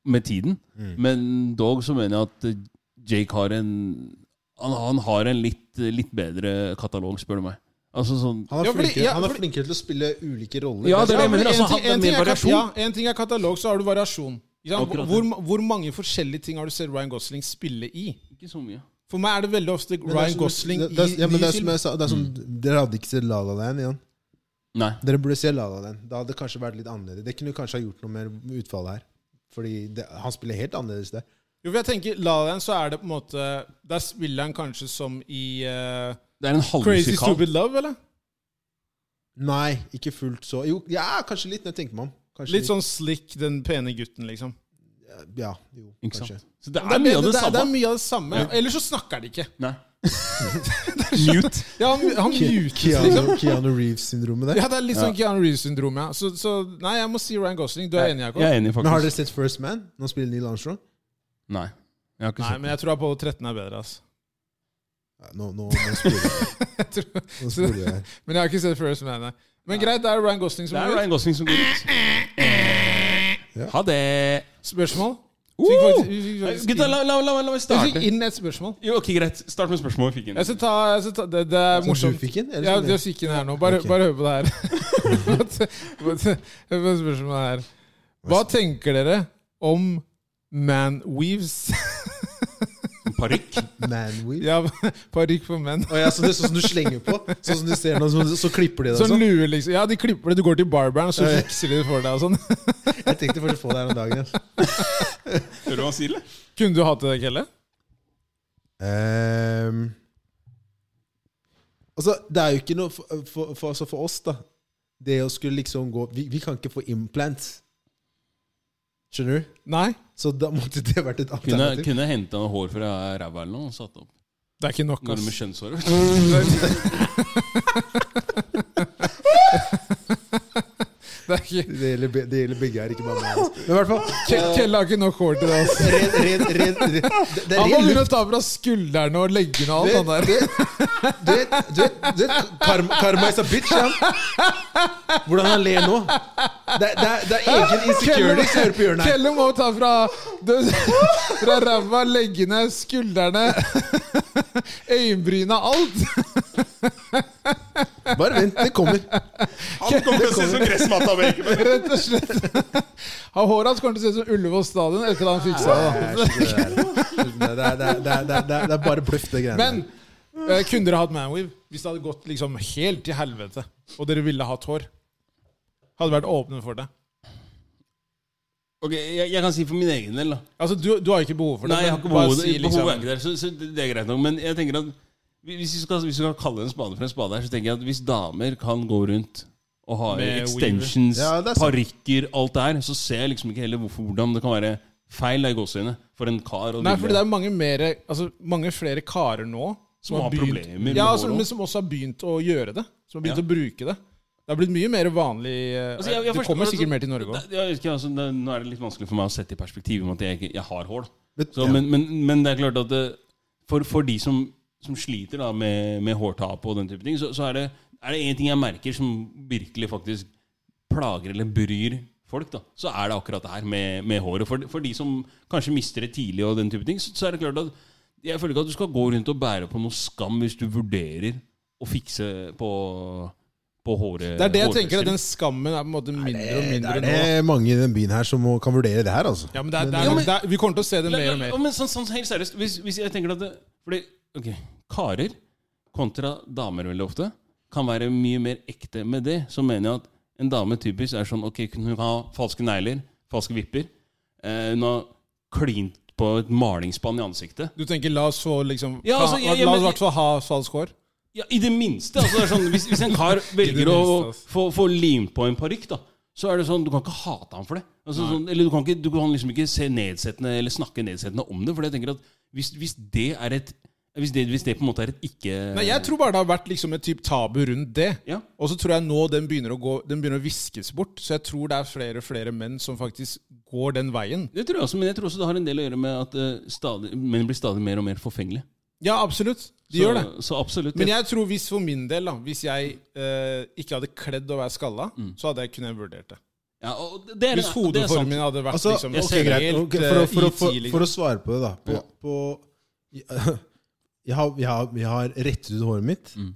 [SPEAKER 2] med tiden, men dog så mener jeg at eh, Jake har en Han, han har en litt, litt bedre katalog, spør du meg. Altså sånn
[SPEAKER 3] Han er,
[SPEAKER 1] Ja, fordi-
[SPEAKER 3] flinkere,
[SPEAKER 1] ja,
[SPEAKER 3] han er
[SPEAKER 1] fordi-
[SPEAKER 3] flinkere til å spille ulike roller.
[SPEAKER 2] Ja, det er det jeg
[SPEAKER 1] men
[SPEAKER 2] mener.
[SPEAKER 1] en
[SPEAKER 2] Altså,
[SPEAKER 1] ting-
[SPEAKER 2] han- det er
[SPEAKER 1] en
[SPEAKER 2] mer
[SPEAKER 1] ting er kat-
[SPEAKER 2] variasjon.
[SPEAKER 1] Ja, en ting er katalog, så har du variasjon. Ikke sant?
[SPEAKER 2] Akkurat det.
[SPEAKER 1] Hvor, hvor mange forskjellige ting har du sett Ryan Gosling spille i?
[SPEAKER 2] Ikke så mye.
[SPEAKER 1] For meg er det veldig ofte
[SPEAKER 3] Men det er
[SPEAKER 1] Ryan
[SPEAKER 3] som-
[SPEAKER 1] Gosling
[SPEAKER 3] det, det, er-
[SPEAKER 1] i
[SPEAKER 3] ja, men
[SPEAKER 1] ny
[SPEAKER 3] det er som
[SPEAKER 1] film.
[SPEAKER 3] jeg sa, det er som,
[SPEAKER 2] Mm.
[SPEAKER 3] Dere hadde ikke sett La La Land igjen.
[SPEAKER 2] Nei.
[SPEAKER 3] Dere burde se La La Land. Da hadde det kanskje vært litt annerledes. Det kunne kanskje ha gjort noe med utfallet her. Fordi det, han spiller helt annerledes der.
[SPEAKER 1] Jo, for jeg tenker, La La Land, så er det på en måte Der spiller han kanskje som i eh,
[SPEAKER 2] Det er en
[SPEAKER 1] Crazy
[SPEAKER 2] halvmusikal.
[SPEAKER 1] Stupid Love, eller?
[SPEAKER 3] Nei, ikke fullt så Jo, ja, kanskje litt, når jeg tenker meg om. Kanskje
[SPEAKER 1] Litt sånn slick, den pene gutten, liksom.
[SPEAKER 3] Ja, jo,
[SPEAKER 2] Ikke
[SPEAKER 3] kanskje.
[SPEAKER 2] sant? Så det
[SPEAKER 1] Det
[SPEAKER 2] er mye av det
[SPEAKER 1] er- Det er
[SPEAKER 2] samme.
[SPEAKER 1] mye av det samme. Ellers så snakker de ikke.
[SPEAKER 2] Nei. Mute.
[SPEAKER 1] Ja, han, han mutes, liksom.
[SPEAKER 3] Keanu, Keanu Reeves-syndromet der.
[SPEAKER 1] Ja, det er litt sånn Keanu Reeves-syndrom, ja. Så, så nei, jeg må si Ryan Gosling. Du er enig, Jakob?
[SPEAKER 2] Jeg er enig,
[SPEAKER 3] Men har
[SPEAKER 2] faktisk.
[SPEAKER 3] dere sett First Man? Nå spiller Neil Armstrong.
[SPEAKER 2] Nei. Jeg har ikke
[SPEAKER 1] Nei,
[SPEAKER 2] sett
[SPEAKER 1] men jeg tror Apollo 13 er bedre, altså.
[SPEAKER 3] Ja, Nå, nå, nå sporer jeg. Nå sporer jeg.
[SPEAKER 1] Men jeg har ikke sett First Man. nei. Men greit, det er Ryan Gosling som
[SPEAKER 2] Det er
[SPEAKER 1] går ut.
[SPEAKER 2] Ryan Gosling som går ut. Ha det!
[SPEAKER 1] Spørsmål?
[SPEAKER 2] Uh!
[SPEAKER 1] Fikk faktisk- vi fikk faktisk
[SPEAKER 2] Gutta,
[SPEAKER 1] inn-
[SPEAKER 2] la, la, la, la meg
[SPEAKER 1] Jeg fikk
[SPEAKER 2] starte.
[SPEAKER 1] inn et spørsmål.
[SPEAKER 2] Jo, ok, Greit. Start med spørsmålet fikk inn.
[SPEAKER 1] Jeg skal ta, jeg skal ta det, det er
[SPEAKER 3] Som
[SPEAKER 1] morsomt.
[SPEAKER 3] du fikk inn? eller
[SPEAKER 1] Ja,
[SPEAKER 3] som
[SPEAKER 1] det
[SPEAKER 3] jeg-
[SPEAKER 1] fikk inn her nå. Bare,
[SPEAKER 3] Ok.
[SPEAKER 1] bare hør på det her. Hør på spørsmålet her. Hva tenker dere om manweaves?
[SPEAKER 2] Parykk.
[SPEAKER 3] Man weave.
[SPEAKER 1] ja, parykk for menn.
[SPEAKER 3] Å ja, så det er sånn som du slenger på? Sånn som du ser nå, så, så klipper de det?
[SPEAKER 1] Sånn
[SPEAKER 3] Sånn.
[SPEAKER 1] lue, liksom. Ja, de klipper det. Du går til barberen, og så
[SPEAKER 3] Ja, ja.
[SPEAKER 1] fikser de det for deg. og sånn.
[SPEAKER 3] Jeg tenkte først å få det her om dagen. ja.
[SPEAKER 2] Hører du hva han sier, eller?
[SPEAKER 1] Kunne du hatt det, Kelle?
[SPEAKER 3] Ehm, altså, det er jo ikke noe for, for, for, altså for oss, da. Det å skulle liksom gå Vi, vi kan ikke få implant. Skjønner du?
[SPEAKER 1] Nei.
[SPEAKER 3] Så da måtte det vært et
[SPEAKER 2] Kunne,
[SPEAKER 3] alternativ.
[SPEAKER 2] kunne henta noe hår fra ræva eller noe og satt opp.
[SPEAKER 1] Det er ikke nok.
[SPEAKER 2] Går det
[SPEAKER 1] ass.
[SPEAKER 2] med kjønnshår?
[SPEAKER 1] Det Det er ikke,
[SPEAKER 3] Det gjelder, be- det gjelder begge her, ikke bare meg. Men i hvert fall
[SPEAKER 1] Kjell- Kjell har ikke nok hår til det. Altså.
[SPEAKER 3] ren, ren, ren, ren, det- Det er
[SPEAKER 1] Han må
[SPEAKER 3] ren
[SPEAKER 1] begynne
[SPEAKER 3] luft.
[SPEAKER 1] å ta fra skuldrene og leggene og
[SPEAKER 3] Du
[SPEAKER 1] alt. Han
[SPEAKER 3] vet,
[SPEAKER 1] der.
[SPEAKER 3] du vet, du vet, du vet, du vet karma, karma is a bitch, ja. Hvordan han ler nå. Det, er- det, er- det er egen insecurity som hører på hjørnet her.
[SPEAKER 1] Kjelle må ta fra det- Fra ræva, leggene, skuldrene, øyenbryna, alt.
[SPEAKER 3] Bare vent, det kommer.
[SPEAKER 4] Han kommer til å se ut som gressmatta med ikke med.
[SPEAKER 1] Rett og slett. Av håret hans kommer til å se ut som Ullevål stadion etter at han fiksa det. da.
[SPEAKER 3] Det er ikke det der. Det er- det er- det er- det er- det er- det er bare bløff, det greiene
[SPEAKER 1] Men eh, kunne dere hatt Manweave hvis det hadde gått liksom helt til helvete, og dere ville hatt hår? Hadde vært åpne for det.
[SPEAKER 2] Ok, jeg, jeg kan si for min egen del, da.
[SPEAKER 1] Altså, Du, du har ikke behov for det.
[SPEAKER 2] Nei, jeg har
[SPEAKER 1] men
[SPEAKER 2] ikke
[SPEAKER 1] bare
[SPEAKER 2] behovet,
[SPEAKER 1] si liksom-
[SPEAKER 2] behovet er ikke der, så, så det er greit nok. Men jeg tenker at hvis vi, skal, hvis vi skal kalle en spade for en spade her, så tenker jeg at hvis damer kan gå rundt og ha
[SPEAKER 1] Med
[SPEAKER 2] extensions,
[SPEAKER 3] weaver. Ja, det er sant.
[SPEAKER 2] parykker, alt det her, så ser jeg liksom ikke heller hvorfor, hvordan det kan være feil da, i gåseøynene for en kar. å
[SPEAKER 1] Nei,
[SPEAKER 2] ville-
[SPEAKER 1] fordi det er mange, mere, altså, mange flere karer nå
[SPEAKER 2] Som har problemer med
[SPEAKER 1] ja,
[SPEAKER 2] hår
[SPEAKER 1] altså,
[SPEAKER 2] også.
[SPEAKER 1] men som også har begynt å gjøre det. Som har begynt å bruke det. Det har blitt mye mer vanlig eh,
[SPEAKER 2] Altså, jeg- jeg
[SPEAKER 1] Det
[SPEAKER 2] forstår-
[SPEAKER 1] kommer
[SPEAKER 2] altså,
[SPEAKER 1] sikkert mer til Norge òg.
[SPEAKER 2] det- jeg vet ikke, altså, det, nå er det litt vanskelig for meg å sette i perspektiv om at jeg, ikke- jeg har hår. da.
[SPEAKER 3] Men-
[SPEAKER 2] Så,
[SPEAKER 3] ja.
[SPEAKER 2] men, men, men det er klart at det, for, for de som, som sliter da, med, med hårtap og den type ting, så, så er det er det én ting jeg merker som virkelig faktisk plager eller bryr folk, da, så er det akkurat det her med, med håret. For, for de som kanskje mister det tidlig, og den type ting, så, så er det klart at jeg føler ikke at du skal gå rundt og bære på noe skam hvis du vurderer å fikse på, på håret.
[SPEAKER 1] Det er det jeg
[SPEAKER 2] hårfester.
[SPEAKER 1] tenker, at den skammen er på en måte mindre og
[SPEAKER 3] Det
[SPEAKER 1] mindre
[SPEAKER 3] er
[SPEAKER 1] nå.
[SPEAKER 3] det mange i den byen her som må- kan vurdere det her, altså.
[SPEAKER 1] Ja, men det er, det
[SPEAKER 2] Ja,
[SPEAKER 1] er,
[SPEAKER 2] men-
[SPEAKER 1] det er, vi kommer til å se det
[SPEAKER 2] La-
[SPEAKER 1] mer
[SPEAKER 2] la-
[SPEAKER 1] og mer.
[SPEAKER 2] ja, Men sånn, sånn helt seriøst, hvis, hvis jeg tenker at det, Fordi, ok, karer kontra damer veldig ofte kan være mye mer ekte med det. Så mener jeg at en dame typisk er sånn Ok, hun kan ha falske negler, falske vipper. Eh, hun har klint på et malingsspann i ansiktet.
[SPEAKER 1] Du tenker la oss få liksom
[SPEAKER 2] Ja, altså,
[SPEAKER 1] la-
[SPEAKER 2] jeg- jeg-
[SPEAKER 1] La oss i
[SPEAKER 2] men-
[SPEAKER 1] hvert fall ha falsk hår.
[SPEAKER 2] Ja, I det minste. Altså, det er sånn, hvis, hvis en kar
[SPEAKER 1] det
[SPEAKER 2] velger
[SPEAKER 1] minste,
[SPEAKER 2] å
[SPEAKER 1] altså.
[SPEAKER 2] få, få limt på en parykk, da, så er det sånn, du kan ikke hate ham for det. Altså, sånn, eller du kan, ikke, du kan liksom ikke se nedsettende eller snakke nedsettende om det. For jeg tenker at hvis, hvis det er et hvis det, hvis det på en måte er et ikke
[SPEAKER 1] Nei, Jeg tror bare det har vært liksom et typ tabu rundt det.
[SPEAKER 2] Ja.
[SPEAKER 1] Og så tror jeg nå den begynner, å gå, den begynner å viskes bort. Så jeg tror det er flere og flere menn som faktisk går den veien.
[SPEAKER 2] Det tror jeg også, men jeg tror også det har en del å gjøre med at eh, stadig, menn blir stadig mer og mer forfengelige.
[SPEAKER 1] Ja, absolutt. De
[SPEAKER 2] Så,
[SPEAKER 1] gjør det.
[SPEAKER 2] så absolutt.
[SPEAKER 1] Men jeg tror hvis for min del, da, hvis jeg eh, ikke hadde kledd å være skalla,
[SPEAKER 3] Mm.
[SPEAKER 1] så hadde jeg kunnet vurdert det.
[SPEAKER 2] ja, og det
[SPEAKER 1] Hvis
[SPEAKER 2] er, det er sant.
[SPEAKER 1] hodeformen min hadde vært
[SPEAKER 3] Altså,
[SPEAKER 1] liksom,
[SPEAKER 2] jeg
[SPEAKER 1] ok,
[SPEAKER 2] ser det.
[SPEAKER 1] helt
[SPEAKER 3] Ok, for, å, for, å,
[SPEAKER 1] eh,
[SPEAKER 3] for,
[SPEAKER 1] i
[SPEAKER 3] for å
[SPEAKER 1] tidlig.
[SPEAKER 3] svare på det, da. På, på, jeg, har, jeg, har, jeg har rettet ut håret mitt.
[SPEAKER 2] Mm.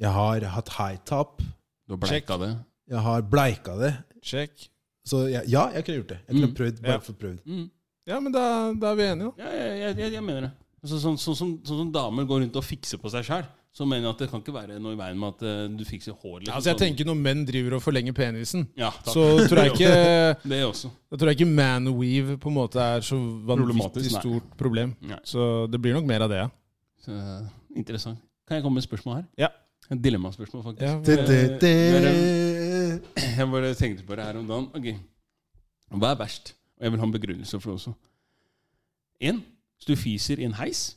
[SPEAKER 3] Jeg har hatt high top.
[SPEAKER 2] Du har bleika det.
[SPEAKER 3] Jeg har bleika det.
[SPEAKER 1] Sjekk.
[SPEAKER 3] Så jeg, ja, jeg kunne gjort det. Jeg kunne
[SPEAKER 2] Mm.
[SPEAKER 3] prøvd, bare
[SPEAKER 1] Ja.
[SPEAKER 3] fått prøvd.
[SPEAKER 2] Mm.
[SPEAKER 1] Ja, men da, da er vi enige, da.
[SPEAKER 2] Ja, jeg, jeg, jeg, jeg mener det. Altså, sånn, sånn, som- sånn som damer går rundt og fikser på seg sjøl, så mener jeg at det kan ikke være noe i veien med at eh, du fikser hår. Liksom,
[SPEAKER 1] Altså, jeg
[SPEAKER 3] sånn.
[SPEAKER 1] tenker Når menn driver og forlenger penisen,
[SPEAKER 2] ja, takk.
[SPEAKER 1] så tror jeg ikke
[SPEAKER 2] Det også.
[SPEAKER 1] Da tror jeg ikke manweave på en måte er så vanvittig
[SPEAKER 2] Problematisk, nei.
[SPEAKER 1] stort problem.
[SPEAKER 2] Nei.
[SPEAKER 1] Så det blir nok mer av det, ja.
[SPEAKER 2] Så, eh, interessant. Kan jeg komme med et spørsmål her?
[SPEAKER 1] Ja.
[SPEAKER 2] Et dilemmaspørsmål, faktisk.
[SPEAKER 3] Du,
[SPEAKER 1] Ja,
[SPEAKER 3] du, du.
[SPEAKER 2] Jeg bare tenkte på det her om dagen. Ok, Hva er verst? Og jeg vil ha en begrunnelse for det også. En, hvis du fiser i en heis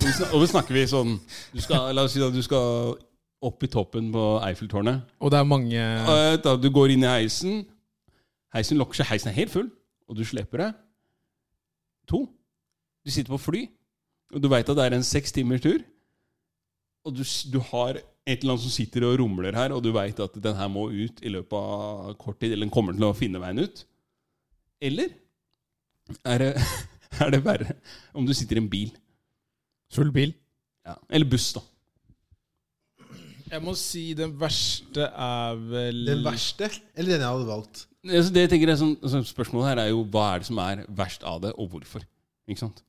[SPEAKER 2] Og vi snak- Og da snakker vi sånn du skal, La oss si at du skal opp i toppen på Eiffeltårnet.
[SPEAKER 1] og det er mange
[SPEAKER 2] Eh, Da du går inn i heisen Heisen lokker seg, heisen er helt full Og du slipper det To Du sitter på fly Og du vet at det er en seks timer tur Og du, s- du har et eller annet som sitter og rumler her Og du vet at den her må ut i løpet av kort tid Eller den kommer til å finne veien ut Eller Er det, er det verre Om du sitter i en bil
[SPEAKER 1] Full bil.
[SPEAKER 2] ja. Eller buss da
[SPEAKER 1] Jeg må si den verste er vel
[SPEAKER 3] Den verste, eller den jeg hadde valgt?
[SPEAKER 2] Altså, det jeg tenker er sånn, altså, Spørsmålet her er jo hva er det som er verst av det, og hvorfor? Ikke sant?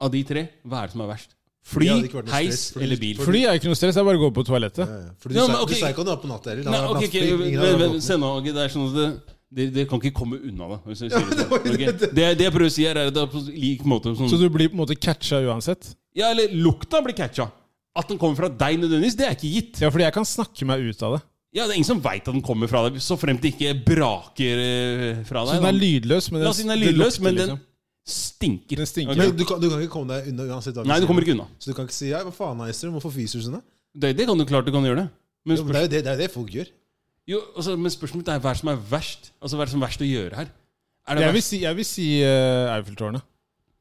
[SPEAKER 2] Av de tre, hva er det som er verst? Fly,
[SPEAKER 3] Det hadde ikke vært noe
[SPEAKER 2] heis
[SPEAKER 3] stress, for-
[SPEAKER 2] eller bil?
[SPEAKER 1] Fly er jo ikke noe stress, det er bare å gå på
[SPEAKER 3] Ja,
[SPEAKER 1] toalettet.
[SPEAKER 3] ja. For du,
[SPEAKER 2] Ja, men
[SPEAKER 3] sa,
[SPEAKER 2] ok.
[SPEAKER 3] du sa ikke at du var på natt heller.
[SPEAKER 2] Nei,
[SPEAKER 3] Da hadde
[SPEAKER 2] ok,
[SPEAKER 3] det
[SPEAKER 2] ok,
[SPEAKER 3] vært nattfly. Ingen hadde
[SPEAKER 2] men-
[SPEAKER 3] vært
[SPEAKER 2] men
[SPEAKER 3] våkne.
[SPEAKER 2] se nå, ok, det er sånn at det, det, det kan ikke komme unna det. Hvis jeg
[SPEAKER 3] Ja,
[SPEAKER 2] sier
[SPEAKER 3] men
[SPEAKER 2] det,
[SPEAKER 3] det var jo
[SPEAKER 2] sånn, ok?
[SPEAKER 3] det.
[SPEAKER 2] det, det jeg prøver å si her, er at det er på lik måte som
[SPEAKER 1] Så du blir på en måte catcha uansett?
[SPEAKER 2] Ja, eller lukta blir catcha. At den kommer fra deg nødvendigvis, det er ikke gitt.
[SPEAKER 1] Ja, fordi jeg kan snakke meg ut av det.
[SPEAKER 2] Ja, Det er ingen som veit at den kommer fra deg, så fremt det ikke braker eh, fra
[SPEAKER 1] Så
[SPEAKER 2] deg.
[SPEAKER 1] den er
[SPEAKER 2] da.
[SPEAKER 1] lydløs, men den,
[SPEAKER 2] La oss si den er
[SPEAKER 1] det
[SPEAKER 2] lydløs,
[SPEAKER 1] lukter
[SPEAKER 2] men den
[SPEAKER 1] liksom.
[SPEAKER 2] stinker.
[SPEAKER 1] Den stinker.
[SPEAKER 2] Ok.
[SPEAKER 3] Men du kan, du kan ikke komme deg unna uansett hva vi
[SPEAKER 2] Nei, du
[SPEAKER 3] sier.
[SPEAKER 2] kommer ikke unna.
[SPEAKER 3] Så du kan ikke si ja, 'hva faen, Heiser, hvorfor fiser du sånn?' da?
[SPEAKER 2] Det, det kan du klart du kan gjøre det. Men
[SPEAKER 3] Jo,
[SPEAKER 2] spørs-
[SPEAKER 3] men Det er jo det, det, er jo det folk gjør.
[SPEAKER 2] Jo, altså, Men spørsmålet mitt er hva er det som er verst? Altså, Hva er det som er verst å gjøre her? Er det
[SPEAKER 1] Jeg vil
[SPEAKER 2] verst?
[SPEAKER 1] si, jeg vil si eh, Eiffeltårnet.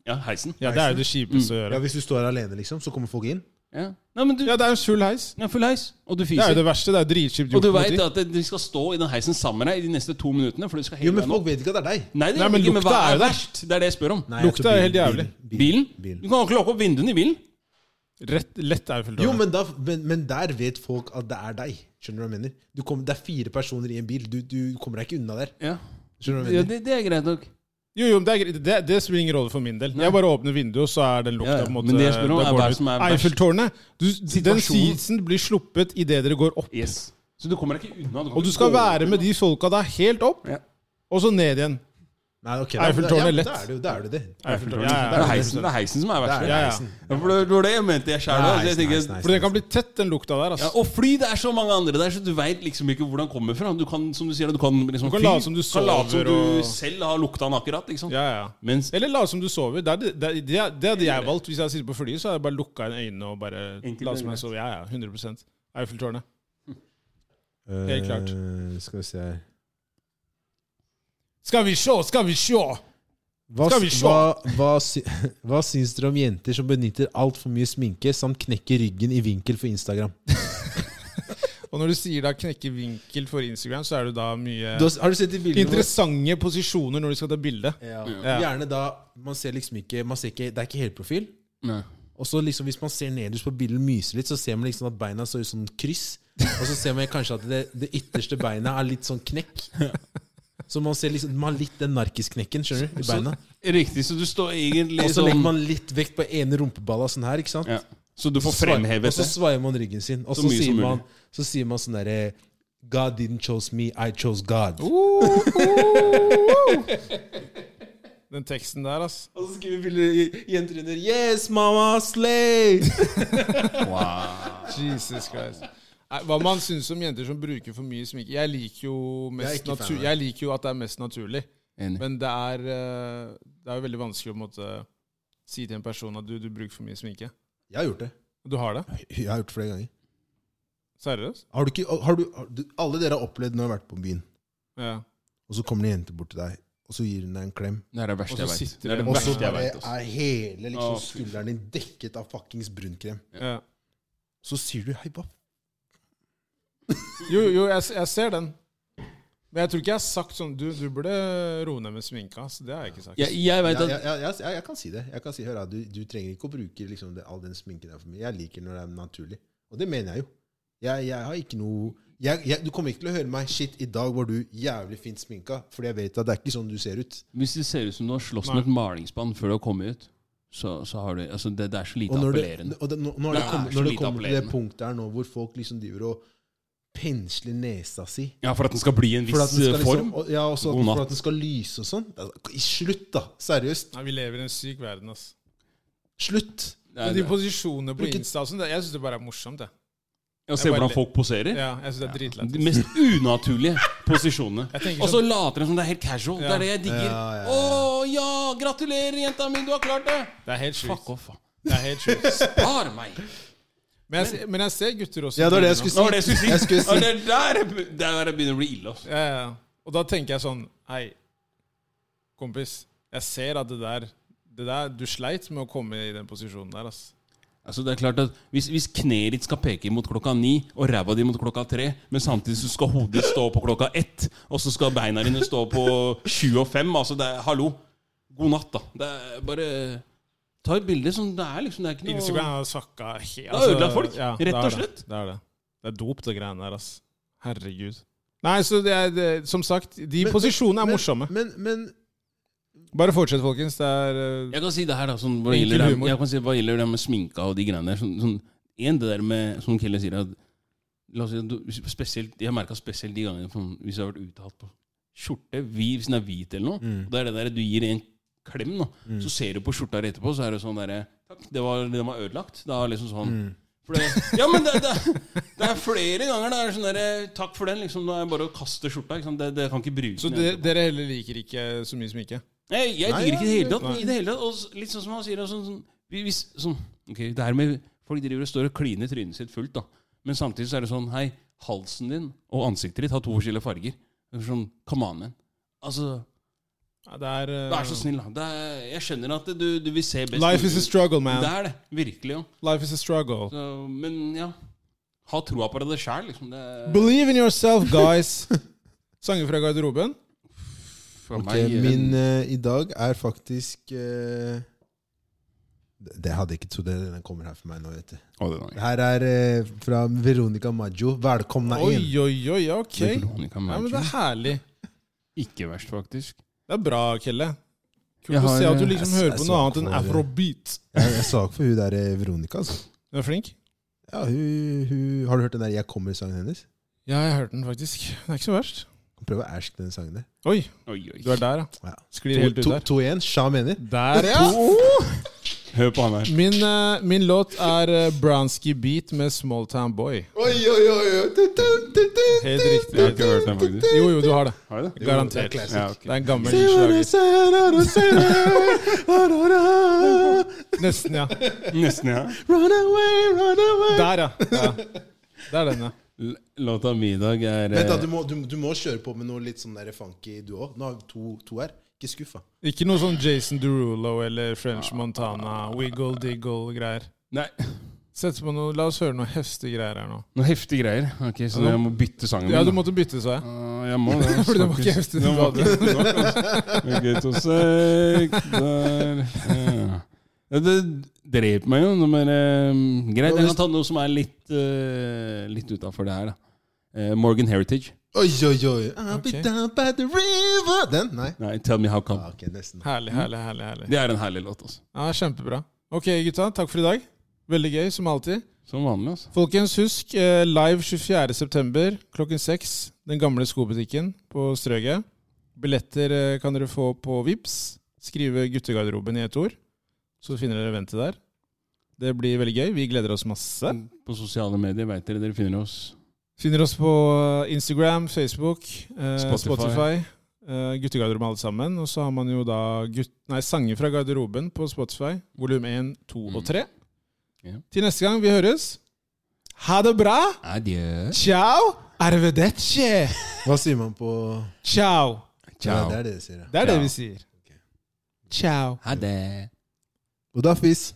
[SPEAKER 2] Ja, heisen.
[SPEAKER 1] Ja, det er jo det
[SPEAKER 2] Mm.
[SPEAKER 1] kjipeste å
[SPEAKER 3] Ja,
[SPEAKER 1] gjøre.
[SPEAKER 3] Hvis du står alene, liksom, så kommer folk inn.
[SPEAKER 2] Ja. Nei, men du,
[SPEAKER 1] Ja, det er en full heis.
[SPEAKER 2] ja, full heis, og du
[SPEAKER 1] Det er
[SPEAKER 2] fiser.
[SPEAKER 1] jo det verste. Det er jo dritkjipt
[SPEAKER 2] og
[SPEAKER 1] gjort.
[SPEAKER 2] du
[SPEAKER 1] mot
[SPEAKER 2] veit
[SPEAKER 1] de.
[SPEAKER 2] at de skal stå i den heisen sammen med deg i de neste to minuttene. For du skal
[SPEAKER 3] Jo,
[SPEAKER 2] hele
[SPEAKER 3] men
[SPEAKER 2] veien opp.
[SPEAKER 3] folk vet ikke at det er deg.
[SPEAKER 2] Nei, det
[SPEAKER 1] Nei,
[SPEAKER 2] gjør
[SPEAKER 1] men
[SPEAKER 2] de ikke, men hva
[SPEAKER 1] lukta er
[SPEAKER 2] er
[SPEAKER 1] jo der.
[SPEAKER 2] verst? Det er det jeg spør om.
[SPEAKER 3] Nei, altså, jeg
[SPEAKER 1] Lukta
[SPEAKER 3] tror
[SPEAKER 1] er helt
[SPEAKER 3] bilen-
[SPEAKER 1] jævlig.
[SPEAKER 2] Bilen?
[SPEAKER 3] bilen.
[SPEAKER 2] Du kan ikke lukke opp vinduene i bilen.
[SPEAKER 1] Rett, lett Eiffeltårnet.
[SPEAKER 3] Jo, men, da, men, men der vet folk at det er deg. Skjønner du hva jeg mener? Du kom, det er fire personer i en bil. Du, du kommer deg ikke unna der.
[SPEAKER 2] Ja,
[SPEAKER 3] Skjønner du hva
[SPEAKER 2] ja
[SPEAKER 3] jeg mener?
[SPEAKER 2] det, det er greit nok.
[SPEAKER 1] Jo, jo, men det, er, greit. det, det spiller ingen rolle for min del. Jeg bare åpner vinduet, og så er den lukta
[SPEAKER 2] Ja, ja.
[SPEAKER 1] på en måte
[SPEAKER 2] Men det jeg spør om
[SPEAKER 1] da
[SPEAKER 2] er
[SPEAKER 1] går
[SPEAKER 2] hva
[SPEAKER 1] det ut.
[SPEAKER 2] som er verst.
[SPEAKER 1] Eiffeltårnet. Du, den
[SPEAKER 2] Situasjonen.
[SPEAKER 1] sitsen blir sluppet idet dere går opp.
[SPEAKER 2] Yes. Så du kommer deg ikke unna. kan
[SPEAKER 1] Og du
[SPEAKER 2] ikke
[SPEAKER 1] skal
[SPEAKER 2] gå-
[SPEAKER 1] være med de folka der helt opp,
[SPEAKER 2] Ja.
[SPEAKER 1] og så ned igjen.
[SPEAKER 3] Nei, ok, da-
[SPEAKER 1] Eiffeltårnet er
[SPEAKER 3] ja,
[SPEAKER 1] lett.
[SPEAKER 3] Da er det jo da er det. det.
[SPEAKER 1] Eiffeltårnet.
[SPEAKER 2] Ja,
[SPEAKER 1] Ja, ja,
[SPEAKER 2] Det, er
[SPEAKER 1] ja.
[SPEAKER 2] heisen, det er heisen som er
[SPEAKER 3] Det er
[SPEAKER 2] verst.
[SPEAKER 1] Ja, ja.
[SPEAKER 3] heisen.
[SPEAKER 2] Ja, for det det var det jeg mente jeg sjæl
[SPEAKER 3] Nei,
[SPEAKER 2] òg.
[SPEAKER 3] nei, nei, nei.
[SPEAKER 1] For det kan bli tett, den lukta der.
[SPEAKER 2] Ja,
[SPEAKER 1] Altså.
[SPEAKER 2] og fly, det er så mange andre der, så du veit liksom ikke hvor den kommer fra. Du kan som du sier, du kan liksom
[SPEAKER 1] Du kan
[SPEAKER 2] fly.
[SPEAKER 1] late som du
[SPEAKER 2] kan late som
[SPEAKER 1] sover og-
[SPEAKER 2] du selv har lukta den akkurat. Liksom.
[SPEAKER 1] Ja, ja.
[SPEAKER 2] Mens
[SPEAKER 1] Eller la som du sover. Det, er det, det, er- det, er- det hadde jeg valgt. Hvis jeg sitter på flyet, så hadde jeg bare lukka inn øynene og bare
[SPEAKER 2] Enkelt
[SPEAKER 1] la
[SPEAKER 2] og
[SPEAKER 1] som jeg
[SPEAKER 2] greit.
[SPEAKER 1] sover. Ja, ja, 100 Eiffeltårnet. Helt klart.
[SPEAKER 3] Eh, skal vi se her
[SPEAKER 1] Skal vi sjå, skal vi sjå!
[SPEAKER 3] hva,
[SPEAKER 1] Skal vi
[SPEAKER 3] s-
[SPEAKER 1] sjå?
[SPEAKER 3] hva, hva, sy hva syns dere om jenter som benytter altfor mye sminke samt knekker ryggen i vinkel for Instagram?
[SPEAKER 1] Og når du sier da knekke vinkel for Instagram, så er du da mye
[SPEAKER 3] Du har, har du sett de bildene hvor-
[SPEAKER 1] Interessante posisjoner når de skal ta bilde.
[SPEAKER 3] Ja.
[SPEAKER 1] Ja.
[SPEAKER 3] Gjerne da Man ser liksom ikke, man ser ikke Det er ikke helprofil.
[SPEAKER 2] Nei.
[SPEAKER 3] Og så liksom Hvis man ser nederst på bildet og myser litt, så ser man liksom at beina ser ut som kryss. Og så ser man kanskje at det, det ytterste beinet er litt sånn knekk. Så man ser liksom Man har litt den narkisknekken, skjønner du, i beina.
[SPEAKER 2] Riktig, så du står egentlig sånn-
[SPEAKER 3] Og så legger man litt vekt på ene rumpeballa sånn her, ikke sant?
[SPEAKER 2] ja. Så du får
[SPEAKER 3] Svai-
[SPEAKER 2] fremhevet
[SPEAKER 3] Og så
[SPEAKER 2] det.
[SPEAKER 3] svaier man ryggen sin, og
[SPEAKER 2] Så
[SPEAKER 3] så,
[SPEAKER 2] mye
[SPEAKER 3] sier
[SPEAKER 2] som
[SPEAKER 3] man, så sier man sånn derre God didn't chose me, I chose God.
[SPEAKER 2] Uh.
[SPEAKER 1] Den teksten der, ass.
[SPEAKER 3] Og så skriver bildet jenter under Yes, mama, slay!
[SPEAKER 1] Jesus Christ. Nei, Hva man syns om jenter som bruker for mye sminke Jeg liker jo,
[SPEAKER 3] Jeg er
[SPEAKER 1] mest
[SPEAKER 3] ikke fan av
[SPEAKER 1] natu
[SPEAKER 3] det.
[SPEAKER 1] jeg liker jo at det er mest naturlig.
[SPEAKER 2] Enig.
[SPEAKER 1] Men det er, eh, det er jo veldig vanskelig å på en måte, si til en person at du, du bruker for mye sminke.
[SPEAKER 3] Jeg har gjort det.
[SPEAKER 1] Du har det?
[SPEAKER 3] Jeg har gjort det flere ganger.
[SPEAKER 1] Seriøst?
[SPEAKER 3] Har du ikke, har du, har du, alle dere har opplevd når du har vært på byen,
[SPEAKER 1] Ja.
[SPEAKER 3] og så kommer det en jente bort til deg, og så gir hun deg en klem.
[SPEAKER 2] Det er det
[SPEAKER 1] Og
[SPEAKER 2] verste
[SPEAKER 1] så
[SPEAKER 2] jeg vet.
[SPEAKER 1] sitter
[SPEAKER 2] Det er
[SPEAKER 1] det-
[SPEAKER 2] det
[SPEAKER 3] Og så
[SPEAKER 2] verste jeg
[SPEAKER 3] bare
[SPEAKER 2] vet, altså. ass.
[SPEAKER 3] er hele
[SPEAKER 2] Å,
[SPEAKER 3] liksom,
[SPEAKER 2] fy.
[SPEAKER 3] skulderen din dekket av fuckings brunkrem.
[SPEAKER 1] ja.
[SPEAKER 3] Så sier du hei, hva
[SPEAKER 1] Jo, jo, jeg, s- jeg ser den. Men jeg tror ikke jeg har sagt sånn Du, du burde roe ned med sminka. ass. det har jeg ikke sagt.
[SPEAKER 2] Jeg, jeg vet
[SPEAKER 3] Ja,
[SPEAKER 2] at
[SPEAKER 3] ja, ja, ja, ja, jeg kan si det. Jeg kan si, hør, da, du, du trenger ikke å bruke liksom, det, all den sminken der for mye. Jeg liker når det er naturlig. Og det mener jeg jo. Jeg, jeg har ikke noe jeg, jeg, Du kommer ikke til å høre meg Shit, i dag var du jævlig fint sminka. Fordi jeg vet at det er ikke sånn du ser ut.
[SPEAKER 2] Hvis det ser ut som du har slåss med et malingsband før du har kommet ut, så, så har du altså det, det er så lite
[SPEAKER 3] Og når det,
[SPEAKER 2] appellerende.
[SPEAKER 3] og det, nå- nå har
[SPEAKER 2] Nei,
[SPEAKER 3] det kommet-
[SPEAKER 2] det er så
[SPEAKER 3] når det
[SPEAKER 2] lite
[SPEAKER 3] kommer til det
[SPEAKER 2] appellerende.
[SPEAKER 3] punktet her nå hvor folk liksom driver og pensler nesa si
[SPEAKER 2] Ja, for at den skal bli en
[SPEAKER 3] for at
[SPEAKER 2] viss
[SPEAKER 3] den skal,
[SPEAKER 2] eh,
[SPEAKER 3] liksom,
[SPEAKER 2] form.
[SPEAKER 3] og, ja, også,
[SPEAKER 2] God
[SPEAKER 3] at-
[SPEAKER 2] natt.
[SPEAKER 3] for at den skal lyse og sånn. Altså, Slutt, da! Seriøst.
[SPEAKER 1] Nei, vi lever i en syk verden, ass.
[SPEAKER 3] Slutt!
[SPEAKER 2] Nei,
[SPEAKER 1] Men de
[SPEAKER 2] det-
[SPEAKER 1] posisjonene på
[SPEAKER 3] Bruker-
[SPEAKER 1] Insta og sånn, det- jeg syns det bare er morsomt, jeg.
[SPEAKER 2] Ja, se
[SPEAKER 1] Jeg bare
[SPEAKER 2] hvordan
[SPEAKER 1] le-
[SPEAKER 2] folk poserer.
[SPEAKER 1] Ja, jeg synes det er dritlættis.
[SPEAKER 2] De mest unaturlige posisjonene.
[SPEAKER 1] Jeg tenker
[SPEAKER 2] Og så later de som det er helt casual. Det
[SPEAKER 1] Ja.
[SPEAKER 2] er det jeg digger.
[SPEAKER 3] Ja, ja, ja.
[SPEAKER 2] Å ja, gratulerer, jenta mi, du har klart det!
[SPEAKER 1] Det er helt sjukt.
[SPEAKER 2] Fuck off, faen.
[SPEAKER 1] Det er helt sjukt.
[SPEAKER 2] Spar meg!
[SPEAKER 1] Men jeg, ser- men jeg ser gutter også. sånn-
[SPEAKER 3] Ja, det var det jeg
[SPEAKER 1] nå.
[SPEAKER 3] skulle si.
[SPEAKER 2] Nå var det jeg skulle
[SPEAKER 3] Jeg
[SPEAKER 2] si.
[SPEAKER 3] skulle si-
[SPEAKER 2] Ja, Det er der jeg be- det er der jeg begynner å bli ille. Altså.
[SPEAKER 1] Ja, ja. Og da tenker jeg sånn Hei, kompis. Jeg ser at det der, det der Du sleit med å komme i den posisjonen der, ass.
[SPEAKER 2] Altså, det er klart at hvis, hvis kneet ditt skal peke mot klokka ni og ræva di mot klokka tre, men samtidig så skal hodet stå på klokka ett, og så skal beina dine stå på sju og fem altså, det er, Hallo. God natt, da. Det er bare Ta et bilde som det er, liksom. Det er ikke noe
[SPEAKER 1] Instagram har sakka helt
[SPEAKER 2] har ødelagt folk, rett
[SPEAKER 1] det er
[SPEAKER 2] og
[SPEAKER 1] det.
[SPEAKER 2] slett.
[SPEAKER 1] Det er det. Det er dop, det greiene der, ass. Herregud. Nei, så det er, det, som sagt, de
[SPEAKER 3] Men-
[SPEAKER 1] posisjonene er
[SPEAKER 3] men-
[SPEAKER 1] morsomme.
[SPEAKER 3] Men, men
[SPEAKER 1] Bare fortsett, folkens. Det er eh,
[SPEAKER 2] Jeg kan si det her da sånn, hva,
[SPEAKER 1] Enkel
[SPEAKER 2] gjelder det,
[SPEAKER 1] humor.
[SPEAKER 2] jeg kan si, hva gjelder det med sminka og de greiene der sånn, sånn, En det der med Som Kelle sier at, la oss si, at du, spesielt, Jeg merka spesielt de gangene sånn, Hvis jeg har vært ute og hatt på skjorte hvi- Hvis den er hvit eller noe
[SPEAKER 1] Mm.
[SPEAKER 2] og Det er det der du gir en klem nå, Så ser du på skjorta der etterpå Så er det sånn der Takk, det var, den var ødelagt Det er liksom sånn
[SPEAKER 1] Mm.
[SPEAKER 2] for det, ja, men det, det, det er flere ganger det er sånn der, Takk for den liksom, Det er bare å kaste skjorta ikke sant? det, det kan ikke bruke
[SPEAKER 1] Så
[SPEAKER 2] den
[SPEAKER 1] dere,
[SPEAKER 2] etterpå.
[SPEAKER 1] dere heller liker ikke så mye sminke?
[SPEAKER 2] Nei, jeg
[SPEAKER 3] Nei,
[SPEAKER 2] digger ikke det hele tatt.
[SPEAKER 1] nei.
[SPEAKER 2] I det hele tatt. Og s- litt sånn som han sier altså, sånn, vi- hvis, sånn, Ok, det her med Folk driver og står og kliner trynet sitt fullt, da. Men samtidig så er det sånn Hei, halsen din og ansiktet ditt har to forskjellige farger. Det er sånn, come on, man. Altså,
[SPEAKER 1] Ja, det er, eh,
[SPEAKER 2] vær så snill, da. Det er, jeg skjønner at du, du vil se best
[SPEAKER 1] Life is a
[SPEAKER 2] mulig ut.
[SPEAKER 1] struggle, man.
[SPEAKER 2] Det er det. Virkelig. Ja.
[SPEAKER 1] Life is a struggle.
[SPEAKER 2] Så, men ja. Ha troa på det sjæl, liksom. Det er
[SPEAKER 1] Believe in yourself, guys. Sanger fra garderoben.
[SPEAKER 2] for
[SPEAKER 3] Ok,
[SPEAKER 2] meg, eh,
[SPEAKER 3] min eh, i dag er faktisk eh, det, det hadde jeg ikke trodd det- den kommer her for meg nå. Vet du.
[SPEAKER 2] Å, det var-
[SPEAKER 3] Det her er eh, fra Veronica Maggio. 'Velkomna
[SPEAKER 1] Oi,
[SPEAKER 3] inn'.
[SPEAKER 1] oi, oi, ok.
[SPEAKER 2] Det
[SPEAKER 1] Ja,
[SPEAKER 2] er Veronica
[SPEAKER 1] men Det
[SPEAKER 2] Maggio.
[SPEAKER 1] er herlig.
[SPEAKER 2] Ikke verst, faktisk.
[SPEAKER 1] Det er bra, Kelle.
[SPEAKER 2] Jeg
[SPEAKER 1] Kult å
[SPEAKER 2] har-
[SPEAKER 1] se at du
[SPEAKER 2] jeg
[SPEAKER 1] liksom
[SPEAKER 3] s-
[SPEAKER 1] hører
[SPEAKER 3] jeg
[SPEAKER 1] på
[SPEAKER 3] så
[SPEAKER 1] noe annet enn
[SPEAKER 3] på det.
[SPEAKER 1] afrobeat.
[SPEAKER 3] Jeg, jeg sa ikke for hun der eh, Veronica. Altså.
[SPEAKER 1] Du er flink.
[SPEAKER 3] Ja, hun, hun, har du hørt den der 'Jeg kommer'-sangen hennes?
[SPEAKER 1] Ja, jeg hørte den faktisk. Det er ikke så verst.
[SPEAKER 3] Prøv å æsje den sangen der.
[SPEAKER 1] Oi,
[SPEAKER 2] Oi, oi.
[SPEAKER 1] du er der,
[SPEAKER 3] Ja.
[SPEAKER 1] ja. Sklir helt ut der.
[SPEAKER 3] 2-1. Sja mener.
[SPEAKER 1] Der, ja!
[SPEAKER 2] Hør på han her.
[SPEAKER 1] Min, eh, min låt er eh, Brownski Beat med Small Town Boy.
[SPEAKER 3] Oi, oi, oi, oi. Du, du, du, du.
[SPEAKER 1] Helt
[SPEAKER 2] Jeg har
[SPEAKER 1] riktig.
[SPEAKER 2] ikke hørt den, faktisk.
[SPEAKER 1] Jo, jo, du har det.
[SPEAKER 2] Har jeg det?
[SPEAKER 3] det er
[SPEAKER 1] Garantert.
[SPEAKER 3] classic.
[SPEAKER 1] Det
[SPEAKER 2] Ja, ok.
[SPEAKER 1] er en gammel
[SPEAKER 3] Se hva det
[SPEAKER 1] slager.
[SPEAKER 3] sier, da, da, se det. Da, da, da.
[SPEAKER 1] Nesten, ja.
[SPEAKER 2] Nesten, ja.
[SPEAKER 3] Run away, run away.
[SPEAKER 1] Der, ja. ja. Det er den, ja.
[SPEAKER 2] L- Låta mi i dag er eh,
[SPEAKER 3] Vent da, du må, du, du må kjøre på med noe litt sånn der funky, du òg. Nå har vi to, to her. Ikke skuff, da.
[SPEAKER 1] Ikke noe sånn Jason Derulo eller French Montana, Wiggle Diggle-greier.
[SPEAKER 2] eh, Nei,
[SPEAKER 1] Sett på noe, La oss høre noe heftige greier her nå.
[SPEAKER 2] noe heftige greier. Ok, Så
[SPEAKER 1] Ja,
[SPEAKER 2] jeg må bytte sangen.
[SPEAKER 1] Ja,
[SPEAKER 2] min,
[SPEAKER 1] du
[SPEAKER 2] da.
[SPEAKER 1] måtte bytte, sa jeg.
[SPEAKER 2] Ah, jeg må det.
[SPEAKER 1] For det var ikke heftig
[SPEAKER 2] Det
[SPEAKER 1] du
[SPEAKER 2] var
[SPEAKER 1] hadde.
[SPEAKER 2] ikke heftig nok, altså. Ok, to sek, der. Ja. Ja, det drep meg jo. Noe mer, eh, greit, jeg kan ta noe som er litt, eh, litt utafor det her. da. Eh, Morgan Heritage.
[SPEAKER 3] Oi, oi, oi. I'll be
[SPEAKER 1] Ok.
[SPEAKER 3] down by the river. Den? Nei.
[SPEAKER 2] Nei, Tell Me How Come.
[SPEAKER 3] Ah, ok, nesten.
[SPEAKER 1] Herlig, herlig, herlig. herlig.
[SPEAKER 2] Det er en herlig låt, altså.
[SPEAKER 1] Ja, Kjempebra. Ok, gutta. Takk for i dag. Veldig gøy, som alltid.
[SPEAKER 2] Som vanlig, altså.
[SPEAKER 1] Folkens, husk eh, live 24.9. klokken 6. Den gamle skobutikken på Strøget. Billetter eh, kan dere få på VIPS. Skrive 'Guttegarderoben' i ett ord, så finner dere eventet der. Det blir veldig gøy. Vi gleder oss masse.
[SPEAKER 2] På sosiale medier veit dere dere finner oss.
[SPEAKER 1] Finner oss på eh, Instagram, Facebook, eh,
[SPEAKER 2] Spotify.
[SPEAKER 1] Spotify, eh, Guttegarderoben alle sammen. Og så har man jo da gutt, nei, sanger fra garderoben på Spotify, volum 1, 2 og 3.
[SPEAKER 2] Mm. Ja.
[SPEAKER 1] Til neste gang vi høres, ha det bra!
[SPEAKER 2] Adjø.
[SPEAKER 1] Ciao! Arvedecce!
[SPEAKER 3] Hva sier man på
[SPEAKER 1] Ciao!
[SPEAKER 3] Ja, Det er det de sier, ja.
[SPEAKER 1] Det er
[SPEAKER 2] Ciao.
[SPEAKER 1] det vi sier. Ciao.
[SPEAKER 2] Ha det.
[SPEAKER 3] Godafis.